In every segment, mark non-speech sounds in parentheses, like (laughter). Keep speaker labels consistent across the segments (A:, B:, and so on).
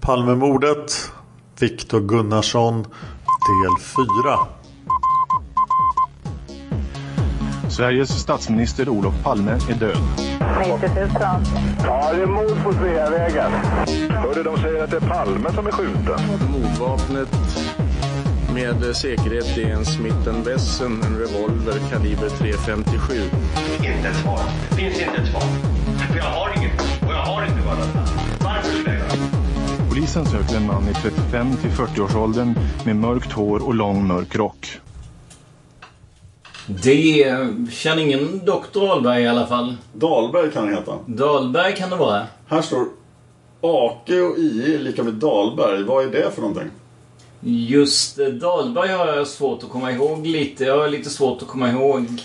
A: Palmemordet Viktor Gunnarsson del 4
B: Sveriges statsminister Olof Palme är död.
C: 90 000.
D: Ja, det är mord på Sveavägen. Hörde de säger att det är Palme som är skjuten.
E: Mordvapnet med säkerhet är en Smith Wesson, en revolver kaliber .357.
F: Inte ett svar. Det finns inte ett svar. För jag har inget. Och jag har inte varit Varför skulle jag göra det?
B: Polisen söker en man i 35 till 40-årsåldern med mörkt hår och lång mörk rock.
G: Det är- känner ingen doktor Ahlberg i alla fall.
A: Dahlberg kan han heta.
G: Dahlberg kan det vara.
A: Här står Ake och IE är lika med Dahlberg. Vad är det för någonting?
G: Just eh, Dahlberg har jag svårt att komma ihåg lite. Jag har lite svårt att komma ihåg.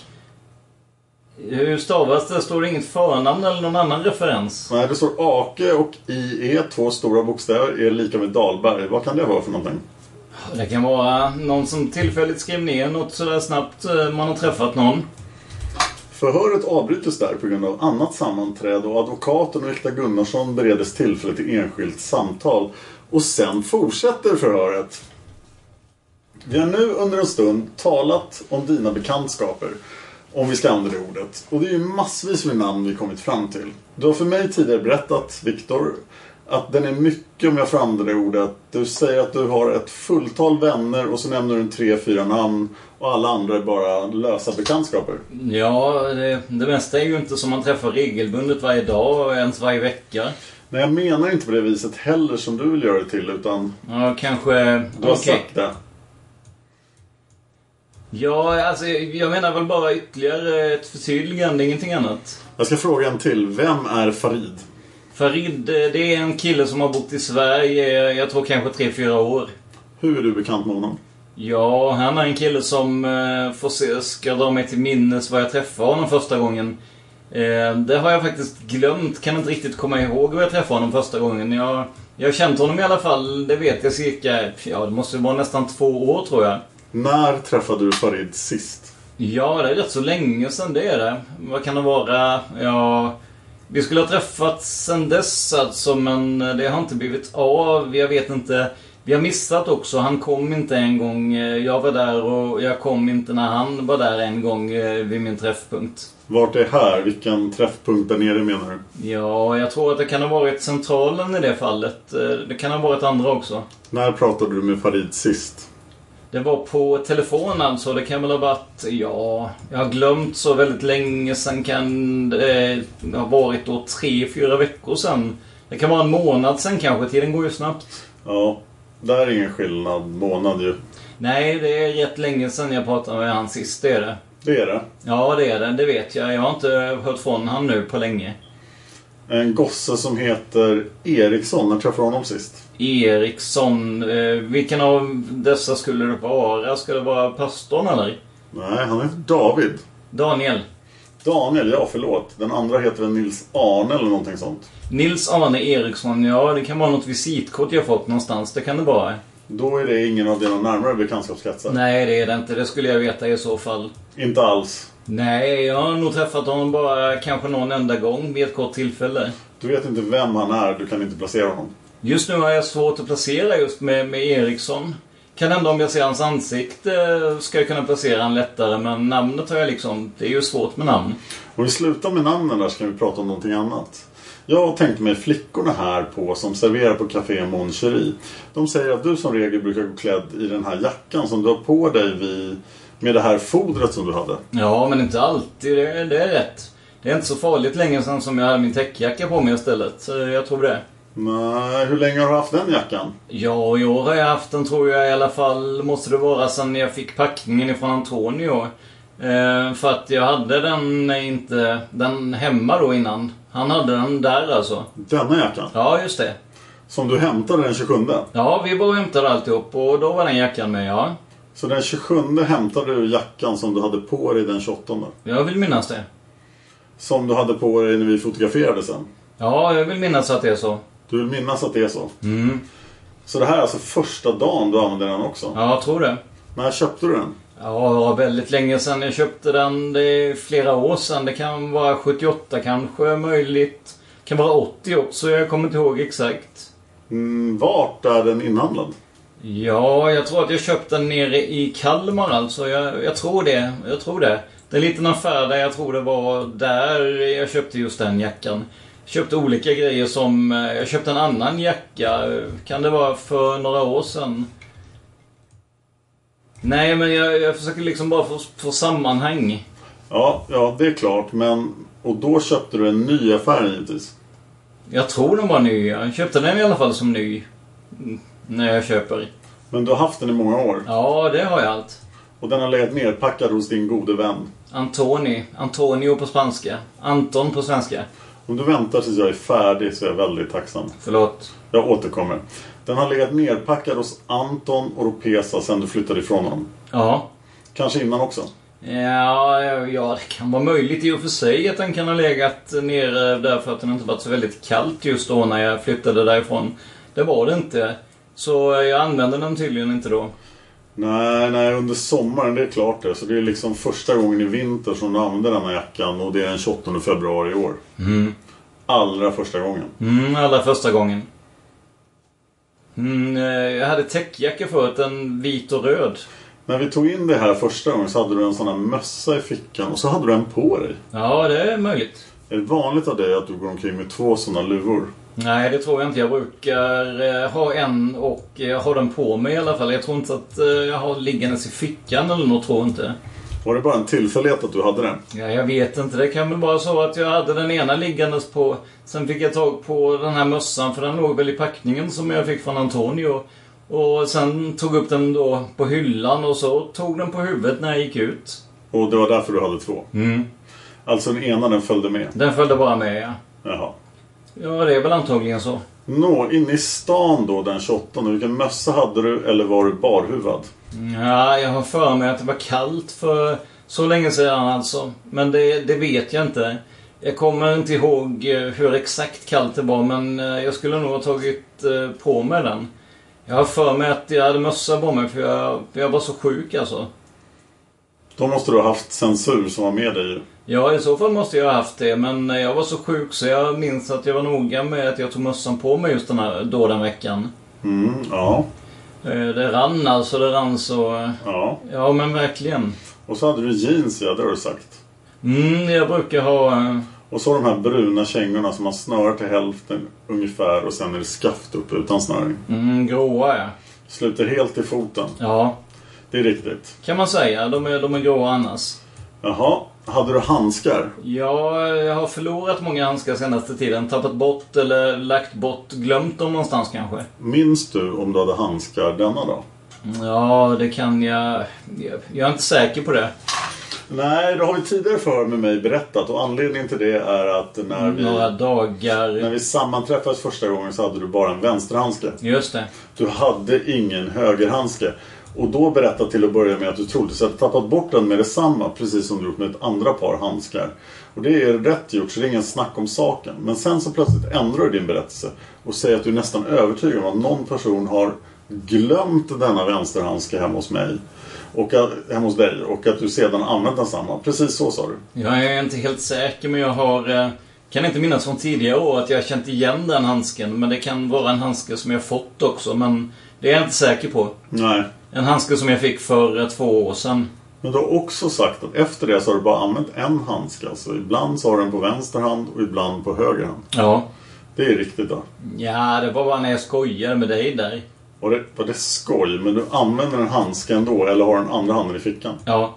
G: Hur stavas det? Står det inget förnamn eller någon annan referens?
A: Nej, det står Ake och IE, två stora bokstäver, är lika med Dahlberg. Vad kan det vara för någonting?
G: Det kan vara någon som tillfälligt skrev ner något sådär snabbt. eh, Man har träffat någon.
A: Förhöret avbrytes där på grund av annat sammanträde och advokaten och Rikta Gunnarsson beredes tillfälle till enskilt samtal. Och sen fortsätter förhöret. Vi har nu under en stund talat om dina bekantskaper, om vi ska använda det ordet. Och det är ju massvis med namn vi kommit fram till. Du har för mig tidigare berättat, Viktor, att den är mycket, om jag får använda det ordet, du säger att du har ett fulltal vänner och så nämner du en tre, fyra namn och alla andra är bara lösa bekantskaper.
G: Ja, det, det mesta är ju inte som man träffar regelbundet varje dag och ens varje vecka.
A: Nej, jag menar inte på det viset heller som du vill göra det till, utan
G: Ja, kanske...
A: du har
G: okej.
A: sagt det.
G: Ja, alltså jag menar väl bara ytterligare ett förtydligande, ingenting annat.
A: Jag ska fråga en till. Vem är Farid?
G: Farid, eh, det är en kille som har bott i Sverige, eh, jag tror kanske 3-4 år.
A: Hur är du bekant med honom?
G: Ja, han är en kille som, eh, får se, ska dra mig till minnes var jag träffade honom första gången. Eh, det har jag faktiskt glömt, kan inte riktigt komma ihåg var jag träffade honom första gången. Jag, jag har känt honom i alla fall, det vet jag cirka, ja det måste vara nästan två år tror jag.
A: När träffade du Farid sist?
G: Ja, det är rätt så länge sedan det är det. Vad kan det vara? Ja, vi skulle ha träffats sedan dess alltså, men det har inte blivit av. Jag vet inte. Vi har missat också. Han kom inte en gång. eh, Jag var där och jag kom inte när han var där en gång eh, vid min träffpunkt.
A: Vart är här? Vilken träffpunkt där nere menar du?
G: Ja, jag tror att det kan ha varit centralen i det fallet. Eh, Det kan ha varit andra också.
A: När pratade du med Farid sist?
G: Det var på telefon alltså. Det kan väl ha varit, ja, jag har glömt så väldigt länge sen kan det eh, ha varit då tre, fyra veckor sen. Det kan vara en månad sen kanske. Tiden går ju snabbt.
A: Ja, där är ingen skillnad. Månad ju.
G: Nej, det är rätt länge sen jag pratade med han sist, det är det.
A: Det är det.
G: Ja, det är det. Det vet jag. Jag har inte hört från han nu på länge.
A: En gosse som heter Eriksson. När träffade du honom sist?
G: Eriksson. Eh, vilken av dessa skulle det vara? Skulle det vara pastorn eller?
A: Nej, han heter David.
G: Daniel.
A: Daniel, ja förlåt. Den andra heter väl Nils Arne eller någonting sånt.
G: Nils Arne Eriksson, ja det kan vara något visitkort jag fått någonstans. Det kan det vara.
A: Då är det ingen av dina närmare bekantskapskretsar.
G: Nej, det är det inte. Det skulle jag veta i så fall.
A: Inte alls.
G: Nej, jag har nog träffat honom bara kanske någon enda gång vid ett kort tillfälle.
A: Du vet inte vem han är, du kan inte placera honom.
G: Just nu har jag svårt att placera just med, med Eriksson. Kan hända om jag ser hans ansikte eh, ska jag kunna placera han lättare, men namnet har jag liksom... Det är ju svårt med namn.
A: Och vi slutar med namnen där så kan vi prata om någonting annat. Jag tänkte mig flickorna här på som serverar på Café Mon Cherie. De säger att du som regel brukar gå klädd i den här jackan som du har på dig vid, med det här fodret som du hade.
G: Ja, men inte alltid. Det, är- det är rätt. Det är inte så farligt länge sedan som jag hade min täckjacka på mig istället. Så jag tror det.
A: Nej, hur länge har du haft den jackan?
G: Ja, i år har jag haft den tror jag i alla fall. Måste det vara sen jag fick packningen ifrån Antonio. Eh, för att jag hade den inte... Den hemma då innan. Han hade den där alltså.
A: Denna jackan?
G: Ja, just det.
A: Som du hämtade den 27?
G: Ja, vi bara hämtade alltihop och då var den jackan med, ja.
A: Så den 27 hämtade du jackan som du hade på dig den 28?
G: Jag vill minnas det.
A: Som du hade på dig när vi fotograferade sen?
G: Ja, jag vill minnas att det är så.
A: Du vill minnas att det är så?
G: Mm.
A: Så det här är alltså första dagen du använder den också?
G: Ja, jag tror det.
A: När köpte du den?
G: Ja, det var väldigt länge sedan jag köpte den. Det är flera år sedan. Det kan vara 78 kanske, möjligt. Det kan vara 80 också, jag kommer inte ihåg exakt.
A: Mm, vart är den inhandlad?
G: Ja, jag tror att jag köpte den nere i Kalmar alltså. Jag, jag tror det. Jag tror det. Det är en liten affär där jag tror det var där jag köpte just den jackan. Köpte olika grejer som... eh, Jag köpte en annan jacka. eh, Kan det vara för några år sedan? Nej, men jag, jag försöker liksom bara få, få sammanhang.
A: Ja, ja, det är klart. Men, och då köpte du en ny affär givetvis.
G: Jag tror den var ny. Jag köpte den i alla fall som ny. Mm, När jag köper.
A: Men du har haft den i många år.
G: Ja, det har jag allt.
A: Och den har legat nerpackad hos din gode vän.
G: Antoni. Antonio på spanska. Anton på svenska.
A: Om du väntar tills jag är färdig så är jag väldigt tacksam.
G: Förlåt.
A: Jag återkommer. Den har legat nerpackad hos Anton och Ropesa sen du flyttade ifrån honom.
G: Ja.
A: Kanske innan också.
G: Ja, ja, det kan vara möjligt i och för sig att den kan ha legat nere därför att den inte varit så väldigt kallt just då när jag flyttade därifrån. Det var det inte. Så jag använde den tydligen inte då.
A: Nej, nej, under sommaren, det är klart det. Så det är liksom första gången i vinter som du använder den här jackan och det är den 28 februari i år. Allra första gången.
G: Mm, allra första gången. Mm, eh, jag hade täckjacka förut, en vit och röd.
A: När vi tog in det här första gången så hade du en sån här mössa i fickan och så hade du en på dig.
G: Ja, det är möjligt.
A: Är det vanligt av dig att du går omkring med två såna luvor?
G: Nej, det tror jag inte. Jag brukar eh, ha en och eh, ha den på mig i alla fall. Jag tror inte att eh, jag har liggandes i fickan eller något, tror jag inte.
A: Var det bara en tillfällighet att du hade den?
G: Ja, jag vet inte. Det kan väl vara så att jag hade den ena liggandes på. Sen fick jag tag på den här mössan, för den låg väl i packningen som jag fick från Antonio. Och sen tog upp den då på hyllan och så tog den på huvudet när jag gick ut.
A: Och det var därför du hade två? Alltså den ena den följde med?
G: Den följde bara med, ja.
A: Jaha.
G: Ja, det är väl antagligen så.
A: Nå, inne i stan då den 28, vilken mössa hade du eller var du barhuvad?
G: Ja, jag har för mig att det var kallt för så länge sedan alltså. Men det, det vet jag inte. Jag kommer inte ihåg eh, hur exakt kallt det var, men eh, jag skulle nog ha tagit eh, på mig den. Jag har för mig att jag hade mössa på mig för jag, jag var så sjuk alltså.
A: Då måste du ha haft censur som var med dig.
G: Ja, i så fall måste jag ha haft det, men eh, jag var så sjuk så jag minns att jag var noga med att jag tog mössan på mig just den här, då den veckan.
A: Mm, ja,
G: Eh, Det rann alltså, det rann så... eh,
A: ja.
G: Ja, men verkligen.
A: Och så hade du jeans ja, det har du sagt.
G: Mm, jag brukar ha... eh,
A: Och så de här bruna kängorna som man snörar till hälften ungefär och sen är det skaft upp utan snöring.
G: Mm, gråa ja.
A: Sluter helt i foten.
G: Ja,
A: Det är riktigt.
G: kan man säga. De är, de är gråa annars.
A: Jaha, hade du handskar?
G: Ja, jag har förlorat många handskar senaste tiden. Tappat bort eller lagt bort, glömt dem någonstans kanske.
A: Minns du om du hade handskar denna dag?
G: Ja, det kan jag... jag- Jag är inte säker på det.
A: Nej, det har vi tidigare för med mig berättat och anledningen till det är att när vi,
G: Några
A: när
G: dagar.
A: vi sammanträffades första gånske så hade du bara en vänsterhandske.
G: Just det.
A: Du hade ingen högerhandske. Och då berätta till att börja med att du troligtvis hade tappat bort den med detsamma precis som du gjort med ett andra par handskar. Och det är rätt gjort så det är ingen snack om saken. Men sen så plötsligt ändrar du din berättelse och säger att du är nästan övertygad om att någon person har glömt denna vänsterhandske hemma hos mig. Och att, hemma hos dig och att du sedan använt densamma. Precis så sa du.
G: Jag är inte helt säker men jag har... eh, Kan inte minnas från tidigare år att jag har känt igen den handsken. Men det kan vara en handske som jag fått också. Men det är jag inte säker på.
A: Nej.
G: En handske som jag fick för eh, två år sedan.
A: Men du har också sagt att efter det så har du bara använt en handske. Alltså ibland så har du den på vänster hand och ibland på höger hand.
G: Ja.
A: Det är riktigt då.
G: Ja, det var bara när jag skojade med dig där.
A: Var det, var det skoj? Men du använder en handske ändå eller har den andra handen i fickan?
G: Ja.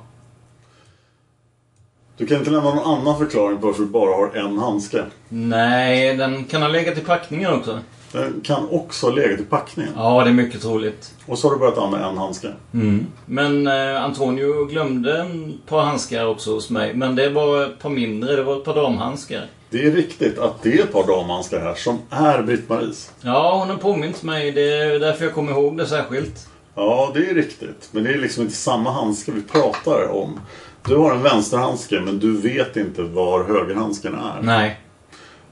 A: Du kan inte lämna någon annan förklaring på varför du bara har en handske.
G: Nej, den kan ha legat i packningen också.
A: Den kan också ha legat i packningen.
G: Ja, det är mycket troligt.
A: Och så har du börjat använda en handske.
G: Mm. Men eh, Antonio glömde en par handskar också hos mig. Men det var ett par mindre. Det var ett par damhandskar.
A: Det är riktigt att det är ett par damhandskar här som är Britt-Maries.
G: Ja, hon har påmint mig. Det är därför jag kommer ihåg det särskilt.
A: Ja, det är riktigt. Men det är liksom inte samma handske vi pratar om. Du har en vänsterhandske men du vet inte var högerhandsken är.
G: Nej.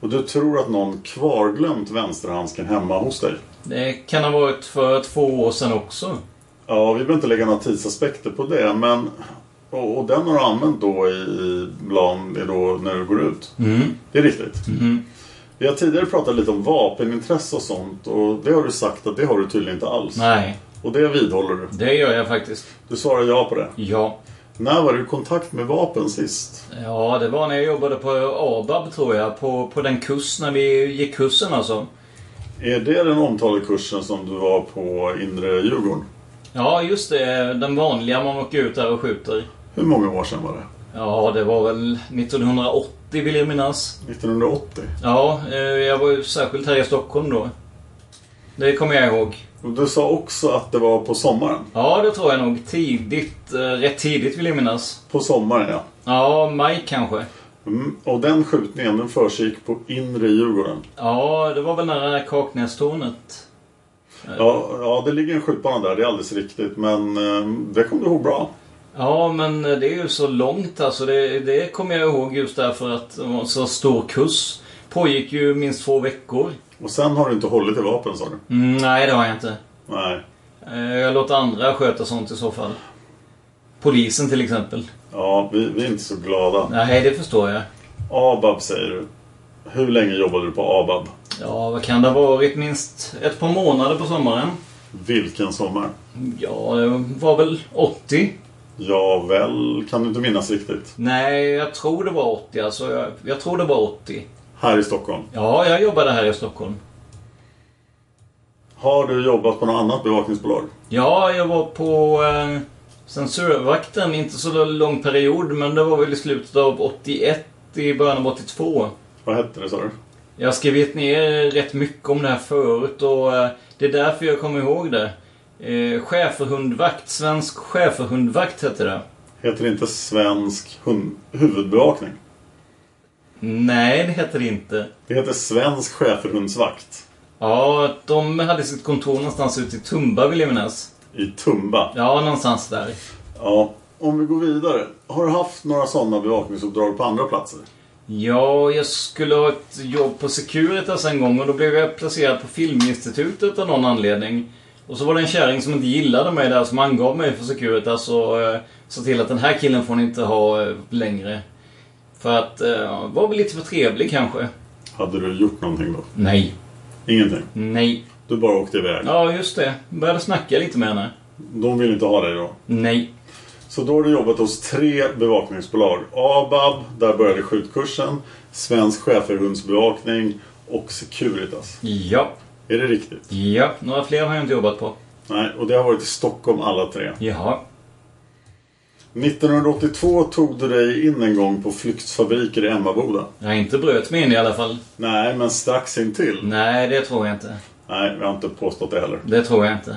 A: Och du tror att någon kvarglömt vänsterhandsken hemma hos dig.
G: Det kan ha varit för två år sedan också.
A: Ja, vi behöver inte lägga några tidsaspekter på det men... Och, och den har du använt då i, i bland, det är då när du går ut.
G: Mm. Mm-hmm.
A: Det är riktigt. Vi har tidigare pratat lite om vapenintresse och sånt och det har du sagt att det har du tydligen inte alls.
G: Nej,
A: Och det vidhåller du.
G: det gör jag faktiskt.
A: Du svarar ja på det.
G: Ja.
A: När var du i kontakt med vapen sist?
G: Ja, det var när jag jobbade på ABAB tror jag. På, på den kurs, när vi gick kursen alltså.
A: Är det den omtalade kursen som du var på Inre Djurgården?
G: Ja, just det. Den vanliga man åker ut där och skjuter.
A: Hur många år sedan var det?
G: Ja, det var väl 1980 vill jag minnas.
A: 1980?
G: Ja, eh, jag var ju särskilt här i Stockholm då. Det kommer jag ihåg.
A: Och du sa också att det var på sommaren?
G: Ja, det tror jag nog. Tidigt. eh, Rätt tidigt vill jag minnas.
A: På sommaren ja.
G: Ja, maj kanske.
A: Mm. Och den skjutningen den försiggick på Inre Djurgården?
G: Ja, det var väl nära Kaknästornet.
A: Ja, ja, det ligger en skjutbana där, det är alldeles riktigt. Men eh, det kom du ihåg bra.
G: Ja, men eh, det är ju så långt alltså. Det, det kommer jag ihåg just därför att det var en så stor kurs. Pågick ju minst två veckor.
A: Och sen har du inte hållit i vapen sa du?
G: Mm, nej, det har jag inte.
A: Nej.
G: Eh, Jag låter andra sköta sånt i så fall. Polisen till exempel.
A: Ja, vi, vi är inte så glada.
G: Nej, det förstår jag.
A: ABAB säger du. Hur länge jobbade du på ABAB?
G: Ja, vad kan det ha varit? Minst ett par månader på sommaren.
A: Vilken sommar?
G: Ja, det var väl 80?
A: Ja, väl kan du inte minnas riktigt.
G: Nej, jag tror det var 80 alltså. Jag, jag tror det var 80.
A: Här i Stockholm.
G: Ja, jag jobbade här i Stockholm.
A: Har du jobbat på något annat bevakningsbolag?
G: Ja, jag var på eh, censurvakten, inte så lång period, men det var väl i slutet av 81, i början av 82.
A: Vad hette det sa du?
G: Jag har skrivit ner rätt mycket om det här förut och eh, det är därför jag kommer ihåg det. Eh, schäferhundvakt, svensk schäferhundvakt hette det.
A: Heter det inte Svensk hund- huvudbevakning?
G: Nej, det hette det inte.
A: Det heter Svensk schäferhundsvakt.
G: Ja, de hade sitt kontor någonstans ute i Tumba vill jag minnas.
A: I Tumba.
G: Ja, någonstans där.
A: Ja. Om vi går vidare. Har du haft några sådana bevakningsuppdrag på andra platser?
G: Ja, jag skulle ha ett jobb på Securitas en gång och då blev jag placerad på Filminstitutet av någon anledning. Och så var det en kärring som inte gillade mig där som angav mig för Securitas och eh, sa till att den här killen får ni inte ha eh, längre. För att, eh, var väl lite för trevlig kanske.
A: Hade du gjort någonting då?
G: Nej.
A: Ingenting.
G: Nej.
A: Du bara åkte iväg.
G: Ja, just det. Började snacka lite med henne.
A: De vill inte ha dig då?
G: Nej.
A: Så då har du jobbat hos tre bevakningsbolag. ABAB, där började skjutkursen. Svensk schäferhundsbevakning och Securitas.
G: Ja.
A: Är det riktigt?
G: Ja. Några fler har jag inte jobbat på.
A: Nej, och det har varit i Stockholm alla tre.
G: Jaha.
A: 1982 tog du dig in en gång på flyktsfabriker i Emmaboda.
G: Jag har inte bröt mig in i alla fall.
A: Nej, men strax intill.
G: Nej, det tror jag inte.
A: Nej, jag har inte påstått det heller.
G: Det tror jag inte.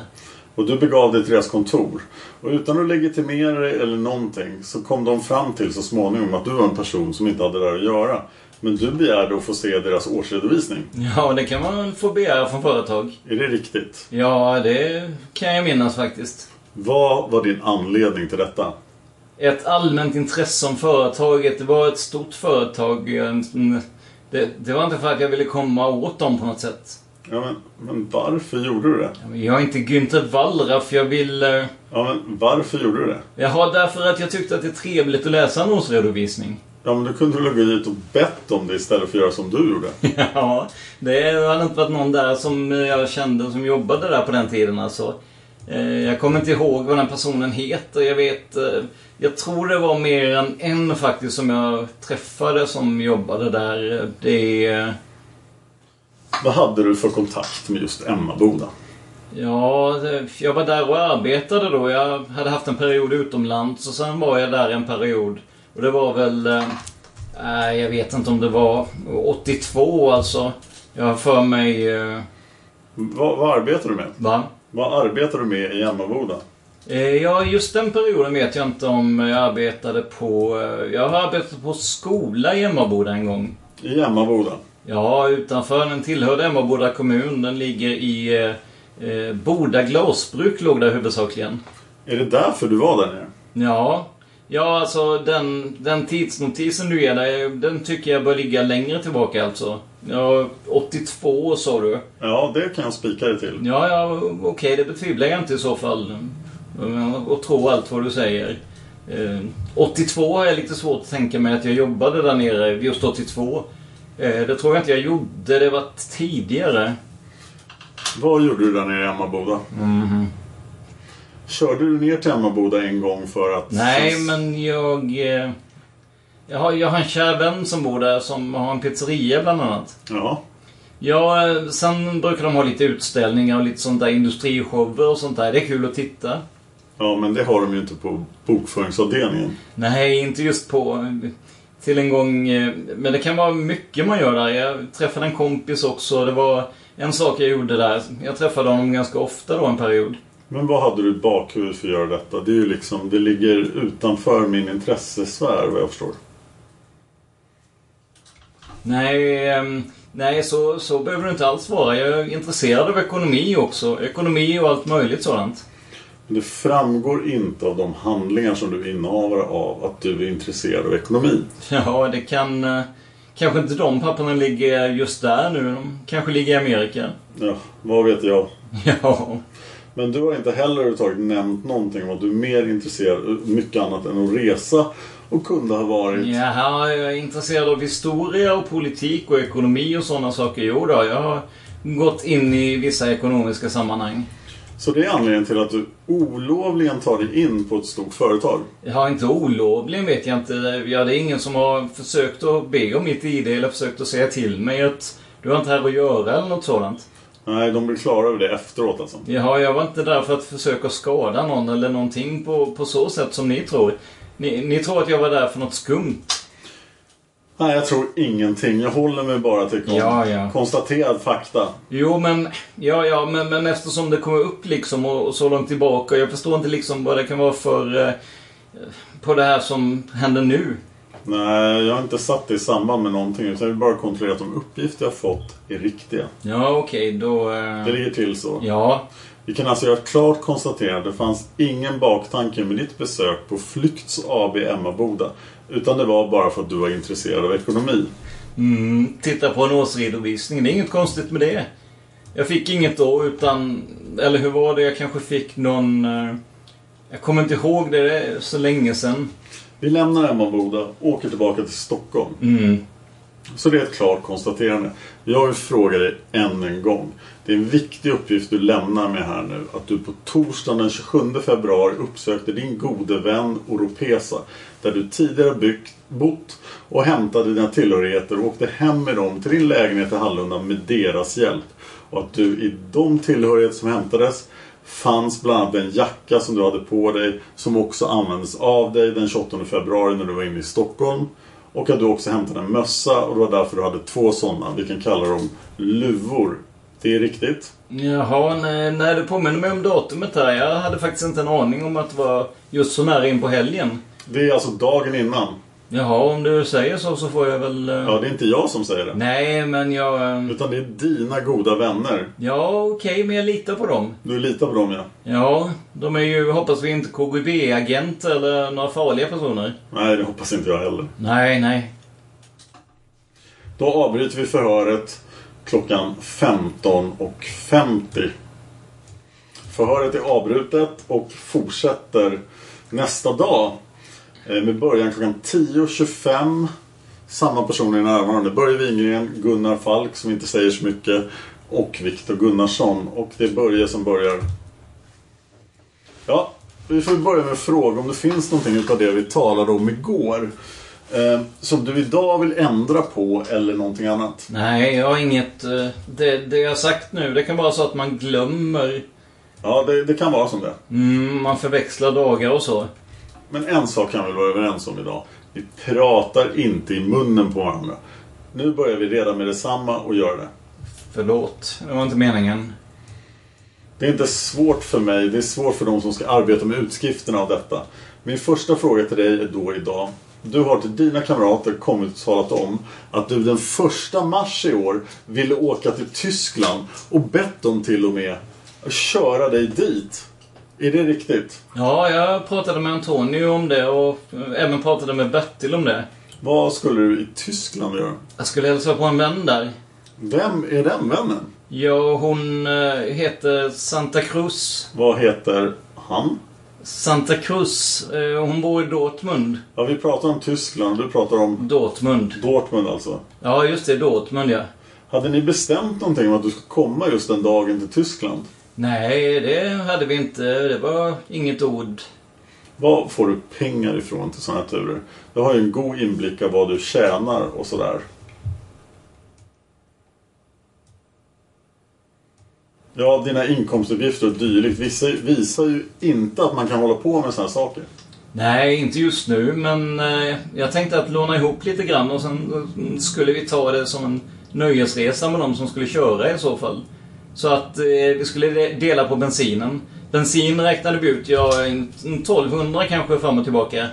A: Och du begav dig till deras kontor. Och utan att legitimera dig eller någonting så kom de fram till så småningom att du var en person som inte hade där att göra. Men du begärde att få se deras årsredovisning.
G: Ja, det kan man få begära från företag.
A: Är det riktigt?
G: Ja, det kan jag minnas faktiskt.
A: Vad var din anledning till detta?
G: ett allmänt intresse om företaget. Det var ett stort företag. Mm, Det, det var inte för att jag ville komma åt dem på något sätt.
A: Ja, men, men varför gjorde du det?
G: Jag är inte Günther Wallraff. Jag vill... eh,
A: Ja, men varför gjorde du det?
G: Jag har därför att jag tyckte att det är trevligt att läsa en årsredovisning.
A: Ja, men du kunde väl gå dit och bett om det istället för att göra som du gjorde?
G: (laughs) Ja, det hade inte varit någon där som jag kände som jobbade där på den tiden alltså. Eh, Jag kommer inte ihåg vad den personen heter. Jag vet... eh, Jag tror det var mer än en faktiskt som jag träffade som jobbade där. Eh, Det... är-
A: Vad hade du för kontakt med just Emmaboda?
G: Ja, det- jag var där och arbetade då. Jag hade haft en period utomlands och sen var jag där en period. Och det var väl... eh, Nej, jag vet inte om det var 82 alltså. Jag har för mig... eh,
A: Vad, vad arbetar du med?
G: Va?
A: Vad arbetar du med i Emmaboda?
G: Eh, Ja, just den perioden vet jag inte om jag arbetade på... eh, Jag har arbetat på skola i Emmaboda en gång.
A: I Emmaboda?
G: Ja, utanför. Den tillhörde Emmaboda kommun. Den ligger i... eh, eh, Boda glasbruk låg där huvudsakligen.
A: Är det därför du var där nere?
G: Ja. Ja, alltså den, den tidsnotisen du ger där, den tycker jag bör ligga längre tillbaka alltså. Ja, 82 sa du.
A: Ja, det kan jag spika dig till.
G: Ja, ja, okej, det betvivlar jag inte i så fall. Och tro allt vad du säger. Eh, 82 har jag lite svårt att tänka mig att jag jobbade där nere, just 82. Eh, det tror jag inte jag gjorde, det var tidigare.
A: Vad gjorde du där nere i Emmaboda?
G: Mhm.
A: Körde du ner till Emmaboda en gång för att...
G: Nej, men jag... eh, Jag har, jag har en kär vän som bor där som har en pizzeria bland annat.
A: Ja.
G: Ja, eh, sen brukar de ha lite utställningar och lite sånt där industrishower och sånt där. Det är kul att titta.
A: Ja, men det har de ju inte på bokföringsavdelningen.
G: Nej, inte just på... Till en gång... eh, Men det kan vara mycket man gör där. Jag träffade en kompis också. Det var en sak jag gjorde där. Jag träffade honom ganska ofta då en period.
A: Men vad hade du i bakhuvudet för att göra detta? Det är ju liksom, det ligger utanför min intressesfär vad jag förstår.
G: Nej, ehm, nej så, så behöver det inte alls vara. Jag är intresserad av ekonomi också. Ekonomi och allt möjligt sådant. (laughs)
A: Det framgår inte av de handlingar som du är innehavare av att du är intresserad av ekonomi.
G: Ja, det kan... eh, Kanske inte de papperna ligger just där nu. De kanske ligger i Amerika. (laughs)
A: Ja, vad vet jag?
G: Ja.
A: Men du har inte heller överhuvudtaget nämnt någonting om att du är mer intresserad av mycket annat än att resa och kunde ha varit.
G: Jaha, jag är intresserad av historia och politik och ekonomi och sådana saker. Jo då, jag har gått in i vissa ekonomiska sammanhang.
A: Så det är anledningen till att du olovligen tar dig in på ett stort företag.
G: Jag har inte olovligen vet jag inte. Ja, det är ingen som har försökt att be om mitt ID eller försökt att säga till mig att du har inte här att göra eller något sådant.
A: Nej, de blir klara över det efteråt alltså.
G: Jaha, jag var inte där för att försöka skada någon eller någonting på, på så sätt som ni tror. Ni, ni tror att jag var där för något skumt.
A: Nej, jag tror ingenting. Jag håller mig bara till kon-
G: Ja, ja.
A: konstaterad fakta.
G: Jo, men, ja, ja, men, men eftersom det kommer upp liksom och, och så långt tillbaka. Jag förstår inte liksom vad det kan vara för... Eh, på det här som händer nu.
A: Nej, jag har inte satt det i samband med någonting. Utan jag vill bara kontrollera att de uppgifter jag fått är riktiga.
G: Ja, okej, då...
A: Det
G: Eh,
A: ligger till så.
G: ja,
A: Vi kan alltså göra ett klart konstaterande. Det fanns ingen baktanke med ditt besök på Flykts AB Emmaboda. Utan det var bara för att du var intresserad av ekonomi.
G: mm, titta på en årsredovisning. Det är inget konstigt med det. Jag fick inget då, utan... Eller hur var det? Jag kanske fick någon... Eh, jag kommer inte ihåg det, det är så länge sedan.
A: Vi lämnar Emmaboda och åker tillbaka till Stockholm. Så det är ett klart konstaterande. Jag vill fråga dig än en gång. Det är en viktig uppgift du lämnar mig här nu. Att du på torsdagen den 27 februari uppsökte din gode vän Oropesa. Där du tidigare byggt, bott och hämtade dina tillhörigheter och åkte hem med dem till din lägenhet i Hallunda med deras hjälp. Och att du i de tillhörigheter som hämtades fanns bland annat en jacka som du hade på dig som också användes av dig den 28 februari när du var inne i Stockholm. Och att du också hämtade en mössa och det var därför du hade två sådana. Vi kan kalla dem luvor. Det är riktigt.
G: Jaha, nej, nej, det påminner mig om datumet här. Jag hade faktiskt inte en aning om att det var just så nära in på helgen.
A: Det är alltså dagen innan.
G: Jaha, om du säger så så får jag väl... eh,
A: Ja, det är inte jag som säger det.
G: Nej, men jag... eh,
A: Utan det är dina goda vänner.
G: Ja, okej, men jag litar på dem.
A: Du litar på dem ja.
G: Ja, de är ju, hoppas vi, inte KGB-agenter eller några farliga personer.
A: Nej, det hoppas inte jag heller.
G: Nej, nej.
A: Då avbryter vi förhöret klockan 15.50. Förhöret är avbrutet och fortsätter nästa dag. eh, Med början klockan 10.25. Samma personer är närvarande. Börje Wingren, Gunnar Falk som inte säger så mycket och Viktor Gunnarsson. Och det är Börje som börjar. Ja, vi får börja med att fråga om det finns någonting utav det vi talade om igår. Eh, som du idag vill ändra på eller någonting annat.
G: Nej, jag har inget... eh, Det, det jag har sagt nu, det kan vara så att man glömmer.
A: Ja, det, det kan vara som det.
G: Mm, man förväxlar dagar och så.
A: Men en sak kan vi vara överens om idag. Vi pratar inte i munnen på varandra. Nu börjar vi redan med detsamma och gör det.
G: Förlåt, det var inte meningen.
A: Det är inte svårt för mig, det är svårt för de som ska arbeta med utskrifterna av detta. Min första fråga till dig är då idag. Du har till dina kamrater kommit och talat om att du den första mars i år ville åka till Tyskland och bett dem till och med att köra dig dit. Är det riktigt?
G: Ja, jag pratade med Antonio om det och eh, även pratade med Bertil om det.
A: Vad skulle du i Tyskland göra?
G: Jag skulle hälsa på en vän där.
A: Vem är den vännen?
G: Ja, hon eh, heter Santa Cruz.
A: Vad heter han?
G: Santa Cruz, eh, hon bor i Dortmund.
A: Ja, vi pratar om Tyskland du pratar om
G: Dortmund.
A: Dortmund alltså.
G: Ja, just det. Dortmund, ja.
A: Hade ni bestämt någonting om att du skulle komma just den dagen till Tyskland?
G: Nej, det hade vi inte. Det var inget ord.
A: Var får du pengar ifrån till sådana här turer? Du har ju en god inblick av vad du tjänar och sådär. Ja, dina inkomstuppgifter och dylikt visar, visar ju inte att man kan hålla på med sådana här saker.
G: Nej, inte just nu, men eh, jag tänkte att låna ihop lite grann och sen eh, skulle vi ta det som en nöjesresa med de som skulle köra i så fall. Så att eh, vi skulle de- dela på bensinen. Bensin räknade vi ut, ja, en, en 1200 kanske fram och tillbaka.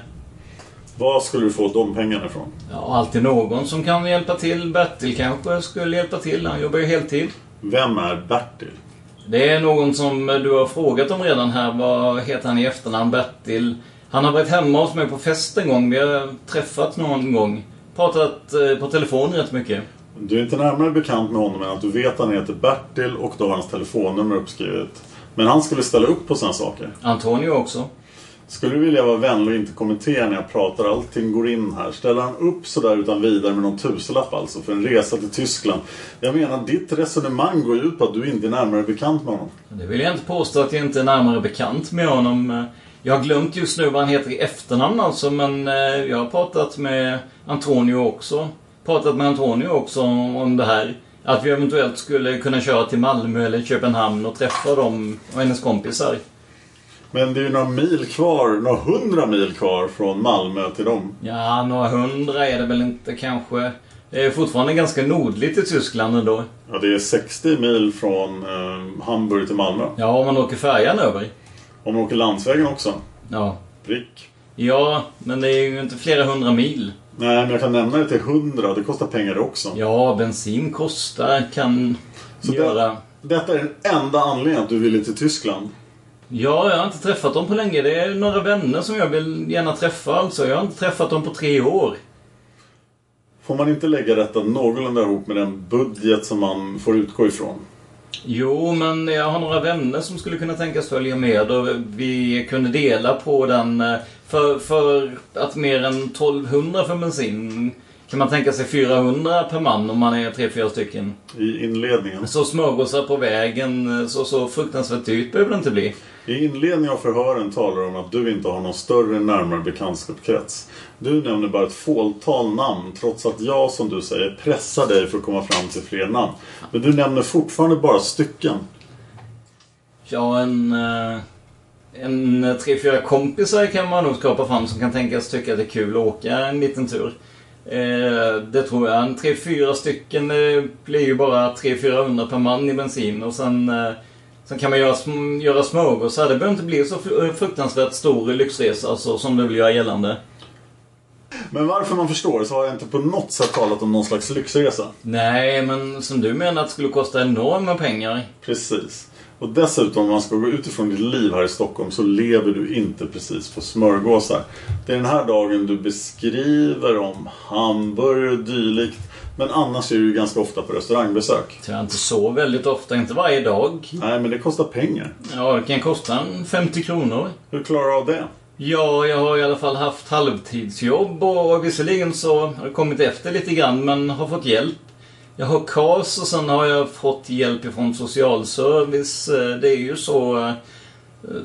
A: Var skulle du få de pengarna ifrån?
G: Ja, alltid någon som kan hjälpa till. Bertil kanske skulle hjälpa till, han jobbar ju heltid.
A: Vem är Bertil?
G: Det är någon som du har frågat om redan här. Vad heter han i efternamn? Bertil. Han har varit hemma hos mig på fest en gång. Vi har träffats någon gång. Pratat eh, på telefon rätt mycket.
A: Du är inte närmare bekant med honom än att du vet att han heter Bertil och du har hans telefonnummer uppskrivet. Men han skulle ställa upp på sådana saker.
G: Antonio också.
A: Skulle du vilja vara vänlig och inte kommentera när jag pratar? Allting går in här. Ställer han upp sådär utan vidare med någon tusenlapp alltså för en resa till Tyskland? Jag menar, ditt resonemang går ju ut på att du inte är närmare bekant med honom.
G: Det vill jag inte påstå att jag inte är närmare bekant med honom. Eh, Jag har glömt just nu vad han heter i efternamn alltså, men eh, jag har pratat med Antonio också. Pratat med Antonio också om om det här. Att vi eventuellt skulle kunna köra till Malmö eller Köpenhamn och träffa dem och hennes kompisar.
A: Men det är ju några mil kvar, några hundra mil kvar från Malmö till dem.
G: Ja, några hundra är det väl inte kanske. Det är fortfarande ganska nordligt i Tyskland ändå.
A: Ja, det är 60 mil från eh, Hamburg till Malmö.
G: Ja, om man åker färjan över.
A: Om man åker landsvägen också.
G: Ja.
A: Prick.
G: Ja, men det är ju inte flera hundra mil.
A: Nej, men jag kan nämna det till 100. Det kostar pengar det också.
G: Ja, bensin kostar, kan
A: Så
G: göra...
A: Detta är den enda anledningen att du ville till Tyskland.
G: Ja, jag har inte träffat dem på länge. Det är några vänner som jag vill gärna träffa alltså. Jag har inte träffat dem på tre år.
A: Får man inte lägga detta någorlunda ihop med den budget som man får utgå ifrån?
G: Jo, men jag har några vänner som skulle kunna tänkas följa med och vi kunde dela på den. eh, För, för att mer än 1200 för bensin kan man tänka sig 400 per man om man är tre fyra stycken.
A: I inledningen.
G: Så smörgåsar på vägen, eh, så, så fruktansvärt dyrt behöver det inte bli.
A: I inledningen av förhören talar du om att du inte har någon större närmare bekantskapskrets. Du nämner bara ett fåtal namn trots att jag, som du säger, pressar dig för att komma fram till fler namn. Men du nämner fortfarande bara stycken.
G: Ja, en... eh, En eh, tre, fyra kompisar kan man nog skapa fram som kan tänkas tycka att det är kul att åka en liten tur. Eh, Det tror jag. En tre, fyra stycken eh, blir ju bara tre, fyra hundra per man i bensin och sen... eh, Sen kan man göra, sm- göra smörgåsar. Det behöver inte bli så fr- eh, fruktansvärt stor lyxresa alltså, som du vill göra gällande.
A: Men varför man förstår så har jag inte på något sätt talat om någon slags lyxresa.
G: Nej, men som du menar att det skulle kosta enorma pengar.
A: Precis. Och dessutom, om man ska gå utifrån ditt liv här i Stockholm så lever du inte precis på smörgåsar. Det är den här dagen du beskriver om hamburgare och dylikt. Men annars är du ju ganska ofta på restaurangbesök.
G: Tyvärr inte så väldigt ofta, inte varje dag.
A: Nej, men det kostar pengar.
G: Ja, det kan kosta en 50 kronor.
A: Hur klarar du av det?
G: Ja, jag har i alla fall haft halvtidsjobb och visserligen så har jag kommit efter lite grann men har fått hjälp. Jag har KAS och sen har jag fått hjälp ifrån socialservice. Eh, Det är ju så eh,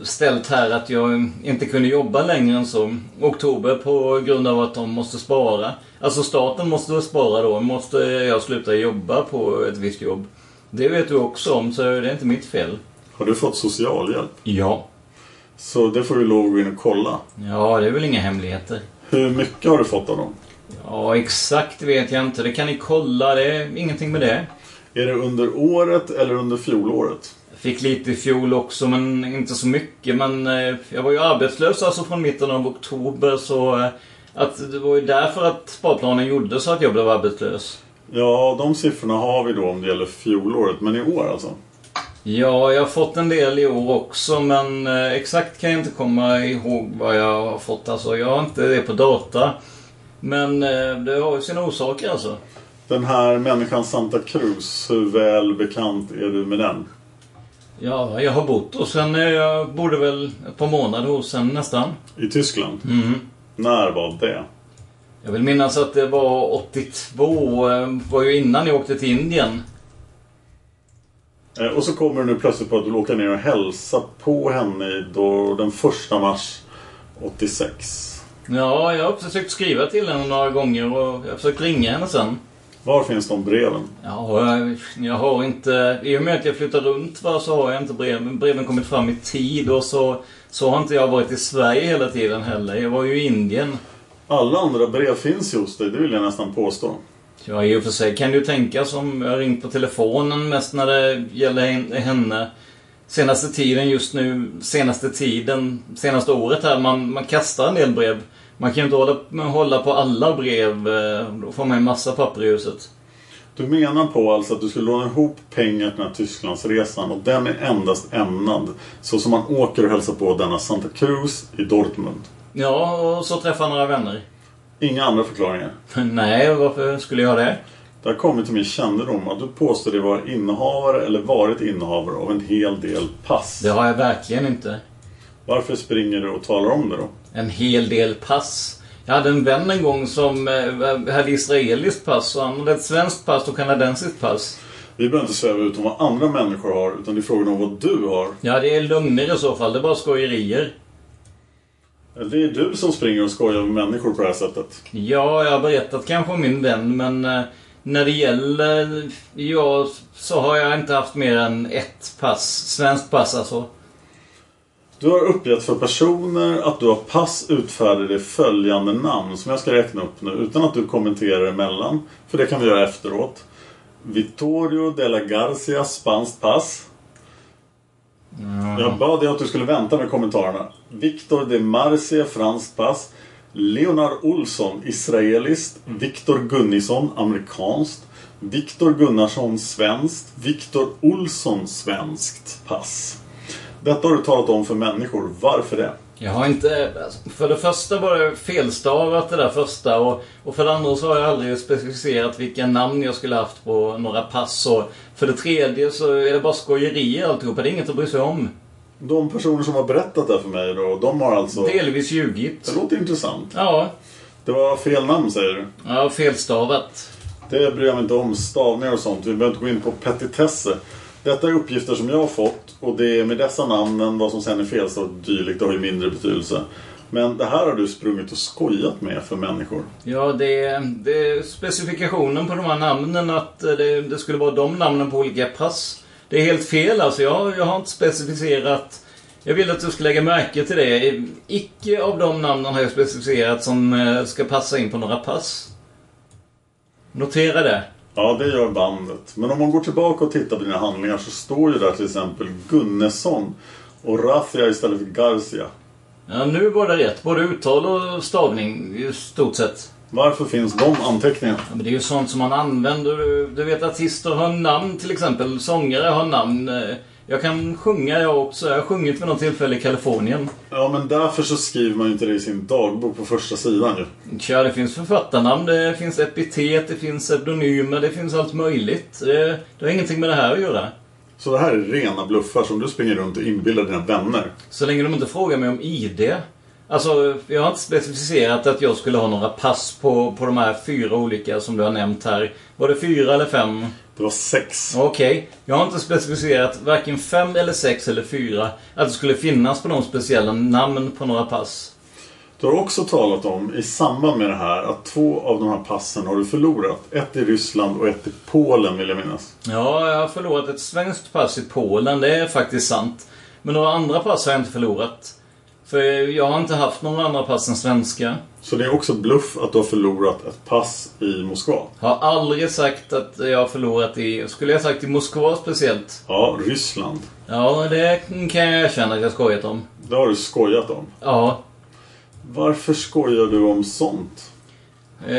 G: ställt här att jag inte kunde jobba längre än så. Oktober på grund av att de måste spara. Alltså staten måste spara då. Måste jag sluta jobba på ett visst jobb. Det vet du också om så det är inte mitt fel.
A: Har du fått socialhjälp?
G: Ja.
A: Så det får du lov att gå in och kolla.
G: Ja, det är väl inga hemligheter.
A: Hur mycket har du fått av dem?
G: Ja, exakt vet jag inte. Det kan ni kolla. Det är ingenting med det.
A: Är det under året eller under fjolåret?
G: Jag fick lite i fjol också, men inte så mycket. Men eh, jag var ju arbetslös alltså från mitten av oktober, så eh, att det var ju därför att sparplanen gjordes så att jag blev arbetslös.
A: Ja, de siffrorna har vi då om det gäller fjolåret, men i år alltså?
G: Ja, jag har fått en del i år också, men eh, exakt kan jag inte komma ihåg vad jag har fått. Alltså, jag har inte det på data. Men eh, det har ju sina orsaker alltså.
A: Den här människan Santa Cruz, hur väl bekant är du med den?
G: Ja, jag har bott och sen eh, jag bodde väl ett par månader hos henne nästan.
A: I Tyskland?
G: Mm.
A: När var det?
G: Jag vill minnas att det var 82, eh, var ju innan jag åkte till Indien.
A: Eh, Och så kommer du nu plötsligt på att du vill åka ner och hälsa på henne i då, den första mars 86.
G: Ja, jag har försökt skriva till henne några gånger och jag har försökt ringa henne sen.
A: Var finns de breven?
G: Ja, jag, jag har inte... I och med att jag flyttar runt va, så har jag inte breven, breven kommit fram i tid och så, så har inte jag varit i Sverige hela tiden heller. Jag var ju i Indien.
A: Alla andra brev finns ju hos dig, det vill jag nästan påstå.
G: Ja, i och för sig kan du tänka som jag har ringt på telefonen mest när det gäller hen- henne. Senaste tiden just nu, senaste tiden, senaste året här, man, man kastar en del brev. Man kan ju inte hålla, hålla på alla brev, eh, då får man en massa papper i huset.
A: Du menar på alltså att du skulle låna ihop pengar till den här Tysklandsresan och den är endast ämnad så som man åker och hälsar på denna Santa Cruz i Dortmund.
G: Ja, och så träffar jag några vänner. (laughs)
A: Inga andra förklaringar.
G: Nej, varför skulle jag det?
A: Det har kommit till min kännedom att du påstår dig vara innehavare eller varit innehavare av en hel del pass.
G: Det har jag verkligen inte.
A: Varför springer du och talar om det då?
G: En hel del pass. Jag hade en vän en gång som eh, hade israeliskt pass och han hade ett svenskt pass och kanadensiskt pass.
A: Vi behöver inte sväva ut om vad andra människor har utan det är frågan om vad du har.
G: Ja, det är lögner i så fall. Det är bara skojerier.
A: Det är du som springer och skojar med människor på det här sättet.
G: Ja, jag har berättat kanske om min vän, men eh, när det gäller... eh, Ja, så har jag inte haft mer än ett pass. Svenskt pass alltså.
A: Du har uppgett för personer att du har pass utfärdade i följande namn som jag ska räkna upp nu utan att du kommenterar emellan. För det kan vi göra efteråt. Vittorio de la Garcia, spanskt pass. Jag bad dig att du skulle vänta med kommentarerna. Victor de Marcia, franskt pass. Leonard Olsson, israeliskt. Victor Gunnisson, amerikanskt. Victor Gunnarsson, svenskt. Victor Olsson, svenskt pass. Detta har du talat om för människor. Varför det?
G: Jag har inte... alltså, För det första var det felstavat det där första och, och för det andra så har jag aldrig specificerat vilka namn jag skulle haft på några pass och för det tredje så är det bara skojerier alltihopa. Det är inget att bry sig om.
A: De personer som har berättat det här för mig då, de har alltså...
G: Delvis ljugit.
A: Det låter intressant.
G: Ja,
A: Det var fel namn säger du.
G: ja felstavat.
A: Det bryr jag mig inte om. Stavningar och sånt. Vi behöver inte gå in på petitesser. Detta är uppgifter som jag har fått och det är med dessa namnen vad som sen är felstavat och dylikt. Det har ju mindre betydelse. Men det här har du sprungit och skojat med för människor.
G: Ja, det, det är specifikationen på de här namnen att eh, det, det skulle vara de namnen på olika pass. Det är helt fel alltså. Jag, jag har inte specificerat. Jag vill att du ska lägga märke till det. Icke av de namnen har jag specificerat som eh, ska passa in på några pass. Notera det.
A: Ja, det gör bandet. Men om man går tillbaka och tittar på dina handlingar så står ju där till exempel Gunnesson och Rathia istället för Garcia.
G: Ja, nu var det rätt. Både uttal och stavning i stort sett.
A: Varför finns de anteckningarna?
G: Ja, men det är ju sånt som man använder. Du- Du vet artister har namn till exempel. Sångare har namn. Eh, Jag kan sjunga jag också. Jag har sjungit vid något tillfälle i Kalifornien.
A: Ja, men därför så skriver man ju inte det i sin dagbok på första sidan ju.
G: Tja, det finns författarnamn, det finns epitet, det finns pseudonymer, det finns allt möjligt. Det, det har ingenting med det här att göra.
A: Så det här är rena bluffar som du springer runt och inbillar dina vänner.
G: Så länge de inte frågar mig om ID. Alltså, jag har inte specificerat att jag skulle ha några pass på, på de här fyra olika som du har nämnt här. Var det fyra eller fem?
A: Det var sex.
G: Okej. Jag har inte specificerat varken fem eller sex eller fyra att det skulle finnas på någon speciella namn på några pass.
A: Du har också talat om i samband med det här att två av de här passen har du förlorat. Ett i Ryssland och ett i Polen vill jag minnas.
G: Ja, jag har förlorat ett svenskt pass i Polen. Det är faktiskt sant. Men några andra pass har jag inte förlorat. För jag har inte haft några andra pass än svenska.
A: Så det är också bluff att du har förlorat ett pass i Moskva.
G: Har aldrig sagt att jag har förlorat i... Skulle jag sagt i Moskva speciellt?
A: Ja, Ryssland.
G: Ja, det kan jag erkänna att jag skojat om.
A: Det har du skojat om.
G: Ja.
A: Varför skojar du om sånt?
G: Eh,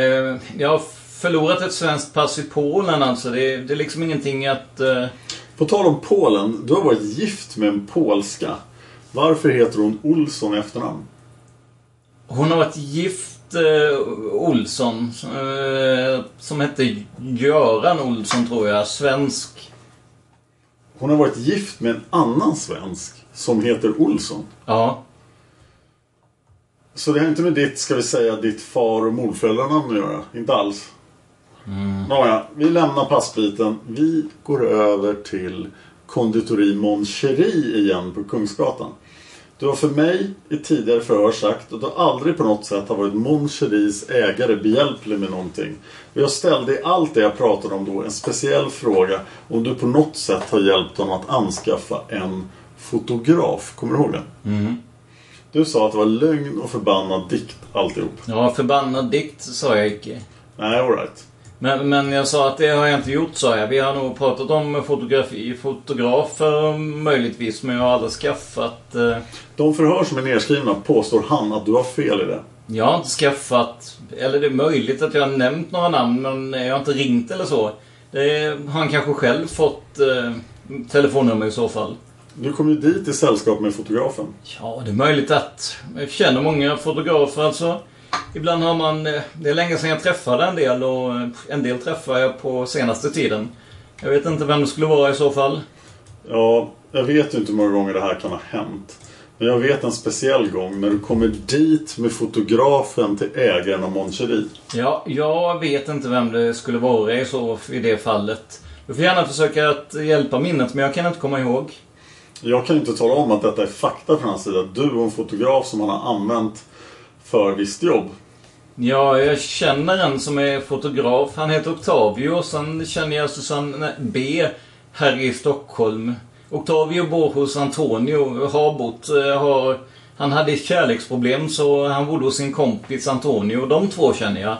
G: jag har förlorat ett svenskt pass i Polen alltså. Det, det är liksom ingenting att... Eh,
A: På tal om Polen, du har varit gift med en polska. Varför heter hon Olsson i efternamn?
G: Hon har varit gift eh, Olsson. Eh, som hette Göran Olsson tror jag. Svensk.
A: Hon har varit gift med en annan svensk som heter Olsson.
G: Ja.
A: Så det har inte med ditt, ska vi säga, ditt far och morföräldrarnamn att göra? Inte alls? Nåja, vi lämnar passbiten. Vi går över till konditori Mon Cherie igen på Kungsgatan. Du har för mig i tidigare förhör sagt att du aldrig på något sätt har varit Mon Cheries ägare behjälplig med någonting. Och jag ställde i allt det jag pratade om då en speciell fråga om du på något sätt har hjälpt honom att anskaffa en fotograf. Kommer du ihåg det? Du sa att det var lögn och förbannad dikt alltihop.
G: Ja, förbannad dikt sa jag icke.
A: Nej, alright.
G: Men, men jag sa att det har jag inte gjort, sa jag. Vi har nog pratat om fotografi, fotografer möjligtvis, men jag har aldrig skaffat... Eh,
A: De förhör som är nedskrivna påstår han att du har fel i det.
G: jag har inte skaffat... Eller det är möjligt att jag har nämnt några namn, men jag har inte ringt eller så. Det har han kanske själv fått eh, telefonnummer i så fall.
A: Du kom ju dit i sällskap med fotografen.
G: Ja, det är möjligt att. Jag känner många fotografer alltså. Ibland har man... eh, Det är länge sedan jag träffade en del och eh, en del träffar jag på senaste tiden. Jag vet inte vem det skulle vara i så fall.
A: Ja, jag vet ju inte hur många gånger det här kan ha hänt. Men jag vet en speciell gång när du kommer dit med fotografen till ägaren av Moncheri.
G: Ja, jag vet inte vem det skulle vara i, så, i det fallet. Du får gärna försöka att hjälpa minnet, men jag kan inte komma ihåg.
A: Jag kan ju inte tala om att detta är fakta från hans sida. Du och en fotograf som han har använt för visst jobb.
G: Ja, jag känner en som är fotograf. Han heter Octavio och sen känner jag Susanne B här i Stockholm. Octavio bor hos Antonio, har bott, eh, har... Han hade kärleksproblem så han bodde hos sin kompis Antonio. De två känner jag.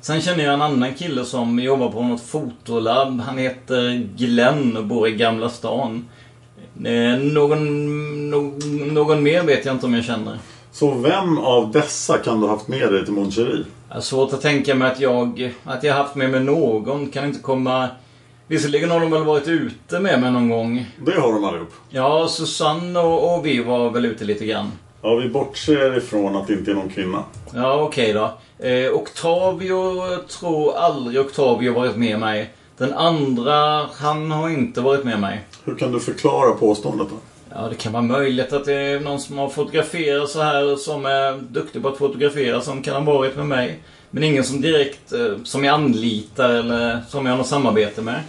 G: Sen känner jag en annan kille som jobbar på något fotolabb. Han heter Glenn och bor i Gamla stan. Eh, Någon, någon, någon mer vet jag inte om jag känner.
A: Så vem av dessa kan du ha haft med dig till Moncheri?
G: Jag har svårt att tänka mig att jag, att jag haft med mig någon. Kan inte komma... Visserligen har de väl varit ute med mig någon gång.
A: Det har de allihop.
G: Ja, Susanne och, och vi var väl ute lite grann.
A: Ja, vi bortser ifrån att det inte är någon kvinna.
G: Ja, okej då. Eh, Octavio jag tror aldrig Octavio varit med mig. Den andra, han har inte varit med mig.
A: Hur kan du förklara påståendet då?
G: Ja, det kan vara möjligt att det är någon som har fotograferat så här som är duktig på att fotografera som kan ha varit med mig. Men ingen som direkt, eh, som jag anlitar eller som jag har något samarbete med.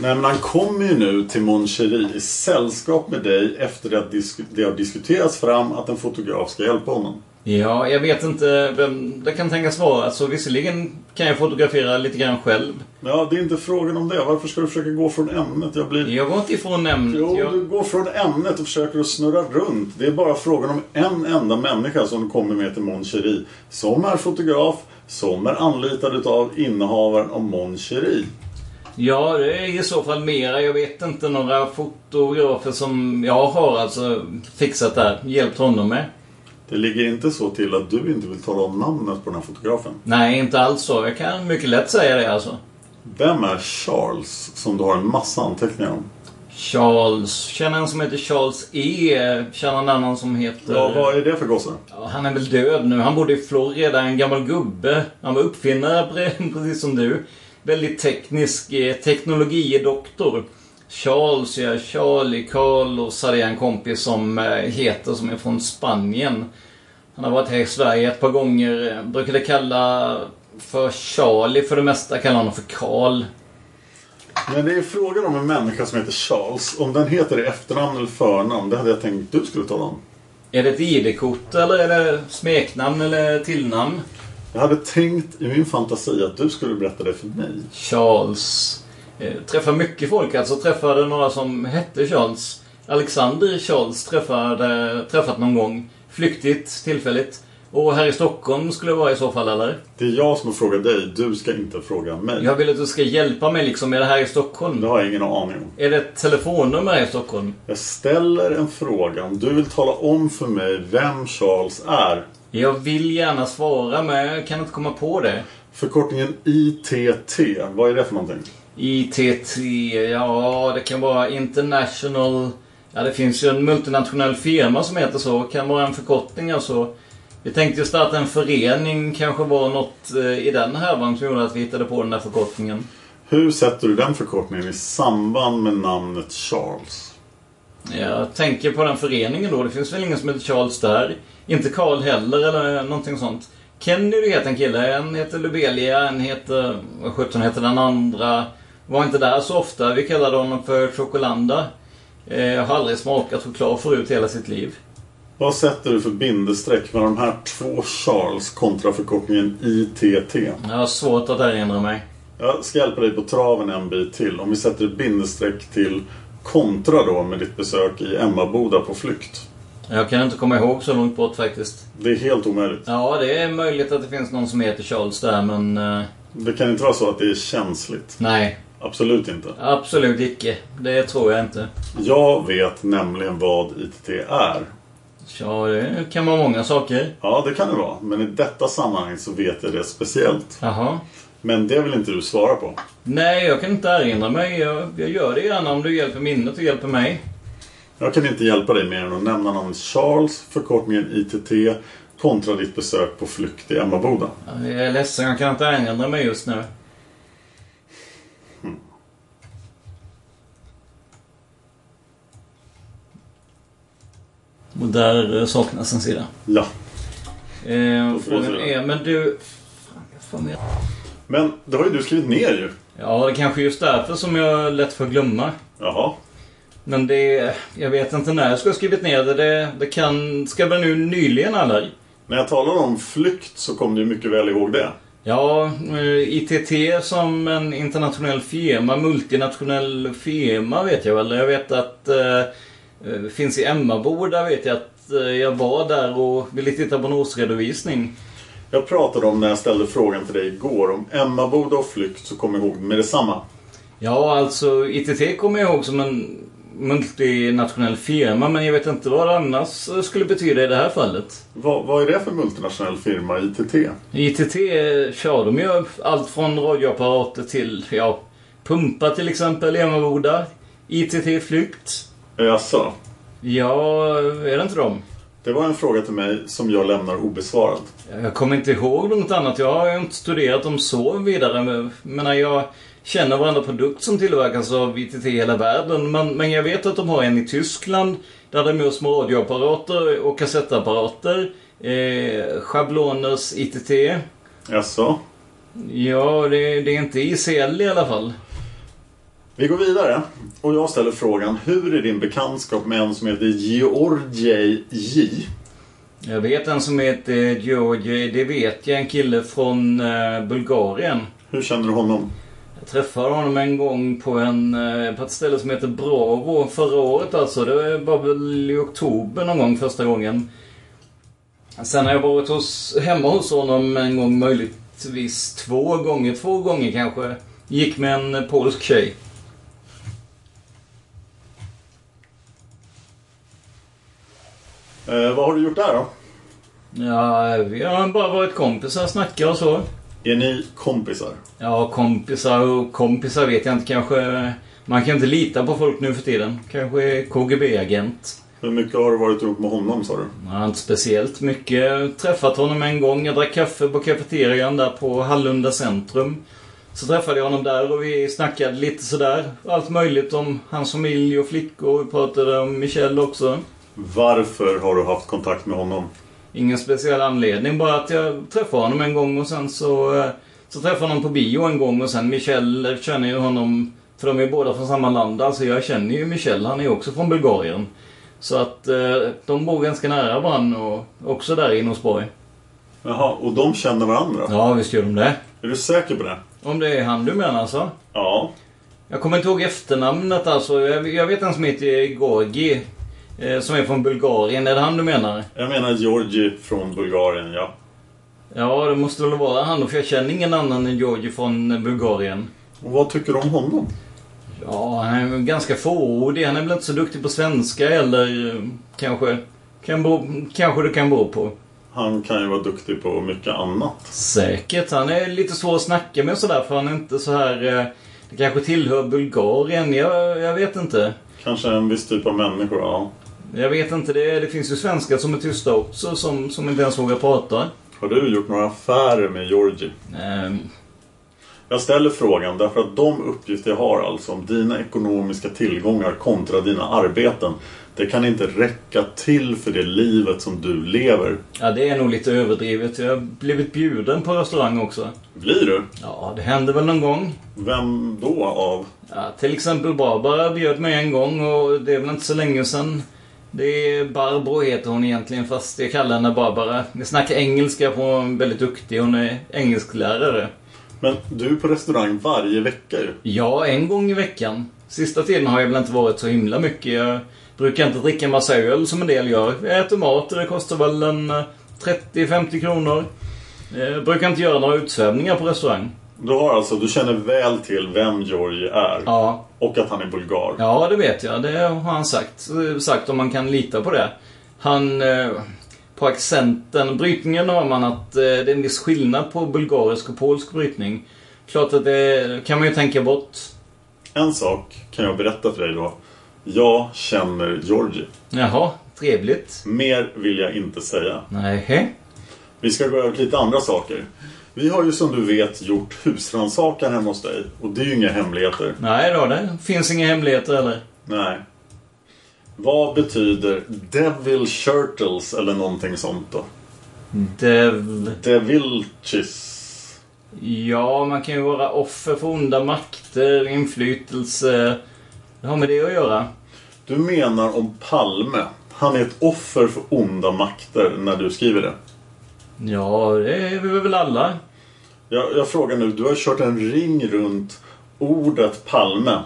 A: Nej, men han kommer ju nu till Moncheri i sällskap med dig efter det att disk- det har diskuterats fram att en fotograf ska hjälpa honom.
G: Ja, jag vet inte vem det kan tänkas vara. Alltså, visserligen kan jag fotografera lite grann själv.
A: Ja, det är inte frågan om det. Varför ska du försöka gå från ämnet? Jag blir...
G: Jag går inte ifrån nämnet.
A: Jo,
G: Jag...
A: du går från ämnet och försöker att snurra runt. Det är bara frågan om en enda människa som du kommer med till Moncheri. Som är fotograf, som är anlitad utav innehavaren av Moncheri.
G: Ja, det är i så fall mera. Jag vet inte några fotografer som jag har alltså fixat där, hjälpt honom med.
A: Det ligger inte så till att du inte vill tala om namnet på den här fotografen.
G: Nej, inte alls så. Jag kan mycket lätt säga det alltså.
A: Vem är Charles som du har en massa anteckningar om?
G: Charles. Känner en som heter Charles E. Känner en annan som heter...
A: Ja, vad är det för gosse?
G: Ja, Han är väl död nu. Han bodde i Florida, en gammal gubbe. Han var uppfinnare (laughs) pre- precis som du. Väldigt teknisk. eh, Teknologidoktor. Charles, ja, Charlie, Carl och så hade jag en kompis som eh, heter, som är från Spanien. Han har varit här i Sverige ett par gånger. Eh, Brukade kalla för Charlie för det mesta, kallar honom för Carl.
A: Men det är frågan om en människa som heter Charles. Om den heter i efternamn eller förnamn, det hade jag tänkt du skulle tala om.
G: Är det ett ID-kort eller är det smeknamn eller tillnamn?
A: Jag hade tänkt i min fantasi att du skulle berätta det för mig.
G: Charles. Eh, träffar mycket folk alltså. Träffade några som hette Charles. Alexander Charles träffade, träffat någon gång. Flyktigt, tillfälligt. Och här i Stockholm skulle det vara i så fall, eller?
A: Det är jag som frågar dig, du ska inte fråga mig.
G: Jag vill att du ska hjälpa mig liksom. Är det här i Stockholm?
A: Det har jag ingen aning om.
G: Är det ett telefonnummer här i Stockholm?
A: Jag ställer en fråga. Om du vill tala om för mig vem Charles är.
G: Jag vill gärna svara, men jag kan inte komma på det.
A: Förkortningen ITT, vad är det för någonting?
G: ITT, ja det kan vara International... Ja det finns ju en multinationell firma som heter så. Kan vara en förkortning alltså. Vi tänkte ju starta en förening, kanske var något eh, i den härvan som gjorde att vi hittade på den där förkortningen.
A: Hur sätter du den förkortningen i samband med namnet Charles?
G: Jag tänker på den föreningen då. Det finns väl ingen som heter Charles där. Inte Karl heller eller någonting sånt. Kennedy heter en kille. En heter Lubelia, en heter... Vad sjutton heter den andra? Var inte där så ofta. Vi kallade honom för Chocolanda. Eh, Jag har aldrig smakat choklad förut i hela sitt liv.
A: Vad sätter du för bindestreck mellan de här två Charles kontra förkortningen ITT?
G: Jag har svårt att erinra mig.
A: Jag ska hjälpa dig på traven en bit till. Om vi sätter ett bindestreck till kontra då med ditt besök i Emmaboda på flykt.
G: Jag kan inte komma ihåg så långt bort faktiskt.
A: Det är helt omöjligt.
G: Ja, det är möjligt att det finns någon som heter Charles där, men... eh,
A: Det kan inte vara så att det är känsligt.
G: Nej,
A: Absolut inte.
G: absolut icke. Det tror jag inte.
A: Jag vet nämligen vad ITT är.
G: Ja, det kan vara många saker.
A: Ja, det kan det vara. Men i detta sammanhang så vet jag det speciellt.
G: Jaha.
A: Men det vill inte du svara på.
G: Nej, jag kan inte erinra mig. Jag, jag gör det gärna om du hjälper minnet och hjälper mig.
A: Jag kan inte hjälpa dig mer än att nämna namnet Charles, förkortningen ITT, kontra ditt besök på flykt i Emmaboda.
G: Jag är ledsen, jag kan inte erinra mig just nu. Och där eh, saknas en sida.
A: Ja.
G: Eh,
A: Då får vi
G: frågan
A: se.
G: är, men du... Fan, jag får med.
A: Men det har ju du skrivit ner ju.
G: Ja, det kanske är just därför som jag lätt får glömma.
A: Jaha.
G: Men det... Jag vet inte när jag ska ha skrivit ner det. Det, det kan... Ska det nu nyligen eller?
A: När jag talade om flykt så kom du mycket väl ihåg det.
G: Ja, eh, ITT som en internationell firma, multinationell firma vet jag väl. Jag vet att eh, eh, finns i Emmaboda vet jag att eh, jag var där och ville titta på en årsredovisning.
A: Jag pratade om när jag ställde frågan till dig igår om Emmaboda och flykt så kom jag ihåg med detsamma.
G: Ja, alltså ITT kommer jag ihåg som en multinationell firma men jag vet inte vad det annars eh, skulle betyda i det här fallet.
A: Vad, vad är det för multinationell firma, ITT?
G: ITT eh, kör de ju allt från radioapparater till, ja, pumpa till exempel i Emmaboda. ITT Flykt.
A: Jaså?
G: Ja, är det inte dem?
A: Det var en fråga till mig som jag lämnar obesvarad.
G: Jag kommer inte ihåg något annat. Jag har ju inte studerat dem så vidare. Men- Men när jag känner varenda produkt som tillverkas av ITT i hela världen. Men, men jag vet att de har en i Tyskland. Där de gör små radioapparater och kassettapparater. Eh, schabloners ITT.
A: Jaså?
G: Ja, det, det är inte ICL i alla fall.
A: Vi går vidare och jag ställer frågan Hur är din bekantskap med en som heter Georgiej J?
G: Jag vet en som heter Georgi. Det vet jag. En kille från eh, Bulgarien.
A: Hur känner du honom?
G: Jag träffade honom en gång på, en, eh, på ett ställe som heter Bravo förra året alltså. Det var väl i oktober någon gång första gången. Sen har jag varit hos, hemma hos honom en gång, möjligtvis två gånger. Två gånger kanske. Gick med en eh, polsk tjej.
A: Eh, vad har du gjort där då?
G: Ja, vi har bara varit kompisar, snackat och så.
A: Är ni kompisar?
G: Ja, kompisar och kompisar vet jag inte. Kanske... Man kan inte lita på folk nu för tiden. Kanske är KGB-agent.
A: Hur mycket har du varit ihop med honom sa du?
G: Ja, inte speciellt mycket. Träffat honom en gång. Jag drack kaffe på kafeterian där på Hallunda centrum. Så träffade jag honom där och vi snackade lite sådär. Allt möjligt om hans familj och flickor. Vi pratade om Michelle också.
A: Varför har du haft kontakt med honom?
G: Ingen speciell anledning, bara att jag träffade honom en gång och sen så... eh, Så träffade jag honom på bio en gång och sen Michelle eh, känner ju honom... För de är båda från samma land, alltså jag känner ju Michelle, han är ju också från Bulgarien. Så att eh, de bor ganska nära varandra och också där i Norsborg.
A: Jaha, och de känner varandra?
G: Ja, visst gör de det.
A: Är du säker på det?
G: Om det är han du menar alltså?
A: Ja.
G: Jag kommer inte ihåg efternamnet alltså. Jag, jag vet en som heter Gorgi. Eh, som är från Bulgarien. Är det han du menar?
A: Jag menar Georgi från Bulgarien, ja.
G: Ja, det måste väl vara han då, för jag känner ingen annan än Georgi från eh, Bulgarien.
A: Och vad tycker du om honom?
G: Ja, han är väl ganska fåordig. Han är väl inte så duktig på svenska eller eh, kanske... Kan bero, kanske det kan bero på.
A: Han kan ju vara duktig på mycket annat.
G: Säkert. Han är lite svår att snacka med och sådär för han är inte så här... eh, Det kanske tillhör Bulgarien. Jag, jag vet inte.
A: Kanske en viss typ av människor, ja.
G: Jag vet inte. Det, det finns ju svenskar som är tysta också som, som inte ens vågar prata.
A: Har du gjort några affärer med Georgi?
G: Ehm,
A: Jag ställer frågan därför att de uppgifter jag har alltså om dina ekonomiska tillgångar kontra dina arbeten. Det kan inte räcka till för det livet som du lever.
G: ja, det är nog lite överdrivet. Jag har blivit bjuden på restaurang också.
A: Blir du?
G: Ja, det hände väl någon gång.
A: Vem då av?
G: Ja, till exempel Barbara bjöd mig en gång och det är väl inte så länge sedan. Det är Barbro heter hon egentligen fast jag kallar henne Barbara. Vi snackar engelska på en väldigt duktig. Hon är engelsklärare.
A: Men du är på restaurang varje vecka ju.
G: Ja, en gång i veckan. Sista tiden har jag väl inte varit så himla mycket. Jag brukar inte dricka massa öl som en del gör. Jag äter mat och det kostar väl en eh, 30-50 kronor. Jag brukar inte göra några utsvävningar på restaurang.
A: Du har alltså, du känner väl till vem Georgi är.
G: Ja,
A: Och att han är bulgar.
G: Ja, det vet jag. Det har han sagt. Sagt om man kan lita på det. Han... eh, På accenten, brytningen har man att eh, det är en viss skillnad på bulgarisk och polsk brytning. Klart att det kan man ju tänka bort.
A: En sak kan jag berätta för dig då. Jag känner Georgi.
G: Jaha, trevligt.
A: Mer vill jag inte säga.
G: Nej.
A: Vi ska gå över till lite andra saker. Vi har ju som du vet gjort husrannsakan hemma hos dig. Och det är ju inga hemligheter.
G: Nej då, det finns inga hemligheter eller?
A: Nej. Vad betyder Devil Shirtles eller någonting sånt då?
G: Dev...
A: Devilchis.
G: Ja, man kan ju vara offer för onda makter, inflytelse. Det har med det att göra.
A: Du menar om Palme. Han är ett offer för onda makter när du skriver det.
G: Ja, det är vi väl alla.
A: Jag, jag frågar nu, du har kört en ring runt ordet Palme.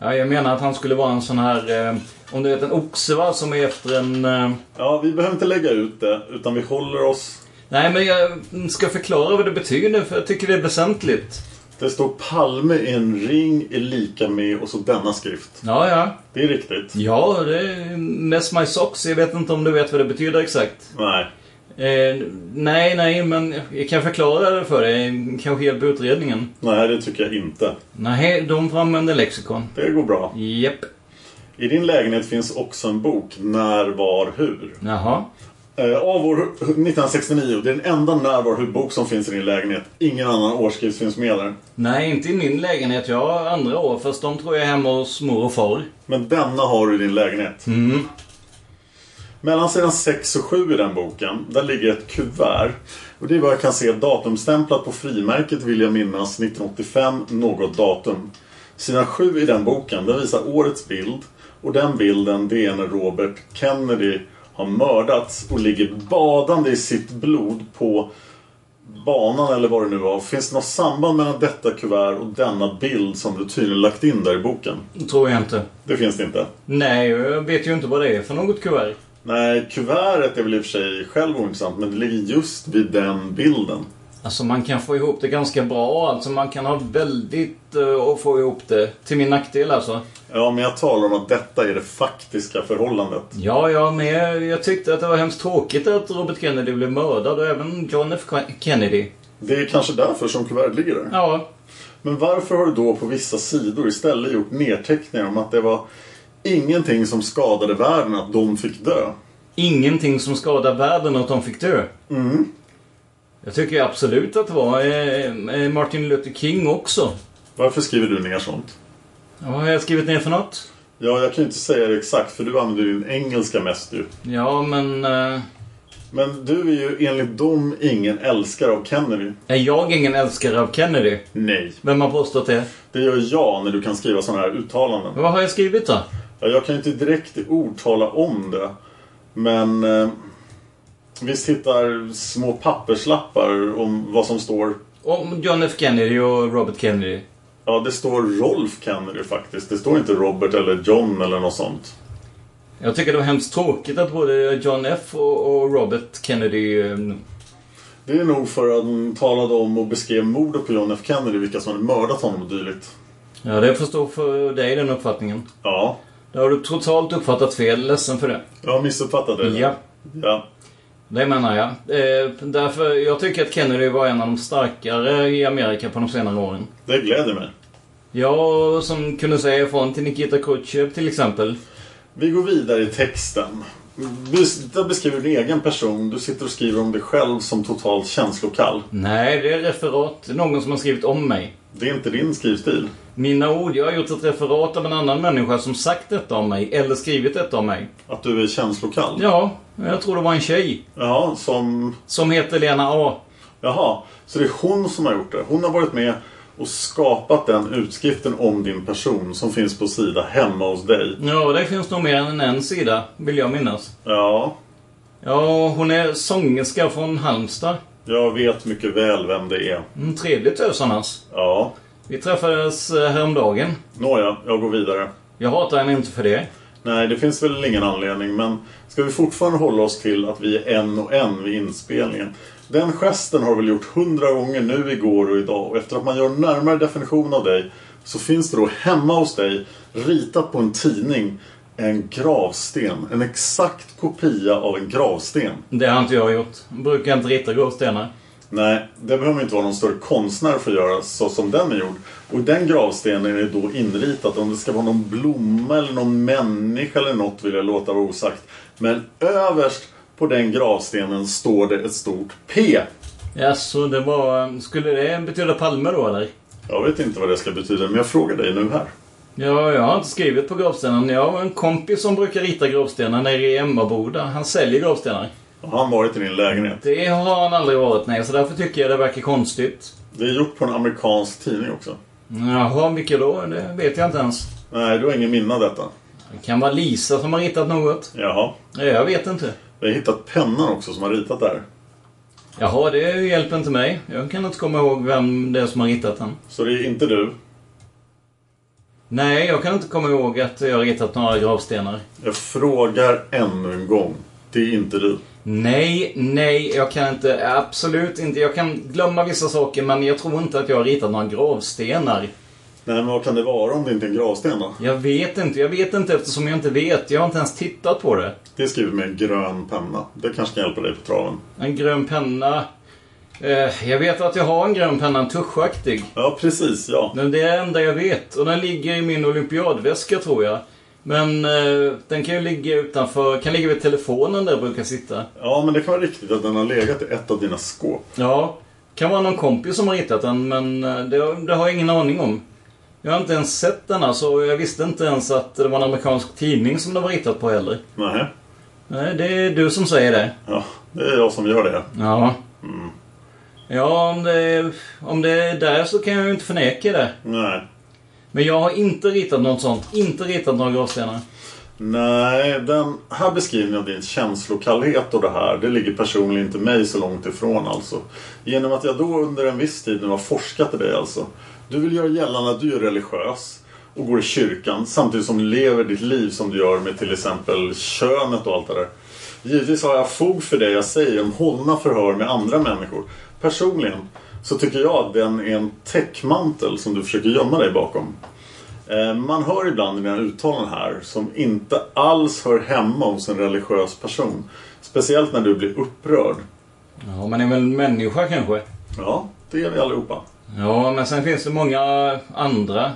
G: Ja, jag menar att han skulle vara en sån här... Eh, om du vet en oxe va, som är efter en... Eh,
A: Ja, vi behöver inte lägga ut det, utan vi håller oss...
G: nej, men jag ska förklara vad det betyder för jag tycker det är väsentligt.
A: Det står Palme i en ring är lika med och så denna skrift.
G: Ja, ja.
A: Det är riktigt.
G: Ja, det är mess my socks. Jag vet inte om du vet vad det betyder exakt.
A: Nej.
G: Eh, nej, nej, men jag kan förklara det för dig. Kanske hjälpa utredningen.
A: Nej, det tycker jag inte.
G: Nej, de använder lexikon.
A: Det går bra.
G: Jep.
A: I din lägenhet finns också en bok, När, var, hur.
G: Jaha.
A: Eh, av år 1969. Det är den enda När, var, hur-bok som finns i din lägenhet. Ingen annan årskrift finns med där.
G: Nej, inte i min lägenhet. Jag har andra år, fast de tror jag är hemma hos mor och far.
A: Men denna har du i din lägenhet. Mellan sidan 6 och 7 i den boken, där ligger ett kuvert. Och det är vad jag kan se datumstämplat på frimärket vill jag minnas 1985, något datum. Sidan 7 i den boken, den visar årets bild. Och den bilden, det är när Robert Kennedy har mördats och ligger badande i sitt blod på banan eller vad det nu var. Finns det något samband mellan detta kuvert och denna bild som du tydligen lagt in där i boken?
G: Tror jag inte.
A: Det finns det inte.
G: Nej, jag vet ju inte vad det är för något kuvert.
A: Nej, kuvertet är väl i och för sig själv ointressant men det ligger just vid den bilden.
G: Alltså man kan få ihop det ganska bra. Alltså man kan ha väldigt eh, och få ihop det. Till min nackdel alltså.
A: Ja, men jag talar om att detta är det faktiska förhållandet.
G: Ja, jag med. Jag tyckte att det var hemskt tråkigt att Robert Kennedy blev mördad och även John F Kennedy.
A: Det är kanske därför som kuvertet ligger där.
G: Ja.
A: Men varför har du då på vissa sidor istället gjort nedteckningar om att det var ingenting som skadade världen att de fick dö?
G: Ingenting som skadar världen att de fick dö.
A: Mm.
G: Jag tycker absolut att det var eh, eh, Martin Luther King också.
A: Varför skriver du ner sånt?
G: Vad har jag skrivit ner för något?
A: Ja, jag kan ju inte säga det exakt för du använder ju din engelska mest ju.
G: Ja, men... eh,
A: Men du är ju enligt dem ingen älskare av Kennedy.
G: Är jag ingen älskare av Kennedy?
A: Nej.
G: Vem har påstått det?
A: Det gör jag när du kan skriva sådana här uttalanden.
G: Vad har jag skrivit då?
A: Ja, jag kan ju inte direkt i ord tala om det. Men eh, visst hittar små papperslappar om vad som står.
G: Om John F Kennedy och Robert Kennedy.
A: Ja, det står Rolf Kennedy faktiskt. Det står inte Robert eller John eller något sånt.
G: Jag tycker det var hemskt tråkigt att både John F och, och Robert Kennedy... eh,
A: Det är nog för att de talade om och beskrev mordet på John F Kennedy, vilka som hade mördat honom och dylikt.
G: Ja, det får stå för dig den uppfattningen.
A: Ja,
G: Där har du totalt uppfattat fel. Ledsen för det.
A: jag missuppfattade det.
G: Ja.
A: ja.
G: Det menar jag. Eh, därför, jag tycker att Kennedy var en av de starkare i Amerika på de senare åren.
A: Det gläder mig.
G: Jag som kunde säga ifrån till Nikita Khrushchev till exempel.
A: Vi går vidare i texten. Bes- Där beskriver du din egen person. Du sitter och skriver om dig själv som totalt känslokall.
G: Nej, det är referat. Någon som har skrivit om mig.
A: Det är inte din skrivstil.
G: Mina ord. Jag har gjort ett referat av en annan människa som sagt detta om mig. Eller skrivit detta om mig.
A: Att du är känslokall?
G: Ja, jag tror det var en tjej.
A: Jaha, som...
G: Som heter Lena A.
A: Jaha, så det är hon som har gjort det. Hon har varit med och skapat den utskriften om din person som finns på sida hemma hos dig.
G: Ja, det finns nog mer än en sida, vill jag minnas.
A: Ja,
G: Ja, hon är sångerska från Halmstad.
A: jag vet mycket väl vem det är.
G: Mm, trevlig tös annars.
A: Ja,
G: Vi träffades eh, häromdagen.
A: nåja, jag går vidare.
G: Jag hatar henne inte för det.
A: Nej, det finns väl ingen anledning, men ska vi fortfarande hålla oss till att vi är en och en vid inspelningen? Den gesten har väl gjort hundra gånger nu, igår och idag och efter att man gör en närmare definition av dig så finns det då hemma hos dig, ritat på en tidning, en gravsten. En exakt kopia av en gravsten.
G: Det har inte jag gjort. Brukar inte rita gravstenar.
A: Nej, det behöver inte vara någon större konstnär för att göra så som den är gjord. Och i den gravstenen är det då inritat, om det ska vara någon blomma eller någon människa eller något vill jag låta vara osagt. Men överst på den gravstenen står det ett stort P.
G: Jaså, det var... Skulle det betyda Palme då, eller?
A: Jag vet inte vad det ska betyda, men jag frågar dig nu här.
G: Ja, jag har inte skrivit på gravstenen. Jag har en kompis som brukar rita gravstenar nere i Emmaboda. Han säljer gravstenar.
A: Har han varit i din lägenhet?
G: Det har han aldrig varit, nej. Så därför tycker jag det verkar konstigt.
A: Det är gjort på en amerikansk tidning också.
G: Jaha, vilka då? Det vet jag inte ens.
A: Nej, du har ingen minne av detta.
G: Det kan vara Lisa som har ritat något.
A: Jaha.
G: Nej, Jag vet inte.
A: Jag har hittat pennan också som har ritat där.
G: Jaha, det hjälper inte mig. Jag kan inte komma ihåg vem det är som har ritat den.
A: Så det är inte du.
G: Nej, jag kan inte komma ihåg att jag har ritat några gravstenar.
A: Jag frågar ännu en gång. Det är inte du.
G: Nej, nej, jag kan inte. Absolut inte. Jag kan glömma vissa saker, men jag tror inte att jag har ritat några gravstenar.
A: Nej, men vad kan det vara om det inte är en gravsten då?
G: Jag vet inte. Jag vet inte eftersom jag inte vet. Jag har inte ens tittat på det.
A: Det är skrivet med en grön penna. Det kanske kan hjälpa dig på traven.
G: En grön penna. Eh, jag vet att jag har en grön penna, en tuschaktig.
A: Ja, precis. Ja.
G: Men det är det enda jag vet. Och den ligger i min olympiadväska, tror jag. Men eh, den kan ju ligga utanför, kan ligga vid telefonen där jag brukar sitta.
A: ja, men det kan vara riktigt att den har legat i ett av dina skåp.
G: Ja, kan vara någon kompis som har ritat den, men eh, det, det har jag ingen aning om. Jag har inte ens sett den alltså, och jag visste inte ens att det var en amerikansk tidning som den var ritat på heller.
A: Nej.
G: Nej, det är du som säger det.
A: Ja, det är jag som gör det.
G: Ja. Ja, om det, om det är där så kan jag ju inte förneka det.
A: Nej.
G: Men jag har inte ritat något sånt. Inte ritat några gravstenar.
A: Nej, den här beskrivningen av din känslokallhet och det här, det ligger personligen inte mig så långt ifrån alltså. Genom att jag då under en viss tid nu har forskat i dig alltså. Du vill göra gällande att du är religiös och går i kyrkan samtidigt som du lever ditt liv som du gör med till exempel könet och allt det där. Givetvis har jag fog för det jag säger om hållna förhör med andra människor. personligen så tycker jag att den är en täckmantel som du försöker gömma dig bakom. Eh, Man hör ibland i mina uttalanden här som inte alls hör hemma hos en religiös person. Speciellt när du blir upprörd.
G: Ja, man är väl människa kanske?
A: Ja, det är vi allihopa.
G: Ja, men sen finns det många andra.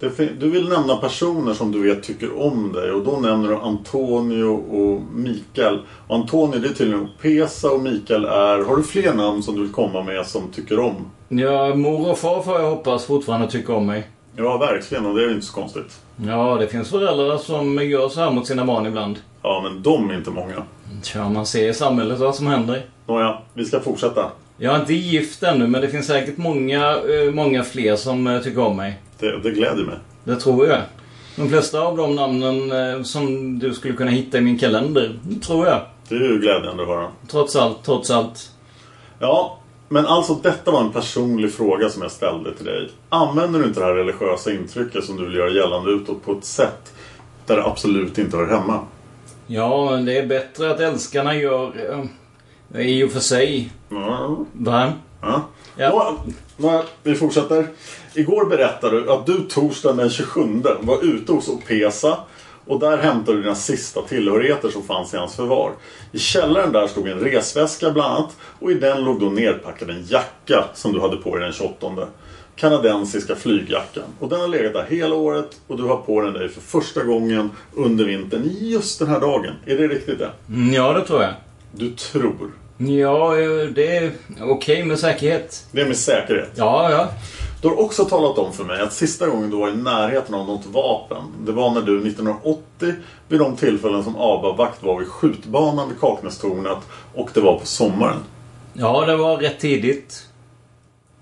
A: Det fin- Du vill nämna personer som du vet tycker om dig och då nämner du Antonio och Mikael. Och Antonio det är tydligen Opesa och Mikael är... Har du fler namn som du vill komma med som tycker om?
G: Ja, mor och far får jag hoppas fortfarande tycker om mig.
A: Ja, verkligen och det är ju inte så konstigt.
G: Ja, det finns föräldrar som gör så här mot sina barn ibland.
A: Ja, men de är inte många.
G: Tja, man ser i samhället vad som händer.
A: Nåja, vi ska fortsätta.
G: Jag är inte gift ännu, men det finns säkert många, eh, många fler som eh, tycker om mig.
A: Det, det gläder mig.
G: Det tror jag. De flesta av de namnen eh, som du skulle kunna hitta i min kalender, tror jag.
A: Det är ju glädjande att höra.
G: Trots allt, trots allt.
A: Ja, men alltså detta var en personlig fråga som jag ställde till dig. Använder du inte det här religiösa intrycket som du vill göra gällande utåt på ett sätt där det absolut inte hör hemma?
G: Ja, men det är bättre att älskarna gör... eh, I och för sig.
A: Ja.
G: Va?
A: Ja.
G: Ja.
A: Nå, nå, vi fortsätter. Igår berättade du att du torsdagen den 27 var ute hos Opesa och där hämtade du dina sista tillhörigheter som fanns i hans förvar. I källaren där stod en resväska bland annat och i den låg då nerpackad en jacka som du hade på dig den 28. Kanadensiska flygjackan. Och den har legat där hela året och du har på den dig för första gången under vintern just den här dagen. Är det riktigt det?
G: Mm, Ja, det tror jag.
A: Du tror.
G: Ja, eh, det är okej med säkerhet.
A: Det är med säkerhet.
G: Ja, ja.
A: Du har också talat om för mig att sista gången du var i närheten av något vapen, det var när du 1980 vid de tillfällen som ABBA-vakt var vid skjutbanan vid Kaknästornet och det var på sommaren.
G: Ja, det var rätt tidigt.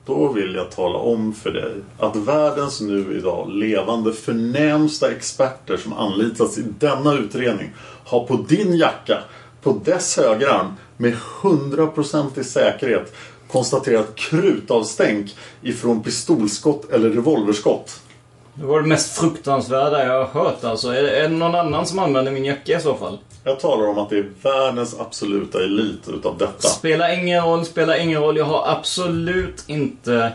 A: Då vill jag tala om för dig att världens nu idag levande förnämsta experter som anlitats i denna utredning har på din jacka, på dess högerarm, med 100% i säkerhet konstaterat krutavstänk ifrån pistolskott eller revolverskott.
G: Det var det mest fruktansvärda jag har hört alltså. Är är det någon annan som använder min jacka i så fall?
A: Jag talar om att det är världens absoluta elit utav detta.
G: Spelar ingen roll, spelar ingen roll. Jag har absolut inte...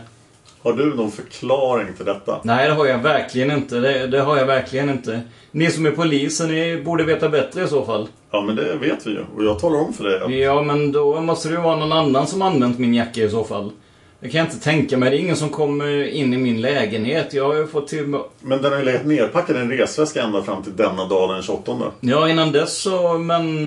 A: Har du någon förklaring till detta?
G: Nej, det har jag verkligen inte. Det, det har jag verkligen inte. Ni som är poliser, ni borde veta bättre i så fall.
A: Ja, men det vet vi ju. Och jag talar om för dig att
G: Ja, men då måste det ju vara någon annan som använt min jacka i så fall. Det kan jag inte tänka mig. Det är ingen som kommer in i min lägenhet. Jag har ju fått till...
A: Men den har ju legat nerpackad i en resväska ända fram till denna dag den 28.
G: Ja, innan dess så... Men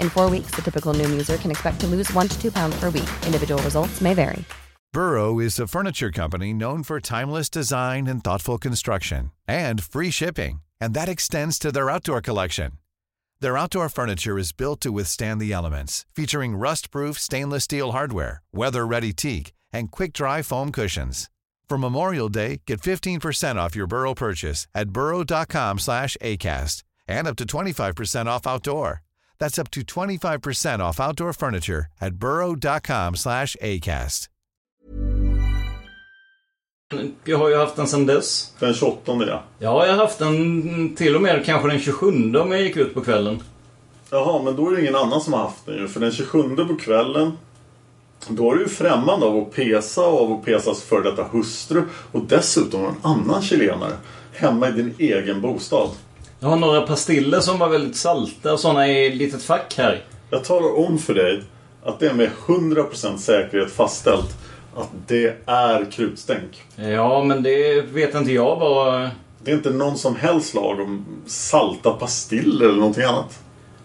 H: In four weeks, the typical Noom user can expect to lose one to two pounds per week. Individual results may vary.
I: Burrow is a furniture company known for timeless design and thoughtful construction and free shipping, and that extends to their outdoor collection. Their outdoor furniture is built to withstand the elements, featuring rust-proof stainless steel hardware, weather-ready teak, and quick-dry foam cushions. For Memorial Day, get 15% off your Burrow purchase at burrow.com/acast and up to 25% off outdoor. That's up to 25% off outdoor furniture at burrow.com/acast.
G: Jag har ju haft den sedan dess.
A: Den 28 ja.
G: Ja, jag har haft den till och med kanske den 27 om jag gick ut på kvällen.
A: Jaha, men då är det ingen annan som har haft den ju. För den 27 på kvällen då är du ju främmande av att pesa och av att pesas före detta hustru och dessutom en annan chilenare hemma i din egen bostad.
G: Jag har några pastiller som var väldigt salta och sådana i ett litet fack här.
A: Jag talar om för dig att det är med 100% säkerhet fastställt att det är krutstänk.
G: Ja, men det vet inte jag vad...
A: Det är inte någon som helst lag om salta pastiller eller någonting annat.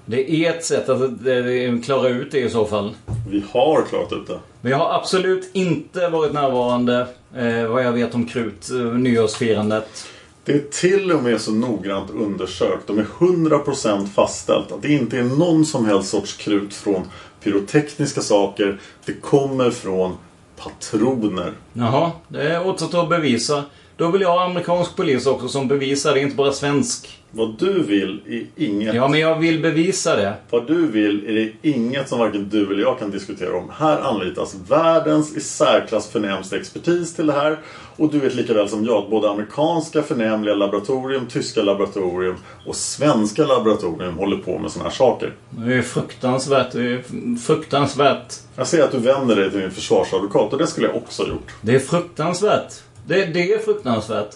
G: Det är ett sätt att eh, klara ut det i så fall.
A: Vi har klarat ut det.
G: Men jag har absolut inte varit närvarande eh, vad jag vet om krut, eh, nyårsfirandet.
A: Det är till och med så noggrant undersökt och med 100% fastställt att det inte är någon som helst sorts krut från pyrotekniska saker. Det kommer från patroner.
G: Jaha, det återstår att bevisa. Då vill jag ha amerikansk polis också som bevisar det, inte bara svensk.
A: Vad du vill är inget.
G: Ja, men jag vill bevisa det.
A: Vad du vill är det inget som varken du eller jag kan diskutera om. Här anlitas världens i särklass förnämsta expertis till det här. Och du vet lika väl som jag att både amerikanska förnämliga laboratorium, tyska laboratorium och svenska laboratorium håller på med sådana här saker.
G: Det är fruktansvärt. Det är fruktansvärt.
A: Jag ser att du vänder dig till min försvarsadvokat och det skulle jag också ha gjort.
G: Det är fruktansvärt. Det, det är fruktansvärt.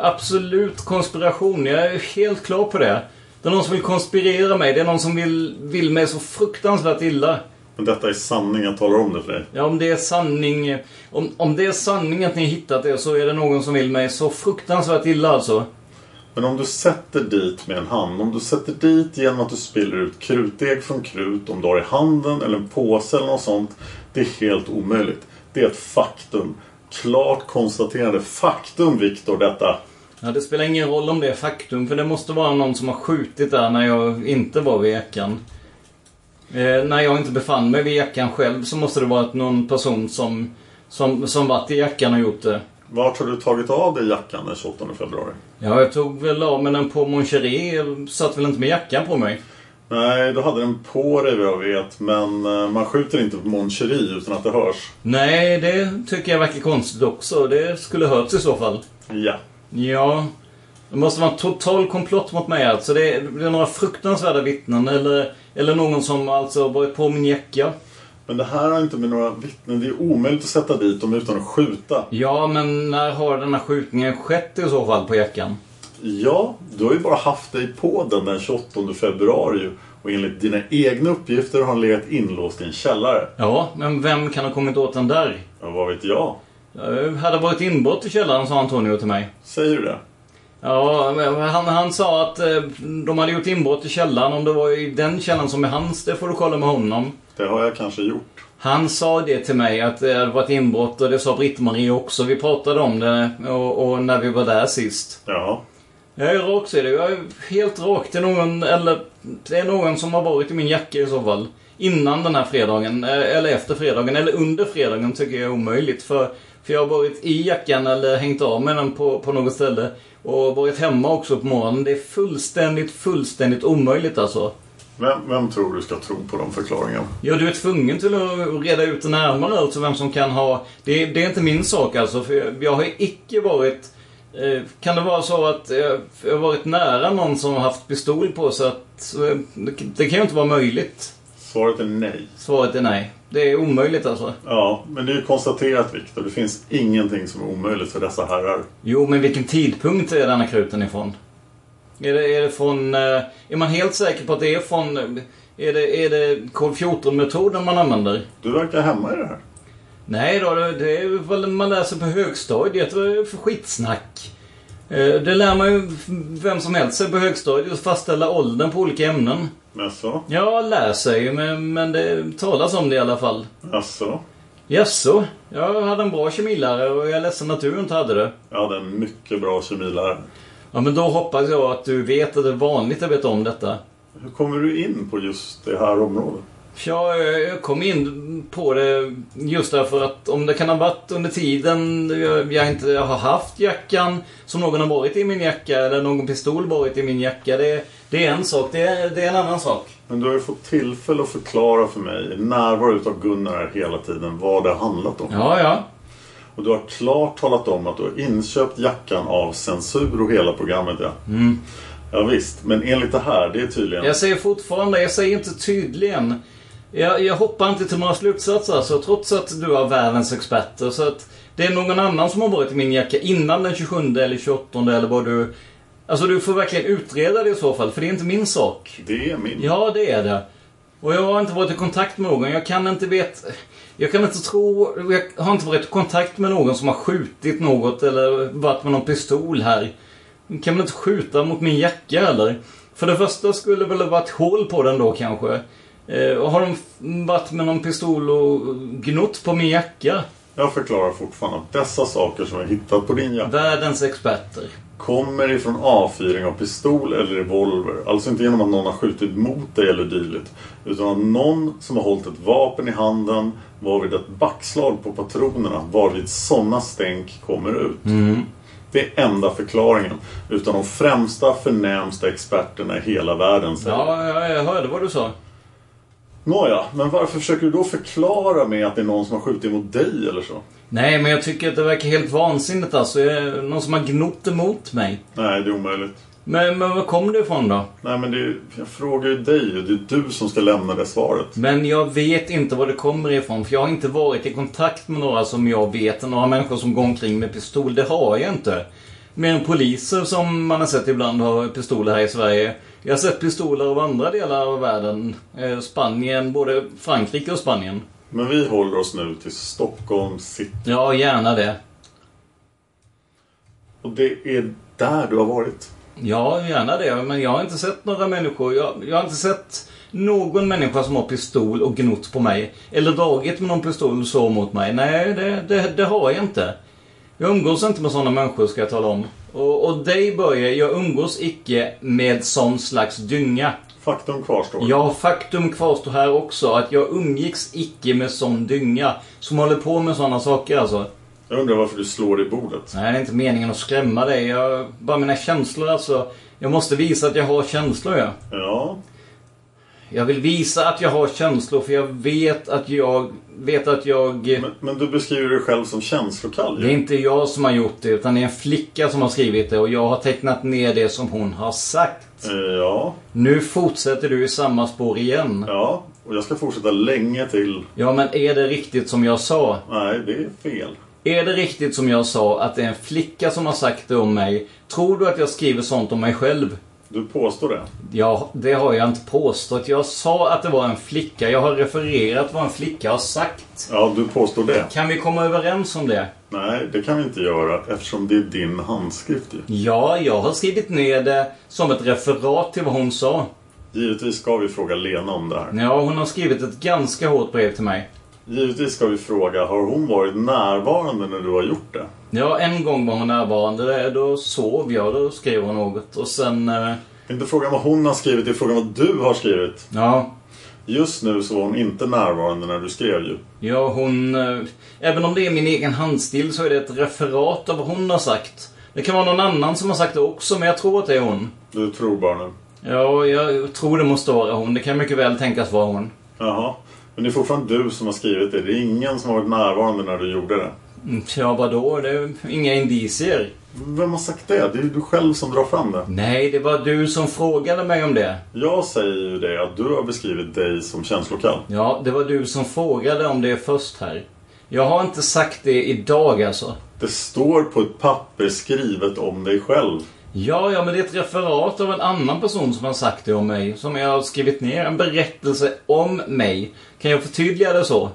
G: Absolut konspiration. Jag är helt klar på det. Det är någon som vill konspirera mig. Det är någon som vill, vill mig så fruktansvärt illa.
A: Men detta är sanning, jag talar om det för dig.
G: Ja, om det är sanning... Om, om det är sanning att ni har hittat det så är det någon som vill mig så fruktansvärt illa alltså.
A: Men om du sätter dit med en hand, om du sätter dit genom att du spiller ut krutdeg från krut, om du har i handen eller en påse eller något sånt. Det är helt omöjligt. Det är ett faktum. Klart konstaterande faktum, Viktor, detta.
G: Ja, det spelar ingen roll om det är faktum, för det måste vara någon som har skjutit där när jag inte var vid jackan. Eh, när jag inte befann mig vid jackan själv så måste det varit någon person som, som, som varit i jackan och gjort det.
A: Vart har du tagit av dig jackan den 28 februari?
G: Ja, jag tog väl av mig den på Mon Cherie. Jag satt väl inte med jackan på mig.
A: Nej, du hade den på dig vad jag vet, men eh, man skjuter inte på Mon Cherie utan att det hörs.
G: Nej, det tycker jag verkar konstigt också. Det skulle hörts i så fall.
A: Ja.
G: Ja. Det måste vara en total komplott mot mig alltså. Det är, det är några fruktansvärda vittnen eller, eller någon som alltså har varit på min jacka.
A: Men det här har inte med några vittnen... Det är omöjligt att sätta dit dem utan att skjuta.
G: Ja, men när har den här skjutningen skett i så fall på jackan?
A: Ja, du har ju bara haft dig på den den 28 februari ju. och enligt dina egna uppgifter har han legat inlåst i en källare.
G: Ja, men vem kan ha kommit åt den där?
A: Ja, vad vet jag?
G: Eh, Hade varit inbrott i källaren sa Antonio till mig.
A: Säger du det?
G: Ja, men han, han sa att eh, de hade gjort inbrott i källaren. Om det var i den källaren som är hans, det får du kolla med honom.
A: Det har jag kanske gjort.
G: Han sa det till mig att det hade varit inbrott och det sa Britt-Marie också. Vi pratade om det och, och när vi var där sist.
A: Ja.
G: Jag är rak säger du. Jag är helt rak. Det är någon, eller, det är någon som har varit i min jacka i så fall. Innan den här fredagen, eh, eller efter fredagen, eller under fredagen tycker jag är omöjligt. För, för jag har varit i jackan eller hängt av med den på, på något ställe. Och varit hemma också på morgonen. Det är fullständigt, fullständigt omöjligt alltså.
A: Vem, vem tror du ska tro på de förklaringarna?
G: Ja, du är tvungen till att reda ut det närmare alltså vem som kan ha... Det, det är inte min sak alltså, för jag, jag har icke varit... Eh, kan det vara så att eh, jag har varit nära någon som har haft pistol på sig? Att, eh, det, det kan ju inte vara möjligt.
A: Svaret är nej.
G: Svaret är nej. Det är omöjligt alltså.
A: Ja, men det är ju konstaterat Viktor. Det finns ingenting som är omöjligt för dessa herrar.
G: Jo, men vilken tidpunkt är denna kruten ifrån? Är det, är det från... eh, Är man helt säker på att det är från... eh, Är det, är det kol 14-metoden man använder?
A: Du verkar hemma i det här.
G: Nej då, det det är väl man läser på högstadiet. Vad är det för skitsnack? Eh, Det lär man ju vem som helst sig på högstadiet att fastställa åldern på olika ämnen.
A: Jaså?
G: Jag lär sig ju, men, men det talas om det i alla fall.
A: Jaså?
G: Jaså? Jag hade en bra kemilärare och jag är ledsen att du inte hade det.
A: Jag hade en mycket bra kemilärare.
G: Ja, men då hoppas jag att du vet att det är vanligt att veta om detta.
A: Hur kommer du in på just det här området?
G: Ja, jag kom in på det just därför att om det kan ha varit under tiden jag jag inte har haft jackan som någon har varit i min jacka eller någon pistol varit i min jacka. Det, det är en sak. Det är, det är en annan sak.
A: Men du har ju fått tillfälle att förklara för mig i närvaro utav Gunnar här hela tiden vad det har handlat om.
G: Ja, ja.
A: Och du har klart talat om att du har inköpt jackan av censur och hela programmet. Ja.
G: Mm.
A: Ja, visst, men enligt det här, det är tydligen...
G: Jag säger fortfarande, jag säger inte tydligen. Jag, jag hoppar inte till några slutsatser alltså, trots att du har världens experter. Så att det är någon annan som har varit i min jacka innan den 27 eller 28 eller vad du... Alltså du får verkligen utreda det i så fall, för det är inte min sak.
A: Det är min.
G: Ja, det är det. Och jag har inte varit i kontakt med någon. Jag kan inte veta... Jag kan inte tro... Jag har inte varit i kontakt med någon som har skjutit något eller varit med någon pistol här. Kan man inte skjuta mot min jacka eller? För det första skulle det väl ha varit hål på den då kanske. Eh, och har de f- varit med någon pistol och gnott på min jacka?
A: Jag förklarar fortfarande att dessa saker som jag hittat på din jacka...
G: Världens experter.
A: Kommer ifrån avfyring av pistol eller revolver. Alltså inte genom att någon har skjutit mot dig eller dylikt. Utan att någon som har hållit ett vapen i handen varvid ett backslag på patronerna varvid sådana stänk kommer ut. Det är enda förklaringen. Utan de främsta, förnämsta experterna i hela världen säger.
G: Ja, ja, jag hörde vad du sa.
A: Nåja, men varför försöker du då förklara med att det är någon som har skjutit mot dig eller så?
G: Nej, men jag tycker att det verkar helt vansinnigt alltså. Jag- Någon som har gnott emot mig.
A: Nej, det är omöjligt.
G: Men, men var kom det ifrån då?
A: Nej, men det är, jag frågar ju dig och det är du som ska lämna det svaret.
G: Men jag vet inte var det kommer ifrån, för jag har inte varit i kontakt med några som jag vet, några människor som går omkring med pistol. Det har jag inte. Mer än poliser som man har sett ibland har pistoler här i Sverige. Jag har sett pistoler av andra delar av världen. Eh, Spanien, både Frankrike och Spanien.
A: Men vi håller oss nu till Stockholm city.
G: Ja, gärna det.
A: Och det är där du har varit.
G: Ja, gärna det. Men jag har inte sett några människor. Jag, jag har inte sett någon människa som har pistol och gnott på mig. Eller dragit med någon pistol så mot mig. Nej, det, det, det har jag inte. Jag umgås inte med sådana människor, ska jag tala om. Och, och dig, Börje, jag umgås icke med sån slags dynga.
A: Faktum kvarstår.
G: Ja, faktum kvarstår här också. Att jag umgicks icke med sån dynga. Som håller på med sådana saker, alltså.
A: Jag undrar varför du slår i bordet.
G: Nej, det är inte meningen att skrämma dig. Jag, bara mina känslor alltså. Jag måste visa att jag har känslor, ja.
A: Ja.
G: Jag vill visa att jag har känslor för jag vet att jag... Vet att jag...
A: Men, men du beskriver dig själv som känslokall
G: Det är
A: ju.
G: inte jag som har gjort det utan det är en flicka som har skrivit det och jag har tecknat ner det som hon har sagt.
A: Eh, Ja,
G: Nu fortsätter du i samma spår igen.
A: ja. Och jag ska fortsätta länge till.
G: Ja, men är det riktigt som jag sa?
A: Nej, det är fel.
G: Är det riktigt som jag sa att det är en flicka som har sagt det om mig? Tror du att jag skriver sånt om mig själv?
A: Du påstår det.
G: Ja, det har jag inte påstått. Jag sa att det var en flicka. Jag har refererat vad en flicka har sagt.
A: Ja, du påstår det.
G: Kan vi komma överens om det?
A: Nej, det kan vi inte göra eftersom det är din handskrift ju.
G: Ja, jag har skrivit ner det som ett referat till vad hon sa.
A: Givetvis ska vi fråga Lena om det här.
G: Ja, hon har skrivit ett ganska hårt brev till mig.
A: Givetvis ska vi fråga, har hon varit närvarande när du har gjort det?
G: Ja, en gång var hon närvarande. Då sov jag. Då skrev hon något. Och sen... eh,
A: Inte frågan vad hon har skrivit, det är frågan vad du har skrivit.
G: Ja,
A: Just nu så var hon inte närvarande när du skrev ju.
G: ja hon... eh, Även om det är min egen handstil så är det ett referat av vad hon har sagt. Det kan vara någon annan som har sagt det också, men jag tror att det är hon.
A: Du tror bara nu.
G: Ja, jag tror det måste vara hon. Det kan mycket väl tänkas vara hon.
A: Jaha. Men det är fortfarande du som har skrivit det. Det är ingen som har varit närvarande när du gjorde det.
G: Mm, Ja, vadå? Det är inga indicier.
A: Vem har sagt det? Det är ju du själv som drar fram det.
G: Nej, det var du som frågade mig om det.
A: Jag säger ju det att du har beskrivit dig som känslokall.
G: Ja, det var du som frågade om det först här. Jag har inte sagt det idag alltså.
A: Det står på ett papper skrivet om dig själv.
G: Ja, ja, men det är ett referat av en annan person som har sagt det om mig. Som jag har skrivit ner. En berättelse om mig. Kan jag förtydliga det så?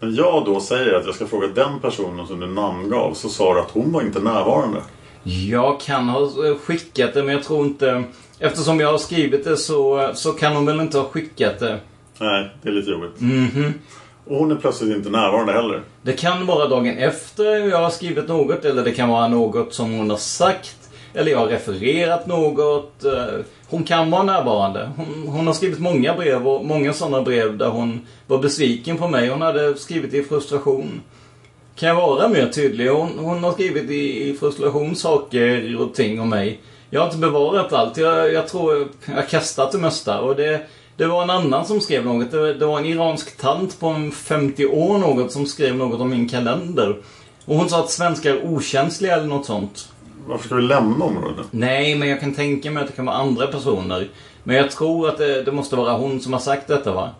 A: När jag då säger att jag ska fråga den personen som du namngav så sa du att hon var inte närvarande.
G: Jag kan ha eh, skickat det, men jag tror inte... Eftersom jag har skrivit det så, eh, så kan hon väl inte ha skickat det.
A: Nej, det är lite jobbigt.
G: Mhm.
A: Och hon är plötsligt inte närvarande heller.
G: Det kan vara dagen efter jag har skrivit något eller det kan vara något som hon har sagt. Eller jag har refererat något. Eh, Hon kan vara närvarande. Hon, hon har skrivit många brev och många sådana brev där hon var besviken på mig. Hon hade skrivit i frustration. Kan jag vara mer tydlig? Hon, hon har skrivit i, i frustration saker och ting om mig. Jag har inte bevarat allt. Jag, jag tror jag har kastat det mesta. Och det, det var en annan som skrev något. Det, det var en iransk tant på en 50 år något som skrev något om min kalender. Och hon sa att svenskar är okänsliga eller något sånt.
A: Varför ska vi lämna området?
G: Nej, men jag kan tänka mig att det kan vara andra personer. Men jag tror att det, det måste vara hon som har sagt detta va?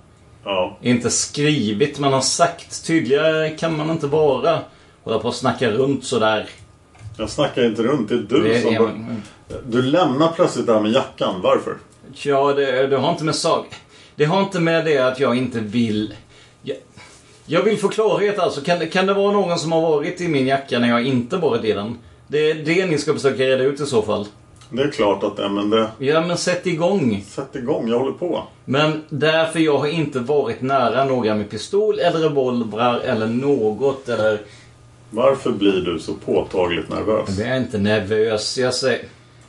A: Ja.
G: Inte skrivit, men har sagt. Tydligare kan man inte vara. Hålla på och snacka runt sådär.
A: Jag snackar inte runt, det är du
G: Det-
A: som...
G: ja,
A: bör-
G: men-
A: Du lämnar plötsligt det här med jackan, varför?
G: Ja, det, det har inte med sak... Det har inte med det att jag inte vill... Jag, jag vill få klarhet alltså. Kan, det- kan det vara någon som har varit i min jacka när jag inte varit i den? Det är det ni ska försöka reda ut i så fall.
A: Det är klart att det är, men det...
G: Ja, men sätt igång.
A: Sätt igång, jag håller på.
G: Men därför jag har inte varit nära några med pistol eller revolvrar eller något eller...
A: Varför blir du så påtagligt nervös?
G: Jag är inte nervös, jag säger...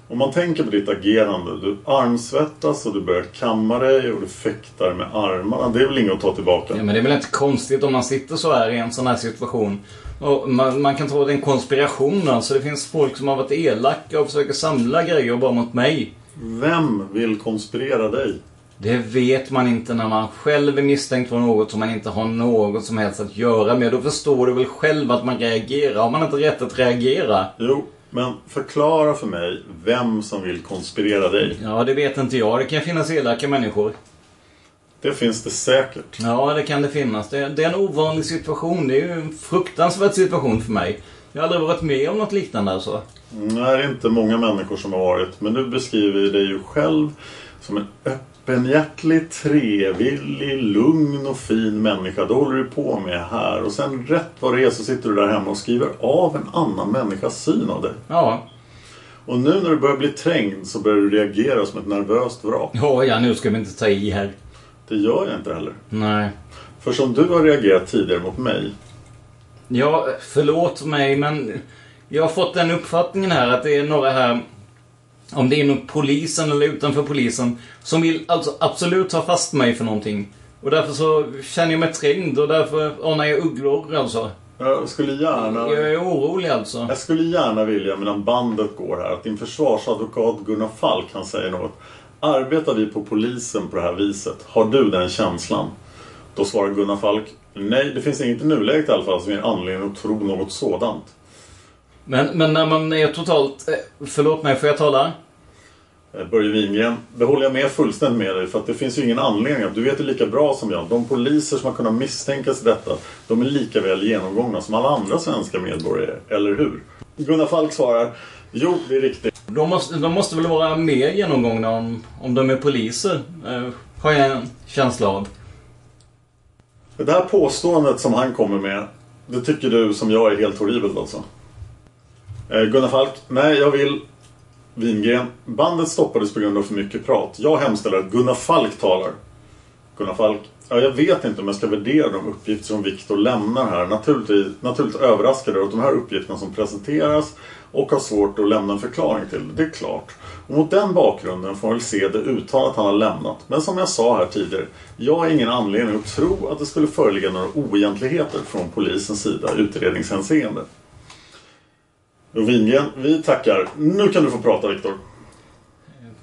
A: Om man tänker på ditt agerande. Du armsvettas och du börjar kamma dig och du fäktar med armarna. Det är väl inget att ta tillbaka?
G: Ja, men det är väl inte konstigt om man sitter så här i en sån här situation. Och man, man kan tro att det är en konspiration alltså. Det finns folk som har varit elaka och försöker samla grejer bara mot mig.
A: Vem vill konspirera dig?
G: Det vet man inte när man själv är misstänkt för något som man inte har något som helst att göra med. Då förstår du väl själv att man reagerar. Har man inte rätt att reagera?
A: Jo, men förklara för mig vem som vill konspirera dig.
G: Ja, det vet inte jag. Det kan finnas elaka människor.
A: Det finns det säkert.
G: Ja, det kan det finnas. Det, det är en ovanlig situation. Det är ju en fruktansvärd situation för mig. Jag har aldrig varit med om något liknande alltså.
A: Nej, det är inte många människor som har varit. Men du beskriver dig ju själv som en öppenhjärtlig, trevillig, lugn och fin människa. Det håller du på med här. Och sen rätt vad det är så sitter du där hemma och skriver av en annan människas syn av dig.
G: Ja.
A: Och nu när du börjar bli trängd så börjar du reagera som ett nervöst vrak.
G: Ja, ja, nu ska vi inte ta i här.
A: Det gör jag inte heller.
G: Nej.
A: För som du har reagerat tidigare mot mig.
G: Ja, förlåt mig men jag har fått den uppfattningen här att det är några här, om det är inom polisen eller utanför polisen, som vill alltså absolut ta fast mig för någonting. Och därför så känner jag mig trängd och därför anar jag ugglor alltså.
A: Jag skulle gärna...
G: Jag är orolig alltså.
A: Jag skulle gärna vilja, medan bandet går här, att din försvarsadvokat Gunnar Falk han säger något. Arbetar vi på polisen på det här viset? Har du den känslan? Då svarar Gunnar Falk. Nej, det finns inget i nuläget i alla fall som ger anledning att tro något sådant.
G: Men, men när man är totalt... eh, Förlåt mig, får jag tala?
A: Eh, Börje Wingren, det håller jag med fullständigt med dig för att det finns ju ingen anledning. att- Du vet ju lika bra som jag. De poliser som har kunnat misstänkas i detta, de är lika väl genomgångna som alla andra svenska medborgare, eller hur? Gunnar Falk svarar, jo det är riktigt.
G: De måste, de måste väl vara mer genomgångna om, om de är poliser? Eh, har jag en känsla av.
A: Det där påståendet som han kommer med, det tycker du som jag är helt horribelt alltså? Eh, Gunnar Falk, nej jag vill... Wingren, bandet stoppades på grund av för mycket prat. Jag hemställer att Gunnar Falk talar. Gunnar Falk, ja, jag vet inte om jag ska värdera de uppgifter som Viktor lämnar här. Naturligtvis, naturligt överraskad över att de här uppgifterna som presenteras och har svårt att lämna en förklaring till. Det är klart. Och mot den bakgrunden får man väl se det uttalat han har lämnat. Men som jag sa här tidigare, jag har ingen anledning att tro att det skulle föreligga några oegentligheter från polisens sida i utredningshänseende. Wingren, vi tackar. Nu kan du få prata Viktor.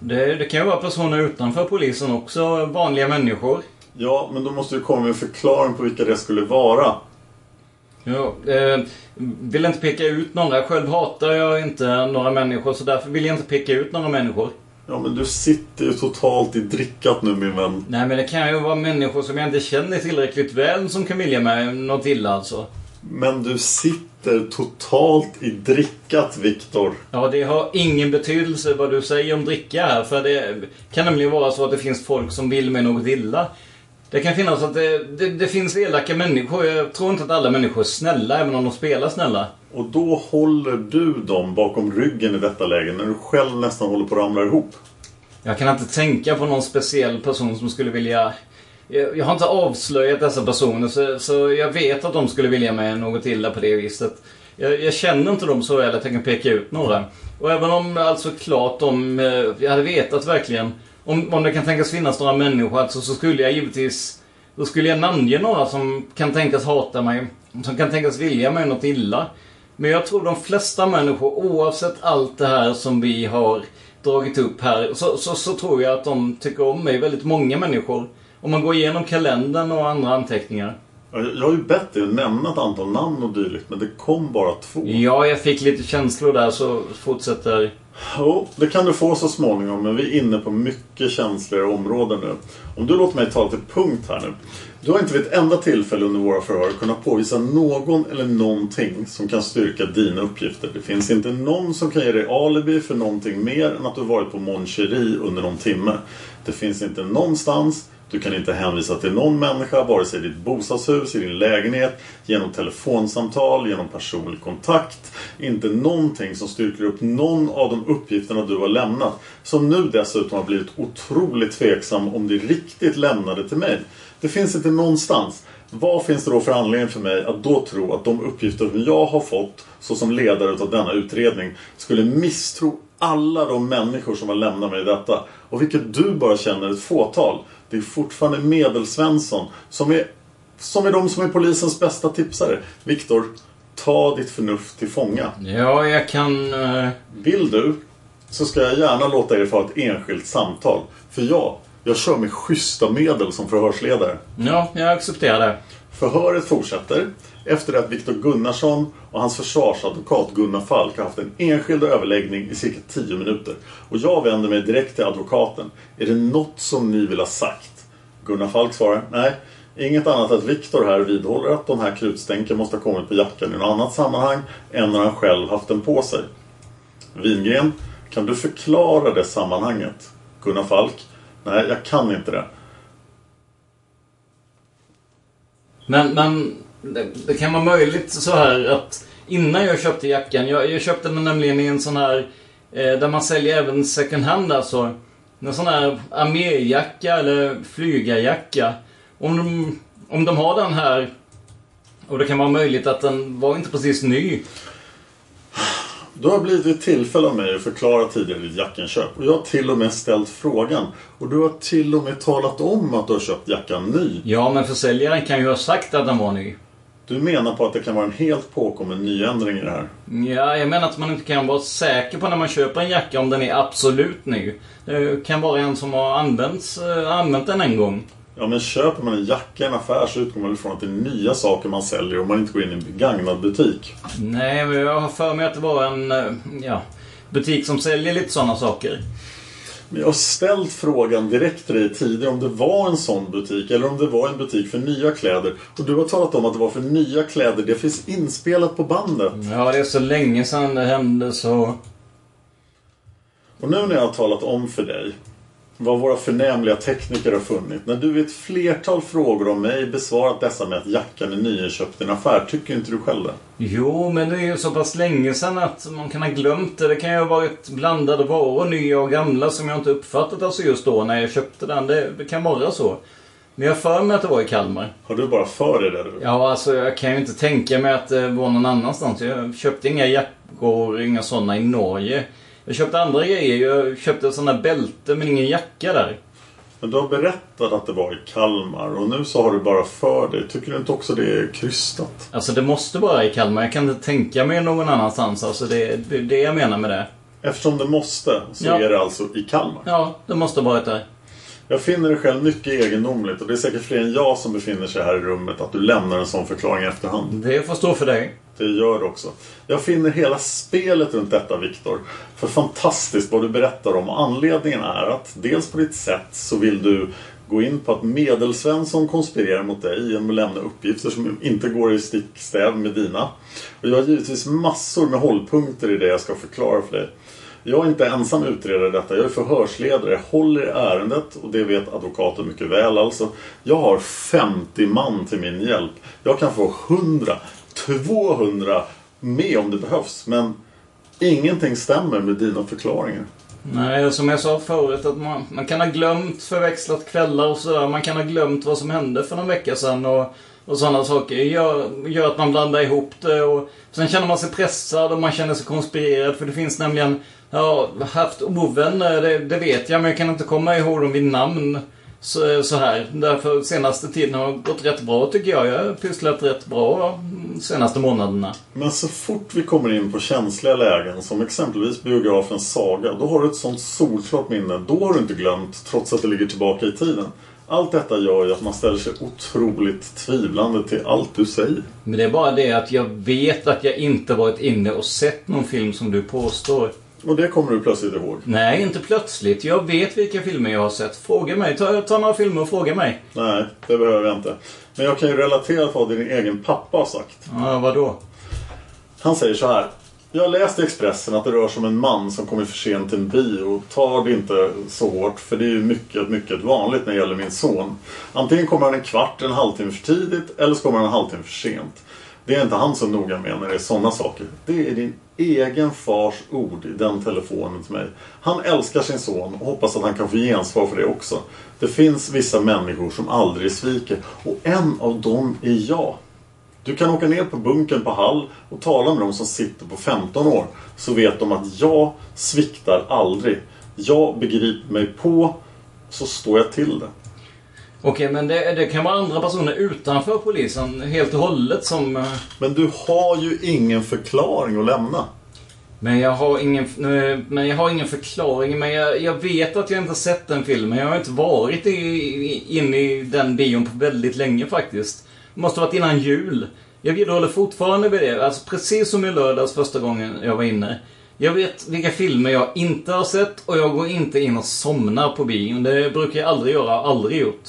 G: Det, det kan ju vara personer utanför polisen också, vanliga människor.
A: Ja, men då måste du komma med en förklaring på vilka det skulle vara.
G: Ja, eh, vill inte peka ut några. Själv hatar jag inte några människor så därför vill jag inte peka ut några människor.
A: Ja, men du sitter ju totalt i drickat nu min vän.
G: Nej men det kan ju vara människor som jag inte känner tillräckligt väl som kan vilja mig något illa alltså.
A: Men du sitter totalt i drickat Viktor.
G: Ja, det har ingen betydelse vad du säger om dricka här. För det kan nämligen vara så att det finns folk som vill mig något illa. Det kan finnas att det, det, det finns elaka människor. Jag tror inte att alla människor är snälla, även om de spelar snälla.
A: Och då håller du dem bakom ryggen i detta läge när du själv nästan håller på att ramla ihop.
G: Jag kan inte tänka på någon speciell person som skulle vilja... Jag jag har inte avslöjat dessa personer så, så jag vet att de skulle vilja mig något illa på det viset. Jag, jag känner inte dem så väl att jag kan peka ut några. Och även om alltså klart de... eh, Jag hade vetat verkligen. Om, om det kan tänkas finnas några människor alltså, så skulle jag givetvis... Då skulle jag namnge några som kan tänkas hata mig. Som kan tänkas vilja mig något illa. Men jag tror de flesta människor, oavsett allt det här som vi har dragit upp här, så, så, så tror jag att de tycker om mig. Väldigt många människor. Om man går igenom kalendern och andra anteckningar.
A: Jag har ju bett dig nämna ett antal namn och dylikt, men det kom bara två.
G: Ja, jag fick lite känslor där så fortsätter...
A: Jo, det kan du få så småningom, men vi är inne på mycket känsligare områden nu. Om du låter mig tala till punkt här nu. Du har inte vid ett enda tillfälle under våra förhör kunnat påvisa någon eller någonting som kan styrka dina uppgifter. Det finns inte någon som kan ge dig alibi för någonting mer än att du varit på Mon Cherie under någon timme. Det finns inte någonstans du kan inte hänvisa till någon människa, vare sig i ditt bostadshus, i din lägenhet, genom telefonsamtal, genom personlig kontakt. Inte någonting som styrker upp någon av de uppgifterna du har lämnat. Som nu dessutom har blivit otroligt tveksam om det riktigt lämnade till mig. Det finns inte någonstans. Vad finns det då för anledning för mig att då tro att de uppgifter som jag har fått såsom ledare av denna utredning skulle misstro alla de människor som har lämnat mig detta. Och vilket du bara känner ett fåtal. Det är fortfarande Medelsvensson som är, som är de som är polisens bästa tipsare. Viktor, ta ditt förnuft till fånga.
G: Ja, jag kan... eh,
A: Vill du så ska jag gärna låta er få ett enskilt samtal. För jag, jag kör med schyssta medel som förhörsledare.
G: Ja, jag accepterar det.
A: Förhöret fortsätter efter att Viktor Gunnarsson och hans försvarsadvokat Gunnar Falk har haft en enskild överläggning i cirka 10 minuter. Och jag vänder mig direkt till advokaten. Är det något som ni vill ha sagt? Gunnar Falk svarar nej. Inget annat att Viktor här vidhåller att de här krutstänken måste ha kommit på jackan i något annat sammanhang än när han själv haft den på sig. Wingren, kan du förklara det sammanhanget? Gunnar Falk, nej jag kan inte det.
G: Men, men det, det kan vara möjligt så här att innan jag köpte jackan, jag, jag köpte den nämligen i en sån här eh, där man säljer även second hand alltså. En sån här arméjacka eller flygarjacka. Om de, om de har den här och det kan vara möjligt att den var inte precis ny.
A: Du har blivit ett tillfälle av mig att förklara tidigare ditt jackinköp. Och jag har till och med ställt frågan. Och du har till och med talat om att du har köpt jackan ny.
G: Ja, men försäljaren kan ju ha sagt att den var ny.
A: Du menar på att det kan vara en helt påkommen nyändring i det här?
G: Ja, jag menar att man inte kan vara säker på när man köper en jacka om den är absolut ny. Det kan vara en som har använts, eh, använt den en gång.
A: Ja, men köper man en jacka i en affär så utgår man väl från att det är nya saker man säljer om man inte går in i en begagnad butik.
G: Nej, men jag har för mig att det var en eh, ja, butik som säljer lite sådana saker.
A: Men jag har ställt frågan direkt till dig tidigare om det var en sån butik eller om det var en butik för nya kläder. Och du har talat om att det var för nya kläder. Det finns inspelat på bandet.
G: Ja, det är så länge sedan det hände så...
A: Och nu när jag har talat om för dig vad våra förnämliga tekniker har funnit. När du vid ett flertal frågor om mig besvarat dessa med att jackan är nyinköpt i en affär, tycker inte du själv det?
G: Jo, men det är ju så pass länge sedan att man kan ha glömt det. Det kan ju ha varit blandade varor, nya och gamla, som jag inte uppfattat alltså just då när jag köpte den. Det, det kan vara så. Men jag har för mig att det var i Kalmar.
A: Har du bara för dig det du?
G: Ja, alltså jag kan ju inte tänka mig att det var någon annanstans. Jag köpte inga jackor, inga sådana i Norge. Jag köpte andra grejer. Jag köpte sådana bälte, men ingen jacka där.
A: Men du har berättat att det var i Kalmar och nu så har du bara för dig. Tycker du inte också det är krystat?
G: Alltså det måste vara i Kalmar. Jag kan inte tänka mig någon annanstans. Alltså det är det, är det jag menar med det.
A: Eftersom det måste så
G: Ja.
A: är det alltså i Kalmar.
G: Ja, det måste ha varit där.
A: Jag finner det själv mycket egendomligt och det är säkert fler än jag som befinner sig här i rummet att du lämnar en sån förklaring i efterhand.
G: Det får stå för dig.
A: Det gör det också. Jag finner hela spelet runt detta Viktor. För fantastiskt vad du berättar om. Och Anledningen är att dels på ditt sätt så vill du gå in på att Medelsvensson konspirerar mot dig genom att lämna uppgifter som inte går i stickstäv med dina. Och jag har givetvis massor med hållpunkter i det jag ska förklara för dig. Jag är inte ensam utredare i detta. Jag är förhörsledare. Jag håller i ärendet och det vet advokaten mycket väl alltså. Jag har 50 man till min hjälp. Jag kan få 100, 200 med om det behövs. Men ingenting stämmer med dina förklaringar.
G: Nej, som jag sa förut, att man, man kan ha glömt förväxlat kvällar och sådär. Man kan ha glömt vad som hände för någon vecka sedan och, och sådana saker. Gör, gör att man blandar ihop det och sen känner man sig pressad och man känner sig konspirerad. För det finns nämligen, ja, haft ovänner, det, det vet jag, men jag kan inte komma ihåg dem vid namn. Så, så här. Därför senaste tiden har gått rätt bra tycker jag. Jag har pysslat rätt bra de senaste månaderna.
A: Men så fort vi kommer in på känsliga lägen som exempelvis biografens saga. Då har du ett sånt solklart minne. Då har du inte glömt trots att det ligger tillbaka i tiden. Allt detta gör ju att man ställer sig otroligt tvivlande till allt du säger.
G: Men det är bara det att jag vet att jag inte varit inne och sett någon film som du påstår.
A: Och det kommer du plötsligt ihåg.
G: Nej, inte plötsligt. Jag vet vilka filmer jag har sett. Fråga mig. Ta, ta några filmer och fråga mig.
A: Nej, det behöver jag inte. Men jag kan ju relatera till vad din egen pappa har sagt.
G: Ja, vadå?
A: Han säger så här. Jag läste i Expressen att det rör sig om en man som kommer för sent till en bio. Tar det inte så hårt, för det är ju mycket, mycket vanligt när det gäller min son. Antingen kommer han en kvart, en halvtimme för tidigt eller så kommer han en halvtimme för sent. Det är inte han så noga med när det är sådana saker. Det är din egen fars ord i den telefonen till mig. Han älskar sin son och hoppas att han kan få gensvar för det också. Det finns vissa människor som aldrig sviker och en av dem är jag. Du kan åka ner på bunkern på Hall och tala med de som sitter på 15 år. Så vet de att jag sviktar aldrig. Jag begriper mig på, så står jag till det.
G: Okej, men det, det kan vara andra personer utanför polisen helt och hållet som... eh,
A: Men du har ju ingen förklaring att lämna.
G: Men jag har ingen, eh, men jag har ingen förklaring. Men jag, jag vet att jag inte har sett den filmen. Jag har inte varit i, i, inne i den bion på väldigt länge faktiskt. Det måste ha varit innan jul. Jag vidhåller fortfarande vid det. Alltså precis som i lördags första gången jag var inne. Jag vet vilka filmer jag inte har sett och jag går inte in och somnar på bion. Det brukar jag aldrig göra, har aldrig gjort.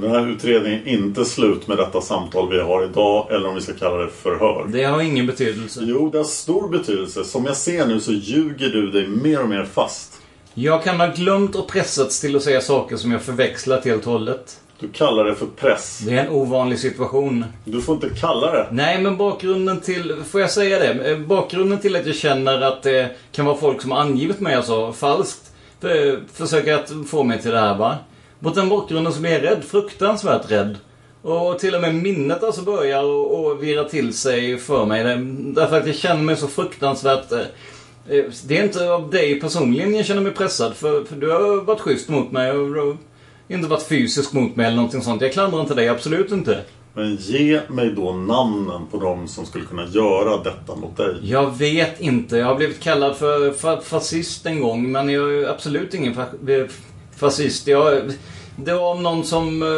A: Den här utredningen är inte slut med detta samtal vi har idag, eller om vi ska kalla det förhör.
G: Det har ingen betydelse.
A: Jo, det har stor betydelse. Som jag ser nu så ljuger du dig mer och mer fast.
G: Jag kan ha glömt och pressats till att säga saker som jag förväxlat helt och hållet.
A: Du kallar det för press.
G: Det är en ovanlig situation.
A: Du får inte kalla det.
G: Nej, men bakgrunden till... Får jag säga det? Eh, Bakgrunden till att jag känner att det kan vara folk som har angivit mig alltså, falskt. För, försöker att få mig till det här, va? Mot den bakgrunden så blir jag rädd. Fruktansvärt rädd. Och till och med minnet alltså börjar och, och virra till sig för mig. Det- Därför att jag känner mig så fruktansvärt... eh, eh, Det är inte av dig personligen jag känner mig pressad. För, för du har varit schysst mot mig och du har inte varit fysisk mot mig eller någonting sånt. Jag klandrar inte dig, absolut inte.
A: Men ge mig då namnen på de som skulle kunna göra detta mot dig.
G: Jag vet inte. Jag har blivit kallad för fa- fascist en gång, men jag är absolut ingen fa- eh, fascist. Jag, det var om någon som eh,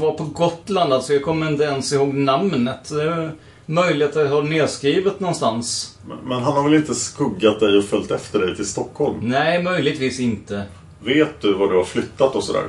G: var på Gotland, alltså. Jag kommer inte ens ihåg namnet. Eh, Möjligt att jag har nedskrivet någonstans.
A: Men han har väl inte skuggat dig och följt efter dig till Stockholm?
G: Nej, möjligtvis inte.
A: Vet du var du har flyttat och sådär?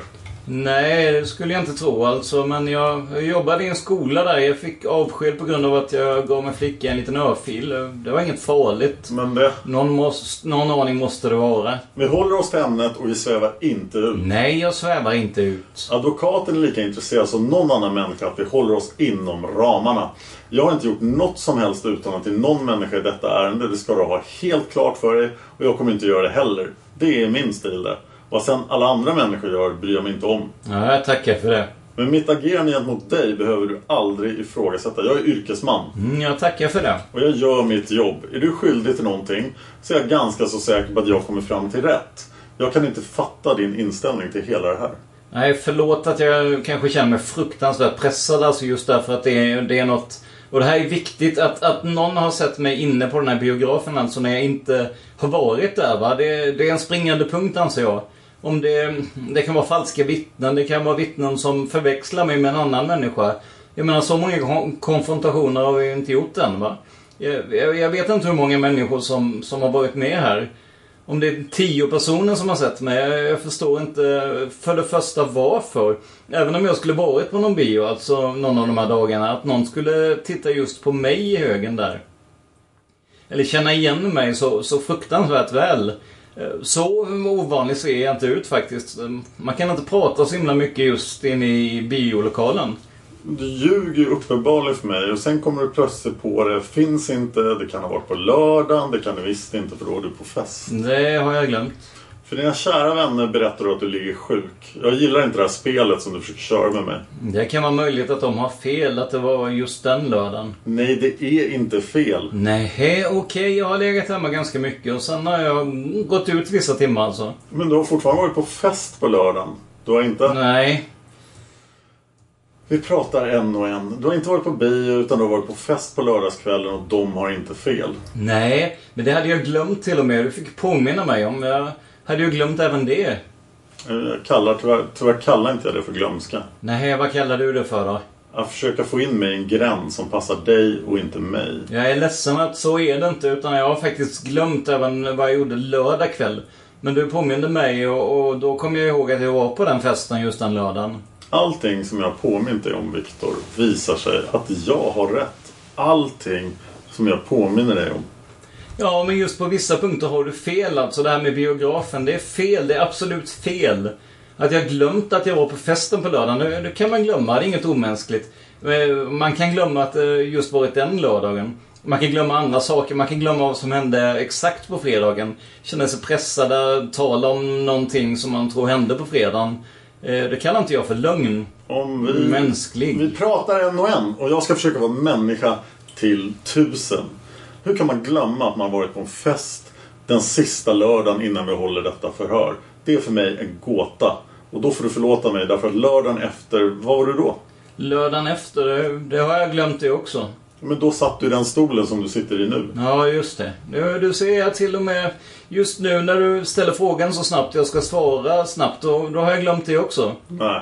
G: Nej, det skulle jag inte tro alltså. Men jag, jag jobbade i en skola där. Jag fick avsked på grund av att jag gav en flicka en liten örfil. Det var inget farligt.
A: Men det...
G: Någon, måste, någon aning måste det vara.
A: Vi håller oss till ämnet och vi svävar inte ut.
G: Nej, jag svävar inte ut.
A: Advokaten är lika intresserad som någon annan människa att vi håller oss inom ramarna. Jag har inte gjort något som helst utan till någon människa i detta ärende. Det ska du ha helt klart för dig och jag kommer inte göra det heller. Det är min stil det. Vad sen alla andra människor gör bryr jag mig inte om.
G: Ja, jag tackar för det.
A: Men mitt agerande gentemot dig behöver du aldrig ifrågasätta. Jag är yrkesman.
G: Mm, jag tackar för det.
A: Och jag gör mitt jobb. Är du skyldig till någonting så är jag ganska så säker på att jag kommer fram till rätt. Jag kan inte fatta din inställning till hela det här.
G: Nej, förlåt att jag kanske känner mig fruktansvärt pressad alltså just därför att det är, det är något... Och det här är viktigt att, att någon har sett mig inne på den här biografen alltså när jag inte har varit där va. Det, det är en springande punkt anser jag. Om det, det kan vara falska vittnen, det kan vara vittnen som förväxlar mig med en annan människa. Jag menar så många kon- konfrontationer har vi ju inte gjort än va. Jag, jag, jag vet inte hur många människor som, som har varit med här. Om det är tio personer som har sett mig, jag, jag förstår inte för det första varför. Även om jag skulle varit på någon bio, alltså någon av de här dagarna, att någon skulle titta just på mig i högen där. Eller känna igen mig så, så fruktansvärt väl. Eh, Så ovanlig ser jag inte ut faktiskt. Eh, Man kan inte prata så himla mycket just inne i biolokalen.
A: Du ljuger ju uppenbarligen för mig och sen kommer du plötsligt på det. Finns inte, det kan ha varit på lördagen, det kan det visst inte för då är du på fest.
G: Det har jag glömt.
A: För dina kära vänner berättar du att du ligger sjuk. Jag gillar inte det här spelet som du försöker köra med mig.
G: Det kan vara möjligt att de har fel, att det var just den lördagen.
A: Nej, det är inte fel.
G: Nej, okej, jag har legat hemma ganska mycket och sen har jag gått ut vissa timmar alltså.
A: Men du har fortfarande varit på fest på lördagen. Du har inte...
G: Nej.
A: Vi pratar en och en. Du har inte varit på bio utan du har varit på fest på lördagskvällen och de har inte fel.
G: Nej, men det hade jag glömt till och med. Du fick påminna mig om. Jag hade ju glömt även det.
A: Jag Eh, kallar, tyvärr, tyvärr kallar inte jag det för glömska.
G: Nej, vad kallar du det för då?
A: Att försöka få in mig i en gräns som passar dig och inte mig.
G: Jag är ledsen att så är det inte, utan jag har faktiskt glömt även vad jag gjorde lördag kväll. Men du påminde mig och, och då kom jag ihåg att jag var på den festen just den lördagen.
A: Allting som jag påminner dig om, Viktor, visar sig att jag har rätt. Allting som jag påminner dig om.
G: Ja, men just på vissa punkter har du fel alltså. Det här med biografen, det är fel. Det är absolut fel. Att jag glömt att jag var på festen på lördagen, det, det kan man glömma. Det är inget omänskligt. Eh, Man kan glömma att det just varit den lördagen. Man kan glömma andra saker. Man kan glömma vad som hände exakt på fredagen. Känna sig pressad att tala om någonting som man tror hände på fredagen. Eh, Det kallar inte jag för lögn.
A: Om vi-
G: Mänsklig.
A: Vi pratar en och en och jag ska försöka vara människa till tusen. Hur kan man glömma att man varit på en fest den sista lördagen innan vi håller detta förhör? Det är för mig en gåta. Och då får du förlåta mig därför att lördagen efter, vad var du då?
G: Lördagen efter, det- det har jag glömt det också.
A: Men då satt du i den stolen som du sitter i nu.
G: Ja, just det. Nu, du ser jag till och med just nu när du ställer frågan så snabbt jag ska svara snabbt, då, då har jag glömt det också.
A: Nej.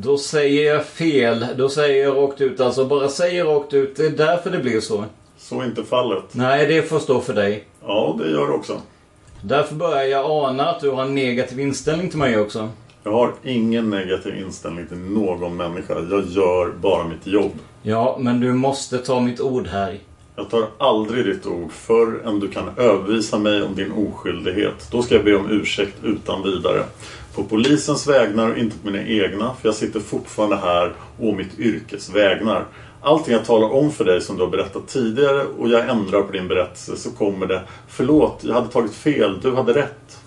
G: Då säger jag fel. Då säger jag rakt ut alltså. Bara säger rakt ut. Det är därför det blir så.
A: Så är inte fallet.
G: Nej, det får stå för dig.
A: Ja, det gör det också.
G: Därför börjar jag ana att du har en negativ inställning till mig också.
A: Jag har ingen negativ inställning till någon människa. Jag gör bara mitt jobb.
G: Ja, men du måste ta mitt ord här.
A: Jag tar aldrig ditt ord förrän du kan övervisa mig om din oskyldighet. Då ska jag be om ursäkt utan vidare. På polisens vägnar och inte på mina egna, för jag sitter fortfarande här och mitt yrkes vägnar. Allting jag talar om för dig som du har berättat tidigare och jag ändrar på din berättelse så kommer det Förlåt, jag hade tagit fel, du hade rätt.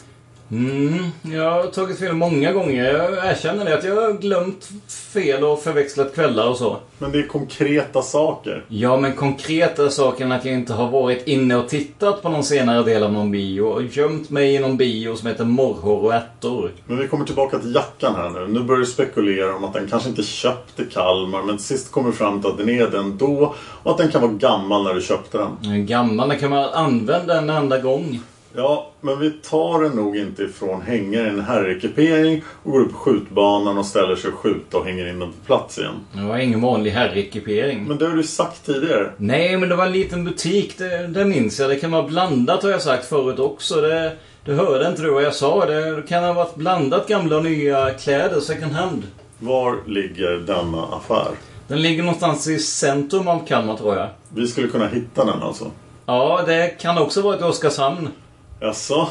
G: Mm, jag har tagit fel många gånger. Jag erkänner det, att jag har glömt fel och förväxlat kvällar och så.
A: Men det är konkreta saker.
G: Ja, men konkreta saken att jag inte har varit inne och tittat på någon senare del av någon bio och gömt mig i någon bio som heter Morrhår och ärtor.
A: Men vi kommer tillbaka till jackan här nu. Nu börjar du spekulera om att den kanske inte köpte Kalmar men sist kommer du fram till att den är den då och att den kan vara gammal när du köpte den.
G: En Gammal, den kan man använda en enda gång.
A: Ja, men vi tar den nog inte ifrån hängaren i en herrekipering och går upp på skjutbanan och ställer sig och skjuta och hänger in den på plats igen.
G: Det var ingen vanlig herrekipering.
A: Men det har du sagt tidigare.
G: Nej, men det var en liten butik, det, det minns jag. Det kan vara blandat har jag sagt förut också. Det, det hörde inte du vad jag sa. Det kan ha varit blandat gamla och nya kläder, second hand.
A: Var ligger denna affär?
G: Den ligger någonstans i centrum av Kalmar tror jag.
A: Vi skulle kunna hitta den alltså.
G: Ja, det kan också vara i Oskarshamn.
A: Jaså?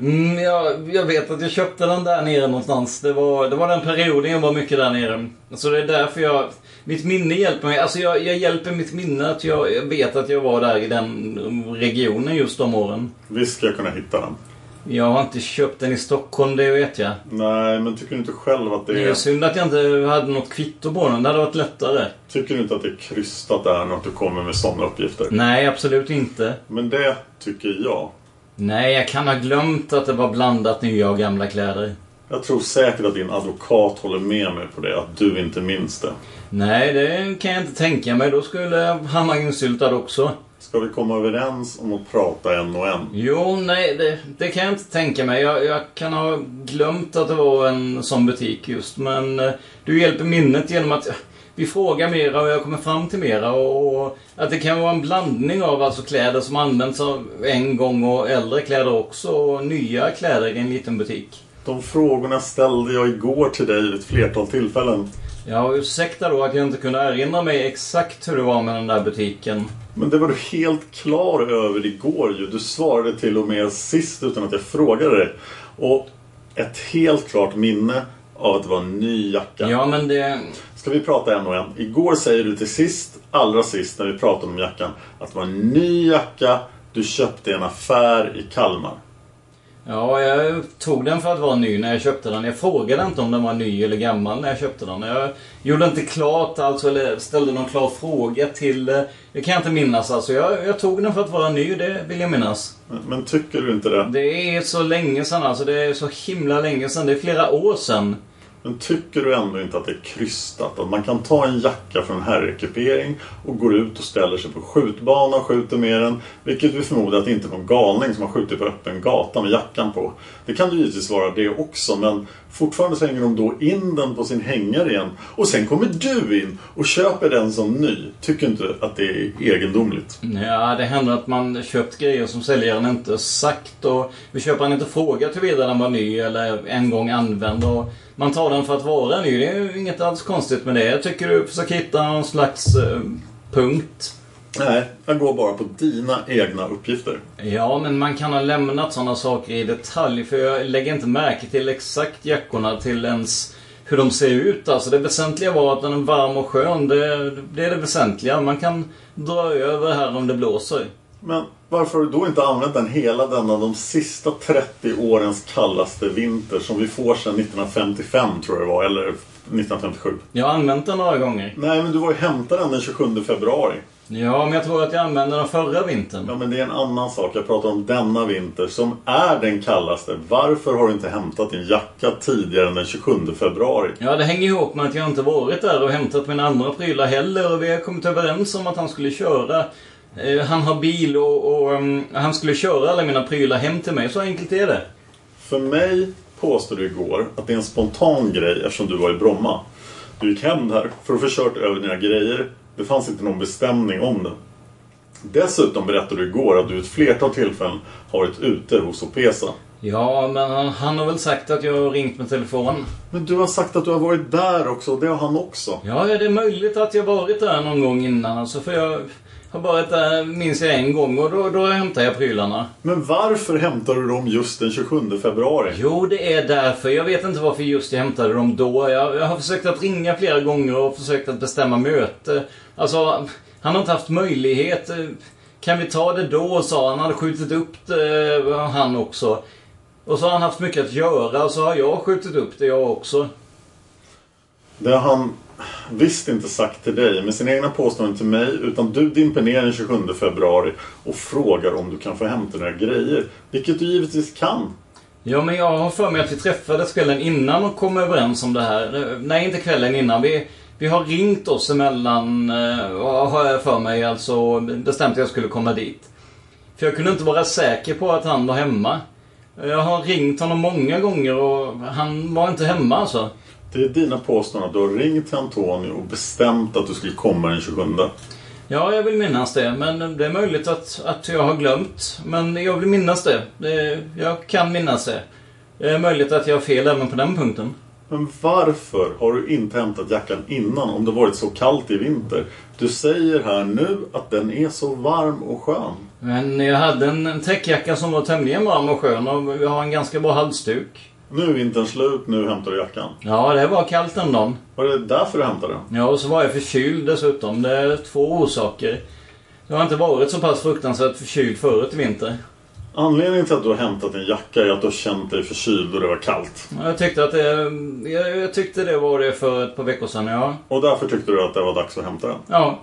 G: Mm, jag, jag vet att jag köpte den där nere någonstans. Det var, det var den perioden jag var mycket där nere. Så det är därför jag... Mitt minne hjälper mig. Alltså jag, jag hjälper mitt minne att jag, jag vet att jag var där i den regionen just de åren.
A: Visst ska jag kunna hitta den.
G: Jag har inte köpt den i Stockholm, det vet jag.
A: Nej, men tycker du inte själv att
G: Det
A: det
G: är
A: är...
G: synd att jag inte hade något kvitto på den. Det hade varit lättare.
A: Tycker du inte att det är krystat där när du kommer med sådana uppgifter?
G: Nej, absolut inte.
A: Men det tycker jag.
G: Nej, jag kan ha glömt att det var blandat nya och gamla kläder.
A: Jag tror säkert att din advokat håller med mig på det, att du inte minns det.
G: Nej, det kan jag inte tänka mig. Då skulle han vara insyltad också.
A: Ska vi komma överens om att prata en och en?
G: Jo, nej, det, det kan jag inte tänka mig. Jag, jag kan ha glömt att det var en sån butik just, men eh, du hjälper minnet genom att eh, vi frågar mera och jag kommer fram till mera och, och att det kan vara en blandning av alltså kläder som används av en gång och äldre kläder också och nya kläder i en liten butik.
A: De frågorna ställde jag igår till dig vid ett flertal tillfällen.
G: Ja, ursäkta då att jag inte kunde erinra mig exakt hur det var med den där butiken.
A: Men det var du helt klar över igår ju. Du svarade till och med sist utan att jag frågade dig. Och ett helt klart minne av att det var en ny jacka.
G: Ja, men det...
A: Ska vi prata en och en? Igår säger du till sist, allra sist när vi pratade om jackan, att det var en ny jacka du köpte i en affär i Kalmar.
G: Ja, jag tog den för att vara ny när jag köpte den. Jag frågade inte om den var ny eller gammal när jag köpte den. Jag gjorde inte klart alltså, eller ställde någon klar fråga till... eh, Det kan jag inte minnas alltså. Jag, jag tog den för att vara ny, det vill jag minnas.
A: Men, men tycker du inte det?
G: Det är så länge sedan alltså. Det är så himla länge sedan. Det är flera år sedan.
A: Men tycker du ändå inte att det är krystat? Att man kan ta en jacka från en herrekipering och går ut och ställer sig på skjutbanan och skjuter med den. Vilket vi förmodar att det inte är någon galning som har skjutit på öppen gata med jackan på. Det kan ju givetvis vara det också men fortfarande så hänger de då in den på sin hängare igen. Och sen kommer du in och köper den som ny. Tycker inte att det är egendomligt?
G: Ja, det händer att man köpt grejer som säljaren inte sagt och vi köparen inte frågat huruvida den var ny eller en gång använd. Och man tar den för att vara ny. Det är ju inget alls konstigt med det. Jag tycker du försöker hitta någon slags eh, punkt.
A: Nej, jag går bara på dina egna uppgifter.
G: Ja, men man kan ha lämnat sådana saker i detalj. För jag lägger inte märke till exakt jackorna till ens hur de ser ut. Alltså det väsentliga var att den är varm och skön. Det, det är det väsentliga. Man kan dra över här om det blåser.
A: Men varför har du då inte använt den hela denna de sista 30 årens kallaste vinter som vi får sedan 1955 tror jag det var, eller 1957?
G: Jag har använt den några gånger.
A: Nej, men du var ju hämtade den den 27 februari.
G: Ja, men jag tror att jag använde den förra vintern.
A: Ja, men det är en annan sak. Jag pratar om denna vinter som är den kallaste. Varför har du inte hämtat din jacka tidigare än den 27 februari?
G: Ja, det hänger ihop med att jag inte varit där och hämtat mina andra prylar heller. Och vi har kommit överens om att han skulle köra. eh, Han har bil och, och ehm, han skulle köra alla mina prylar hem till mig. Så enkelt är det.
A: För mig påstod du igår att det är en spontan grej eftersom du var i Bromma. Du gick hem där för att få kört över dina grejer. Det fanns inte någon bestämning om det. Dessutom berättade du igår att du ett flertal tillfällen har varit ute hos Opesa.
G: Ja, men han, han har väl sagt att jag har ringt med telefon.
A: Men du har sagt att du har varit där också och det har han också.
G: Ja, ja, det är möjligt att jag varit där någon gång innan. Alltså, för jag har varit där, minns jag, en gång och då, då hämtade jag prylarna.
A: Men varför hämtar du dem just den 27 februari?
G: Jo, det är därför. Jag vet inte varför just jag hämtade dem då. Jag, jag har försökt att ringa flera gånger och försökt att bestämma möte. Alltså, han har inte haft möjlighet. Kan vi ta det då, sa han. Han hade skjutit upp det, eh, han också. Och så har han haft mycket att göra och så har jag skjutit upp det, jag också.
A: Det har han visst inte sagt till dig med sina egna påståenden till mig utan du dimper ner den 27 februari och frågar om du kan få hämta dina grejer. Vilket du givetvis kan.
G: Ja, men jag har för mig att vi träffades kvällen innan och kom överens om det här. Nej, inte kvällen innan. Vi, vi har ringt oss emellan, eh, och har jag för mig, alltså bestämt att jag skulle komma dit. För jag kunde inte vara säker på att han var hemma. Jag har ringt honom många gånger och han var inte hemma alltså.
A: Det är dina påståenden att du har ringt till Antonio och bestämt att du skulle komma den 27.
G: Ja, jag vill minnas det, men det är möjligt att, att jag har glömt. Men jag vill minnas det. det. Jag kan minnas det. Det är möjligt att jag har fel även på den punkten.
A: Men varför har du inte hämtat jackan innan om det varit så kallt i vinter? Du säger här nu att den är så varm och skön.
G: Men jag hade en en täckjacka som var tämligen varm och skön och jag har en ganska bra halsduk.
A: Nu är vintern slut, nu hämtar du jackan.
G: Ja, det var kallt den dagen.
A: Var det därför du hämtade den?
G: Ja, och så var jag förkyld dessutom. Det är två orsaker. Jag har inte varit så pass fruktansvärt förkyld förut i vinter.
A: Anledningen till att du har hämtat din jacka är att du har känt dig förkyld och det var kallt.
G: Jag tyckte, att det, jag, jag tyckte det var det för ett par veckor sedan, ja.
A: Och därför tyckte du att det var dags att hämta den.
G: Ja,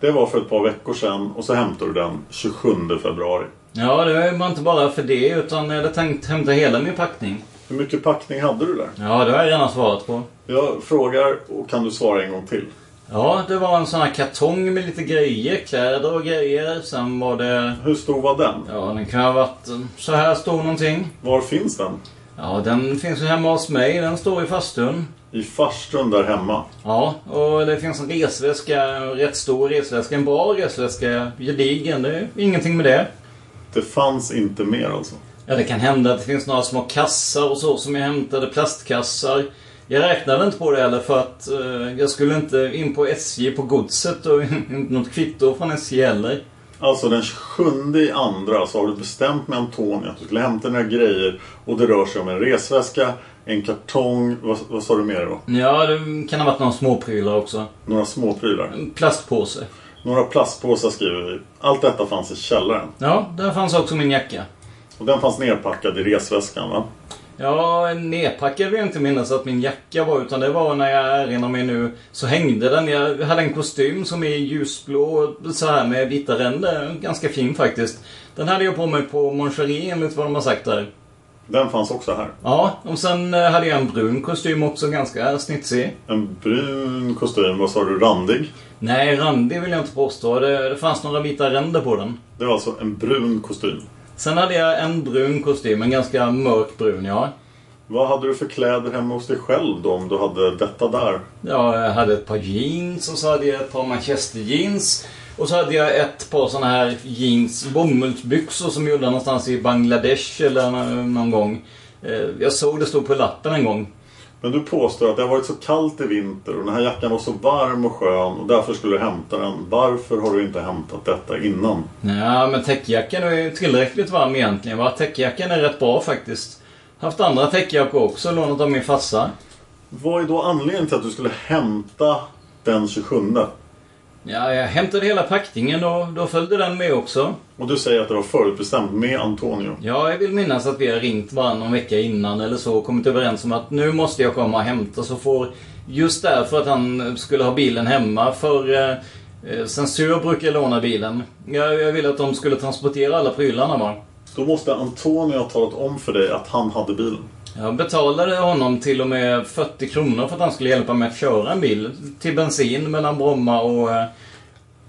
A: Det var för ett par veckor sedan och så hämtade du den 27 februari.
G: ja det var inte bara för det utan jag hade tänkt hämta hela min packning.
A: Hur mycket packning hade du där?
G: Ja, det har jag redan svarat på.
A: Jag frågar och kan du svara en gång till?
G: Ja, det var en sån här kartong med lite grejer. Kläder och grejer. Sen var det...
A: Hur stor var den?
G: Ja, den kan ha varit eh, så här stor någonting.
A: Var finns den?
G: Ja, den finns ju hemma hos mig. Den står i fastun.
A: I farstun där hemma.
G: Ja, och det finns en resväska. en Rätt stor resväska. En bra resväska. Gedigen. Det är ingenting med det.
A: Det fanns inte mer alltså.
G: Ja, det kan hända att det finns några små kassar och så som jag hämtade. Plastkassar. Jag räknade inte på det heller för att eh, jag skulle inte in på SJ på godset och (laughs) inte något kvitto från SJ heller.
A: Alltså den 27 i andra så har du bestämt med Antonio att du skulle hämta dina grejer och det rör sig om en resväska, en kartong, vad, vad sa du mer då?
G: Ja, det kan ha varit några småprylar också.
A: Några småprylar.
G: En plastpåse.
A: Några plastpåsar skriver vi. Allt detta fanns i källaren.
G: Ja, där fanns också min jacka.
A: Och den fanns nerpackad i resväskan va?
G: Ja, nedpackad vill jag inte minnas att min jacka var, utan det var när jag erinrar mig nu så hängde den. Jag hade en kostym som är ljusblå så här med vita ränder. Ganska fin faktiskt. Den hade jag på mig på Moncherie enligt vad de har sagt där.
A: Den fanns också här.
G: Ja, och sen eh, hade jag en brun kostym också, ganska snitsig.
A: En brun kostym, vad sa du, randig?
G: Nej, randig vill jag inte påstå. Det, det fanns några vita ränder på den.
A: Det var alltså en brun kostym.
G: Sen hade jag en brun kostym, en ganska mörk brun, ja.
A: Vad hade du för kläder hemma hos dig själv då om du hade detta där?
G: Ja, jag hade ett par jeans och så hade jag ett par manchester jeans. Och så hade jag ett par såna här jeans, bomullsbyxor som gjorda någonstans i Bangladesh eller nå- någon gång. Eh, Jag såg det stod på lappen en gång.
A: Men du påstår att det har varit så kallt i vinter och den här jackan var så varm och skön och därför skulle du hämta den. Varför har du inte hämtat detta innan?
G: Ja, men täckjackan är ju tillräckligt varm egentligen. Va? Täckjackan är rätt bra faktiskt. Haft andra täckjackor också, lånat av min farsa.
A: Vad är då anledningen till att du skulle hämta den 27?
G: Ja, jag hämtade hela packningen och då följde den med också.
A: Och du säger att det var förutbestämt med Antonio.
G: Ja, jag vill minnas att vi har ringt varandra någon vecka innan eller så och kommit överens om att nu måste jag komma och hämta så får... Just därför att han skulle ha bilen hemma för... Eh, eh, censur brukar låna bilen. Jag, jag ville att de skulle transportera alla prylarna va.
A: Då måste Antonio ha talat om för dig att han hade bilen.
G: Jag betalade honom till och med 40 kronor för att han skulle hjälpa mig att köra en bil till bensin mellan Bromma och... eh,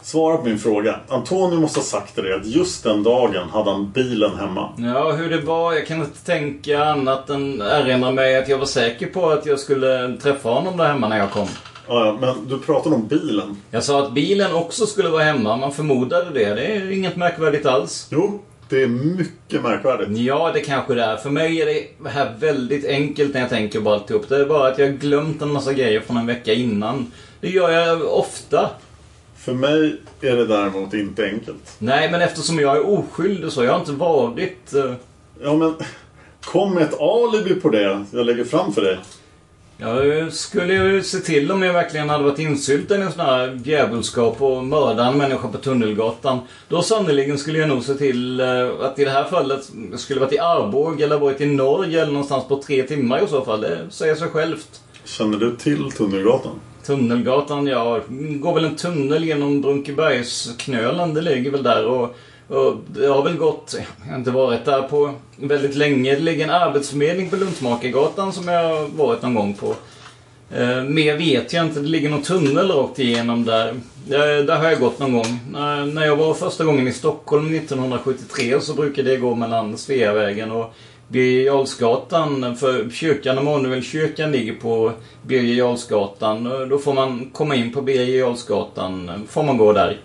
A: Svara på min fråga. Antonio måste ha sagt till dig att just den dagen hade han bilen hemma.
G: Ja, hur det var, jag kan inte tänka annat än erinra mig att jag var säker på att jag skulle träffa honom där hemma när jag kom.
A: Ja, men du pratade om bilen.
G: Jag sa att bilen också skulle vara hemma, man förmodade det. Det är inget märkvärdigt alls.
A: Jo, det är mycket märkvärdigt.
G: Ja, det kanske det är. För mig är det här väldigt enkelt när jag tänker på alltihop. Det är bara att jag har glömt en massa grejer från en vecka innan. Det gör jag ofta.
A: För mig är det däremot inte enkelt.
G: Nej, men eftersom jag är oskyldig så, jag har inte varit... eh,
A: Ja, men kom med ett alibi på det jag lägger fram för dig.
G: Jag skulle ju se till om jag verkligen hade varit insyltad i en sån här djävulskap och mördat en människa på Tunnelgatan. Då sannerligen skulle jag nog se till eh, att i det här fallet jag skulle varit i Arboga eller varit i Norge eller någonstans på tre timmar i så fall. Det säger sig självt.
A: Känner du till Tunnelgatan?
G: Tunnelgatan, ja. Går väl en tunnel genom Brunkebergsknölen. Det ligger väl där och, och det har väl gått, jag har inte varit där på väldigt länge. Det ligger en arbetsförmedling på Luntmakargatan som jag har varit någon gång på. Eh, mer vet jag inte. Det ligger någon tunnel rakt igenom där. Eh, där har jag gått någon gång. När, när jag var första gången i Stockholm 1973 så brukade det gå mellan Sveavägen och Birger Jarlsgatan. För kyrkan, Emanuelkyrkan, ligger på Birger Jarlsgatan. Eh, Då får man komma in på Birger Jarlsgatan. eh, Får man gå där.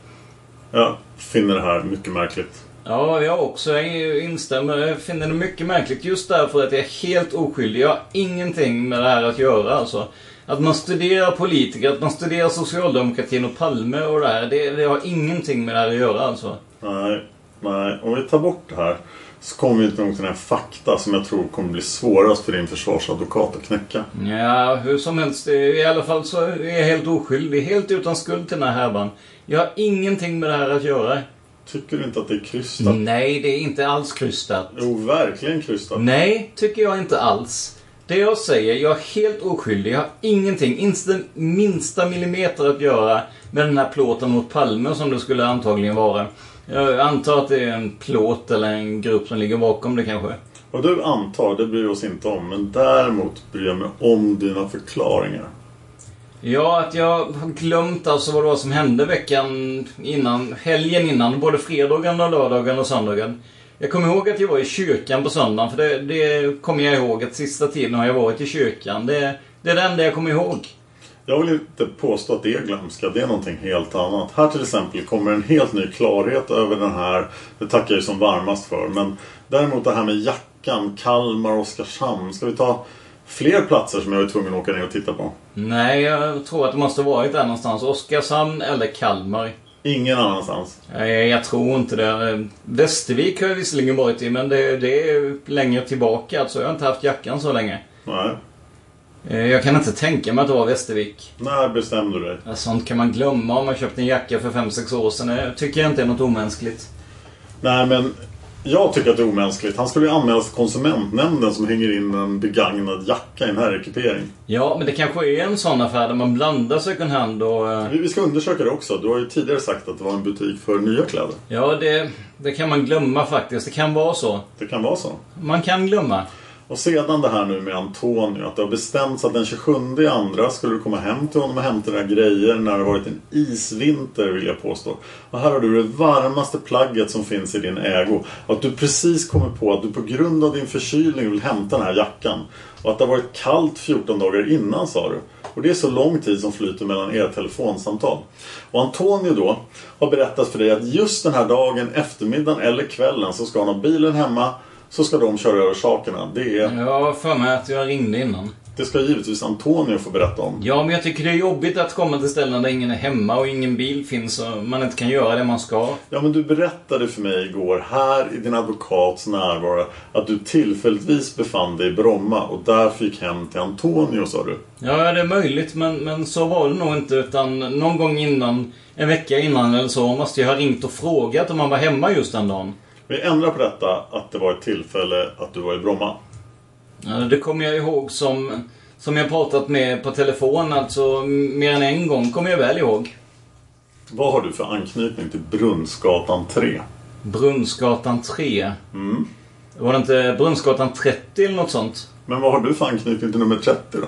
A: Jag finner det här mycket märkligt.
G: Ja, jag också. Jag instämmer. Jag finner det mycket märkligt just därför att jag är helt oskyldig. Jag har ingenting med det här att göra alltså. Att man studerar politiker, att man studerar socialdemokratin och Palme och det här. Det, det har ingenting med det här att göra alltså.
A: Nej, nej. Om vi tar bort det här så kommer vi inte nog till den här fakta som jag tror kommer bli svårast för din försvarsadvokat att knäcka.
G: Ja, hur som helst. det är- I alla fall så är jag helt oskyldig. Helt utan skuld till den här härvan. Jag har ingenting med det här att göra.
A: Tycker du inte att det är krystat?
G: Nej, det är inte alls krystat.
A: Jo, verkligen krystat.
G: Nej, tycker jag inte alls. Det jag säger, jag är helt oskyldig. Jag har ingenting, inte den minsta millimeter att göra med den här plåten mot Palme som det skulle antagligen vara. Jag antar att det är en plåt eller en grupp som ligger bakom det kanske.
A: Vad du antar, det bryr vi oss inte om. Men däremot bryr jag mig om dina förklaringar.
G: Ja, att jag har glömt alltså vad det var som hände veckan innan, helgen innan, både fredagen och lördagen och söndagen. Jag kommer ihåg att jag var i kyrkan på söndagen, för det, det kommer jag ihåg att sista tiden har jag varit i kyrkan. Det, det är det enda jag kommer ihåg.
A: Jag vill inte påstå att det är glömska, det är någonting helt annat. Här till exempel kommer en helt ny klarhet över den här. Det tackar jag ju som varmast för. Men däremot det här med jackan, Kalmar och Oskarshamn. Ska vi ta fler platser som jag är tvungen att åka ner och titta på?
G: Nej, jag tror att det måste varit där någonstans. Oskarshamn eller Kalmar.
A: Ingen annanstans.
G: Nej, jag tror inte det. Västervik har jag visserligen varit i, men det, det är längre tillbaka. Alltså, jag har inte haft jackan så länge.
A: Nej.
G: Eh, Jag kan inte tänka mig att det var Västervik.
A: När bestämde du dig?
G: Ja, Sånt kan man glömma om man köpt en jacka för 5-6 år sedan. Det tycker jag inte är något omänskligt.
A: Nej men jag tycker att det är omänskligt. Han skulle ju anmälas till konsumentnämnden som hänger in en begagnad jacka i en herrekipering.
G: Ja, men det kanske är en sån affär där man blandar second hand och... eh,
A: Vi vi ska undersöka det också. Du har ju tidigare sagt att det var en butik för nya kläder.
G: Ja, det, det kan man glömma faktiskt. Det kan vara så.
A: Det kan vara så.
G: Man kan glömma.
A: Och sedan det här nu med Antonio, att det har bestämts att den 27 i andra skulle du komma hem till honom och hämta dina grejer när det varit en isvinter vill jag påstå. Och här har du det varmaste plagget som finns i din ägo. Att du precis kommer på att du på grund av din förkylning vill hämta den här jackan. Och att det har varit kallt 14 dagar innan sa du. Och det är så lång tid som flyter mellan era telefonsamtal. Och Antonio då har berättat för dig att just den här dagen, eftermiddagen eller kvällen så ska han ha bilen hemma så ska de köra över sakerna. Det är...
G: Jag har för mig att jag ringde innan.
A: Det ska givetvis Antonio få berätta om.
G: Ja, men jag tycker det är jobbigt att komma till ställen där ingen är hemma och ingen bil finns och man inte kan göra det man ska.
A: Ja, men du berättade för mig igår här i din advokats närvaro att du tillfälligtvis befann dig i Bromma och därför gick hem till Antonio, sa du.
G: Ja, det är möjligt, men, men så var det nog inte. Utan någon gång innan, en vecka innan eller så, måste jag ha ringt och frågat om han var hemma just den dagen.
A: Vi ändrar på detta att det var ett tillfälle att du var i Bromma.
G: Ja, Det kommer jag ihåg som, som jag pratat med på telefon, alltså mer än en gång kommer jag väl ihåg.
A: Vad har du för anknytning till Brunnsgatan 3?
G: Brunnsgatan 3. Var det inte Brunnsgatan 30 eller något sånt?
A: Men vad har du för anknytning till nummer 30 då?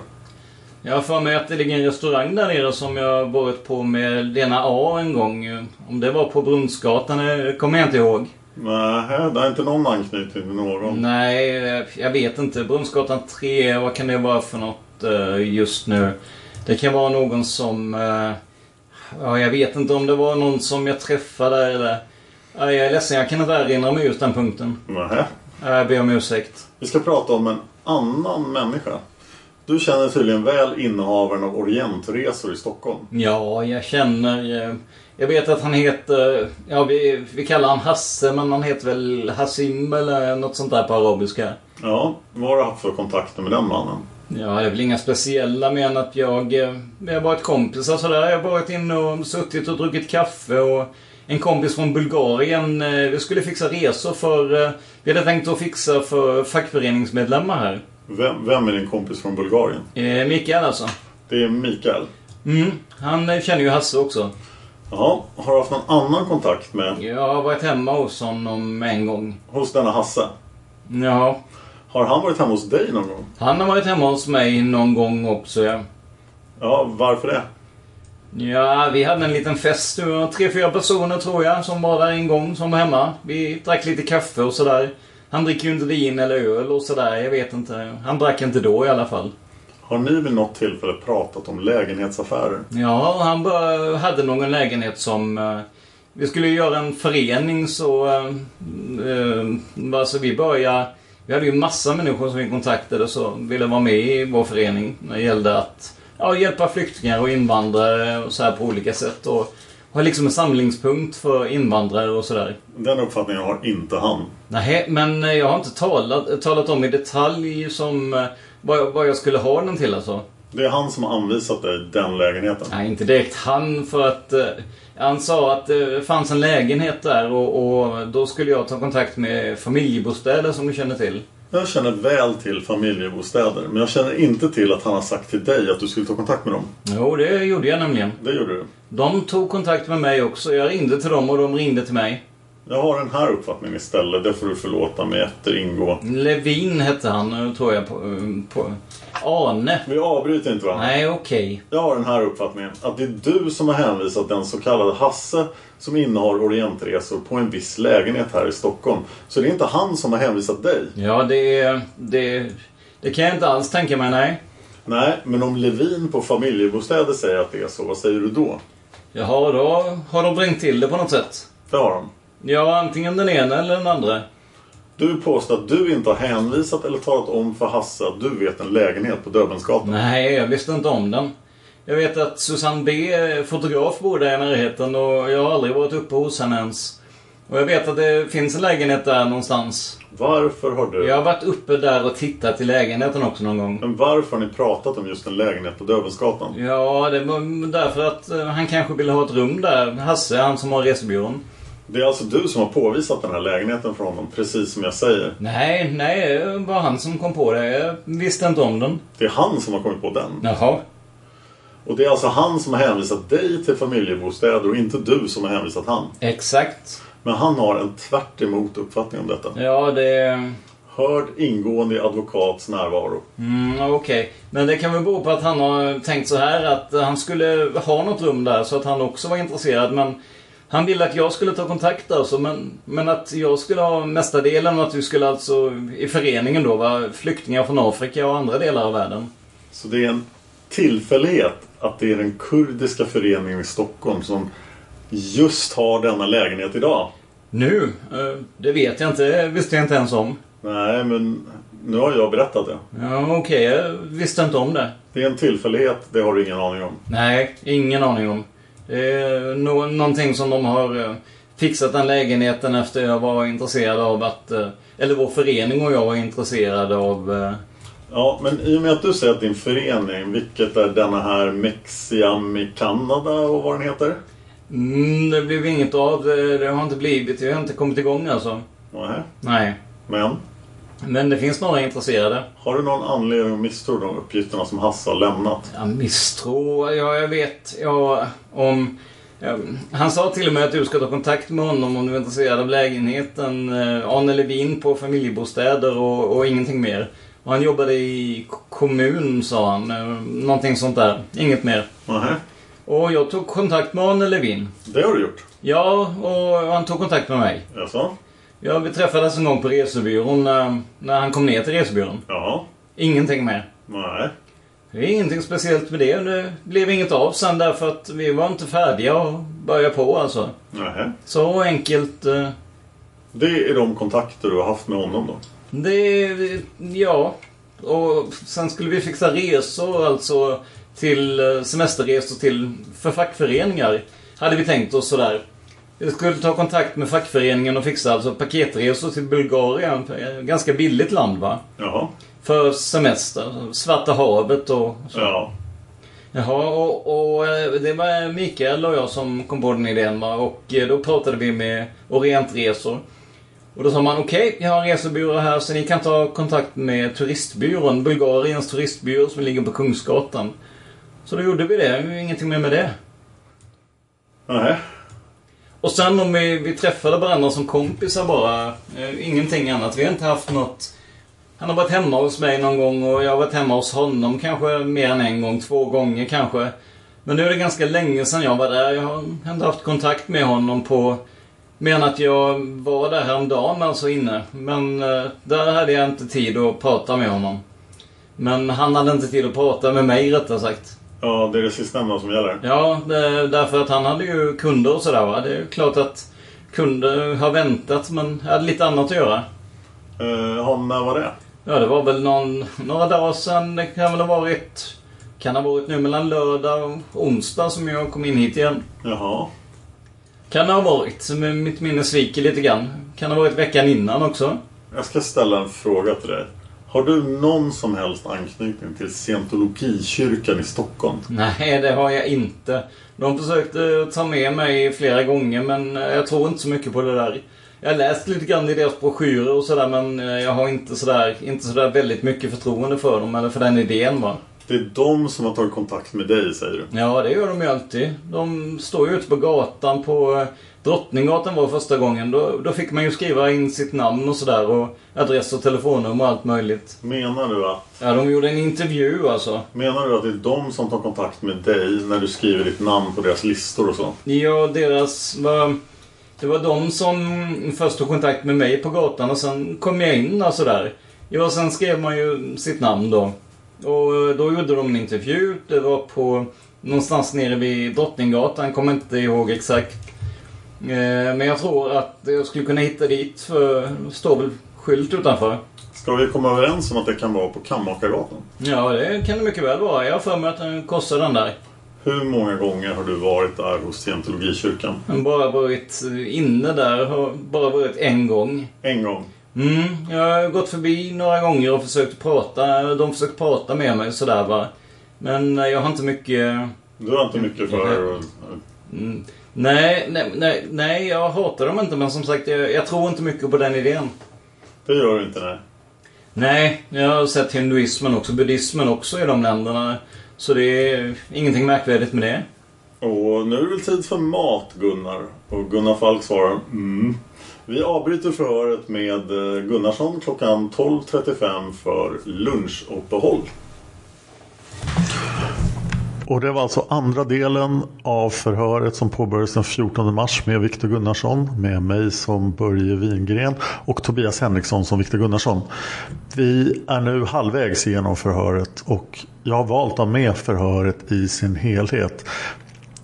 G: Jag har för mig att det ligger en restaurang där nere som jag varit på med Lena A en gång. Om det var på Brunnsgatan eh, kommer jag inte ihåg.
A: Nej, det är inte någon anknytning till någon.
G: Nej, eh, jag vet inte. Brunnsgatan 3, vad kan det vara för något eh, just nu? Det kan vara någon som... eh, Ja, jag vet inte om det var någon som jag träffade eller... Ja, jag är ledsen, jag kan inte erinra mig just den punkten.
A: Nähä.
G: Ja, Jag ber om ursäkt.
A: Vi ska prata om en annan människa. Du känner tydligen väl innehavaren av Orientresor i Stockholm.
G: Ja, jag känner... eh, Jag vet att han heter... Ja, vi, vi kallar han Hasse, men han heter väl Hassim eller något sånt där på arabiska.
A: Ja, vad har du haft för kontakter med den mannen?
G: Ja, det är väl inga speciella men att jag... eh, Vi har varit kompisar sådär. Jag har varit inne och suttit och druckit kaffe och en kompis från Bulgarien. eh, Vi skulle fixa resor för... eh, Vi hade tänkt att fixa för fackföreningsmedlemmar här.
A: Vem, vem är din kompis från Bulgarien?
G: Eh, Mikael alltså.
A: Det är Mikael.
G: Mm, han eh, känner ju Hasse också.
A: Ja, har du haft någon annan kontakt med
G: Jag har varit hemma hos honom en gång.
A: hos denna Hasse?
G: Ja.
A: Har han varit hemma hos dig någon gång?
G: Han har varit hemma hos mig någon gång också ja.
A: Ja, varför det?
G: Ja, vi hade en liten fest. Det var tre, fyra personer tror jag som var där en gång som var hemma. Vi drack lite kaffe och sådär. Han dricker ju inte vin eller öl och sådär. Jag vet inte. Han drack inte då i alla fall.
A: Har ni vid något tillfälle pratat om lägenhetsaffärer?
G: Ja, han bara hade någon lägenhet som... eh, vi skulle ju göra en förening så... Eh, eh, alltså vi började... Vi hade ju massa människor som vi kontaktade som ville vara med i vår förening. När det gällde att ja, hjälpa flyktingar och invandrare och så här på olika sätt. Och ha liksom en samlingspunkt för invandrare och sådär.
A: Den uppfattningen har inte han.
G: Nej, men eh, jag har inte talat, talat om i detalj som... eh, Vad, jag- vad jag skulle ha den till alltså.
A: Det är han som har anvisat dig den lägenheten.
G: Nej, inte direkt han för att... Eh, han sa att det fanns en lägenhet där och, och då skulle jag ta kontakt med familjebostäder som du känner till.
A: Jag känner väl till familjebostäder, men jag känner inte till att han har sagt till dig att du skulle ta kontakt med dem.
G: Jo, det gjorde jag nämligen.
A: Det gjorde du.
G: De tog kontakt med mig också. Jag ringde till dem och de ringde till mig.
A: Jag har den här uppfattningen istället, det får du förlåta mig efter ingå.
G: Levin hette han, eh, tror jag. På, eh, på. Arne.
A: Vi avbryter inte varandra.
G: Nej, okej.
A: Jag har den här uppfattningen, att det är du som har hänvisat den så kallade Hasse som innehar Orientresor på en viss lägenhet här i Stockholm. Så det är inte han som har hänvisat dig.
G: Ja, det, det... Det kan jag inte alls tänka mig, nej.
A: Nej, men om Levin på familjebostäder säger att det är så, vad säger du då?
G: Jaha, då har de bringt till det på något sätt.
A: Det har de.
G: Ja, antingen den ena eller den andra.
A: Du påstår att du inte har hänvisat eller talat om för Hasse att du vet en lägenhet på Döbelnsgatan.
G: Nej, jag visste inte om den. Jag vet att Susanne B, fotograf, bor där i närheten och jag har aldrig varit uppe hos henne ens. Och jag vet att det finns en lägenhet där någonstans.
A: Varför har du...
G: Jag har varit uppe där och tittat i lägenheten också någon gång.
A: Men varför har ni pratat om just en lägenhet på Döbelnsgatan?
G: Ja, det var därför att eh, han kanske ville ha ett rum där. Hasse, han som har resebyrån.
A: Det är alltså du som har påvisat den här lägenheten för honom, precis som jag säger.
G: Nej, nej, det var han som kom på det. Jag visste inte om den.
A: Det är han som har kommit på den.
G: Jaha.
A: Och det är alltså han som har hänvisat dig till familjebostäder och inte du som har hänvisat han.
G: Exakt.
A: Men han har en tvärt emot uppfattning om detta.
G: Ja, det...
A: hörd ingående i advokats närvaro.
G: Mm, Okej, men det kan väl bero på att han har tänkt så här att han skulle ha något rum där så att han också var intresserad. Men han ville att jag skulle ta kontakt alltså, men, men att jag skulle ha mestadelen och att du skulle alltså i föreningen då vara flyktingar från Afrika och andra delar av världen.
A: Så det är en tillfällighet att det är den kurdiska föreningen i Stockholm som just har denna lägenhet idag.
G: Nu? Eh, Det vet jag inte, Det visste jag inte ens om.
A: Nej, men nu har jag berättat det.
G: Ja, okej, jag visste inte om det.
A: Det är en tillfällighet, det har du ingen aning om.
G: Nej, ingen aning om. Det är nå- någonting som de har eh, fixat den lägenheten efter jag var intresserad av att... eh, Eller vår förening och jag var intresserade av... eh,
A: Ja, men i och med att du säger att din förening, vilket är denna här Mexiam i Kanada och vad den heter?
G: Mm, det blev inget av. eh, Det, det har inte blivit. Vi har inte kommit igång alltså.
A: Nej.
G: Nej.
A: Men?
G: Men det finns några intresserade.
A: Har du någon anledning att misstro de uppgifterna som Hasse har lämnat?
G: Ja, misstro. Ja, jag vet. Ja, om... ja, Han sa till och med att du ska ta kontakt med honom om du är intresserad av lägenheten. eh, Arne Levin på familjebostäder och, och ingenting mer. Och han jobbade i k- kommun, sa han. eh, Någonting sånt där. Inget mer.
A: Nej.
G: Och jag tog kontakt med Arne Levin.
A: Det har du gjort?
G: Ja, och han tog kontakt med mig.
A: Jaså?
G: Ja, vi träffades en gång på resebyrån när, när han kom ner till resebyrån.
A: Ja.
G: Ingenting mer.
A: Nej.
G: Det är ingenting speciellt med det. Det blev inget av sen därför att vi var inte färdiga och börja på alltså.
A: Nej.
G: Så enkelt. eh,
A: Det är de kontakter du har haft med honom då?
G: Det... Ja. Och sen skulle vi fixa resor alltså till eh, semesterresor till för fackföreningar. Hade vi tänkt oss sådär. Vi skulle ta kontakt med fackföreningen och fixa alltså paketresor till Bulgarien. eh, Ganska billigt land va?
A: Jaha.
G: För semester. Svarta havet och så.
A: Ja.
G: Jaha, och, och eh, det var Mikael och jag som kom på den idén va? och eh, då pratade vi med Orientresor. Och då sa man okej, jag har en resebyrå här så ni kan ta kontakt med turistbyrån, Bulgariens turistbyrå som ligger på Kungsgatan. Så då gjorde vi det, Det var ingenting mer med det.
A: Nej.
G: Och sen om vi, vi träffade varandra som kompisar bara, eh, ingenting annat. Vi har inte haft något... Han har varit hemma hos mig någon gång och jag har varit hemma hos honom kanske mer än en gång, två gånger kanske. Men nu är det ganska länge sedan jag var där. Jag har inte haft kontakt med honom på... Mer än att jag var där häromdagen alltså inne. Men eh, där hade jag inte tid att prata med honom. Men han hade inte tid att prata med mig rättare sagt.
A: Ja, det är det sistnämnda som gäller.
G: Ja, det, därför att han hade ju kunder och sådär va. Det är ju klart att kunder har väntat men hade lite annat att göra.
A: Uh, han, när var det?
G: Ja, det var väl någon, några dagar sedan. Det kan väl ha varit... Kan ha varit nu mellan lördag och onsdag som jag kom in hit igen.
A: Jaha.
G: Kan ha varit. men Mitt minne sviker lite grann. Kan ha varit veckan innan också.
A: Jag ska ställa en fråga till dig. Har du någon som helst anknytning till scientologikyrkan i Stockholm?
G: Nej, det har jag inte. De försökte ta med mig flera gånger men eh, jag tror inte så mycket på det där. Jag har läst lite grann i deras broschyrer och sådär men eh, jag har inte sådär, inte sådär väldigt mycket förtroende för dem eller för den idén va.
A: Det är de som har tagit kontakt med dig, säger du.
G: Ja, det gör de ju alltid. De står ju ute på gatan på eh, Drottninggatan var första gången. Då, då fick man ju skriva in sitt namn och sådär och adress och telefonnummer och allt möjligt.
A: Menar du att...
G: Ja, de gjorde en intervju alltså.
A: Menar du att det är de som tar kontakt med dig när du skriver ditt namn på deras listor och så?
G: Ja, deras var... Det var de som först tog kontakt med mig på gatan och sen kom jag in och sådär. Ja, sen skrev man ju sitt namn då. Och då gjorde de en intervju. Det var på någonstans nere vid Drottninggatan, kommer inte ihåg exakt. Eh, Men jag tror att jag skulle kunna hitta dit för det står väl skylt utanför.
A: Ska vi komma överens om att det kan vara på Kammakargatan?
G: Ja, det kan det mycket väl vara. Jag har för mig att den korsar den där.
A: Hur många gånger har du varit där hos scientologikyrkan?
G: Men bara varit inne där. Har bara varit en gång.
A: En gång?
G: Mm, jag har gått förbi några gånger och försökt prata. De försökt prata med mig sådär va. Men eh, jag har inte mycket...
A: Du har inte mycket för...
G: Mm, nej, nej, nej, nej, jag hatar dem inte men som sagt jag, jag tror inte mycket på den idén.
A: Det gör du inte, nej.
G: Nej, jag har sett hinduismen också, buddhismen också i de länderna. Så det är ingenting märkvärdigt med det.
A: Och nu är det väl tid för mat, Gunnar? Och Gunnar Falk svarar mm. Vi avbryter förhöret med eh, Gunnarsson klockan 12.35 för lunchuppehåll. Och det var alltså andra delen av förhöret som påbörjades den 14 mars med Viktor Gunnarsson, med mig som Börje Wingren och Tobias Henriksson som Viktor Gunnarsson. Vi är nu halvvägs genom förhöret och jag har valt att ha med förhöret i sin helhet.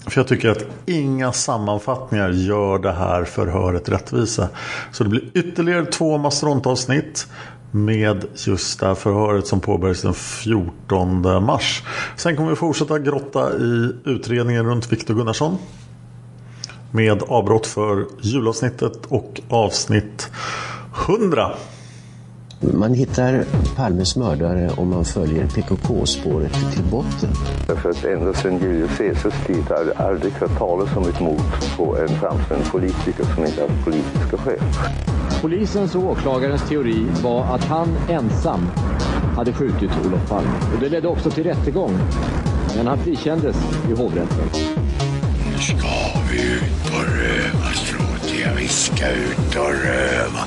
A: För jag tycker att inga sammanfattningar gör det här förhöret rättvisa. Så det blir ytterligare två mastodontavsnitt med just det här förhöret som påbörjades den 14 mars. Sen kommer vi fortsätta grotta i utredningen runt Viktor Gunnarsson. Med avbrott för julavsnittet och avsnitt 100.
I: Man hittar Palmes mördare om man följer PKK-spåret till botten.
J: Därför att ända sedan Julius Caesars tid har det aldrig hört talas om ett mord på en framstående politiker som inte haft politiska skäl.
K: Polisens och åklagarens teori var att han ensam hade skjutit Olof Palme. Och det ledde också till rättegång. Men han frikändes i hovrätten.
B: Nu ska vi ut på rövarstråtiga. Vi ska ut och röva.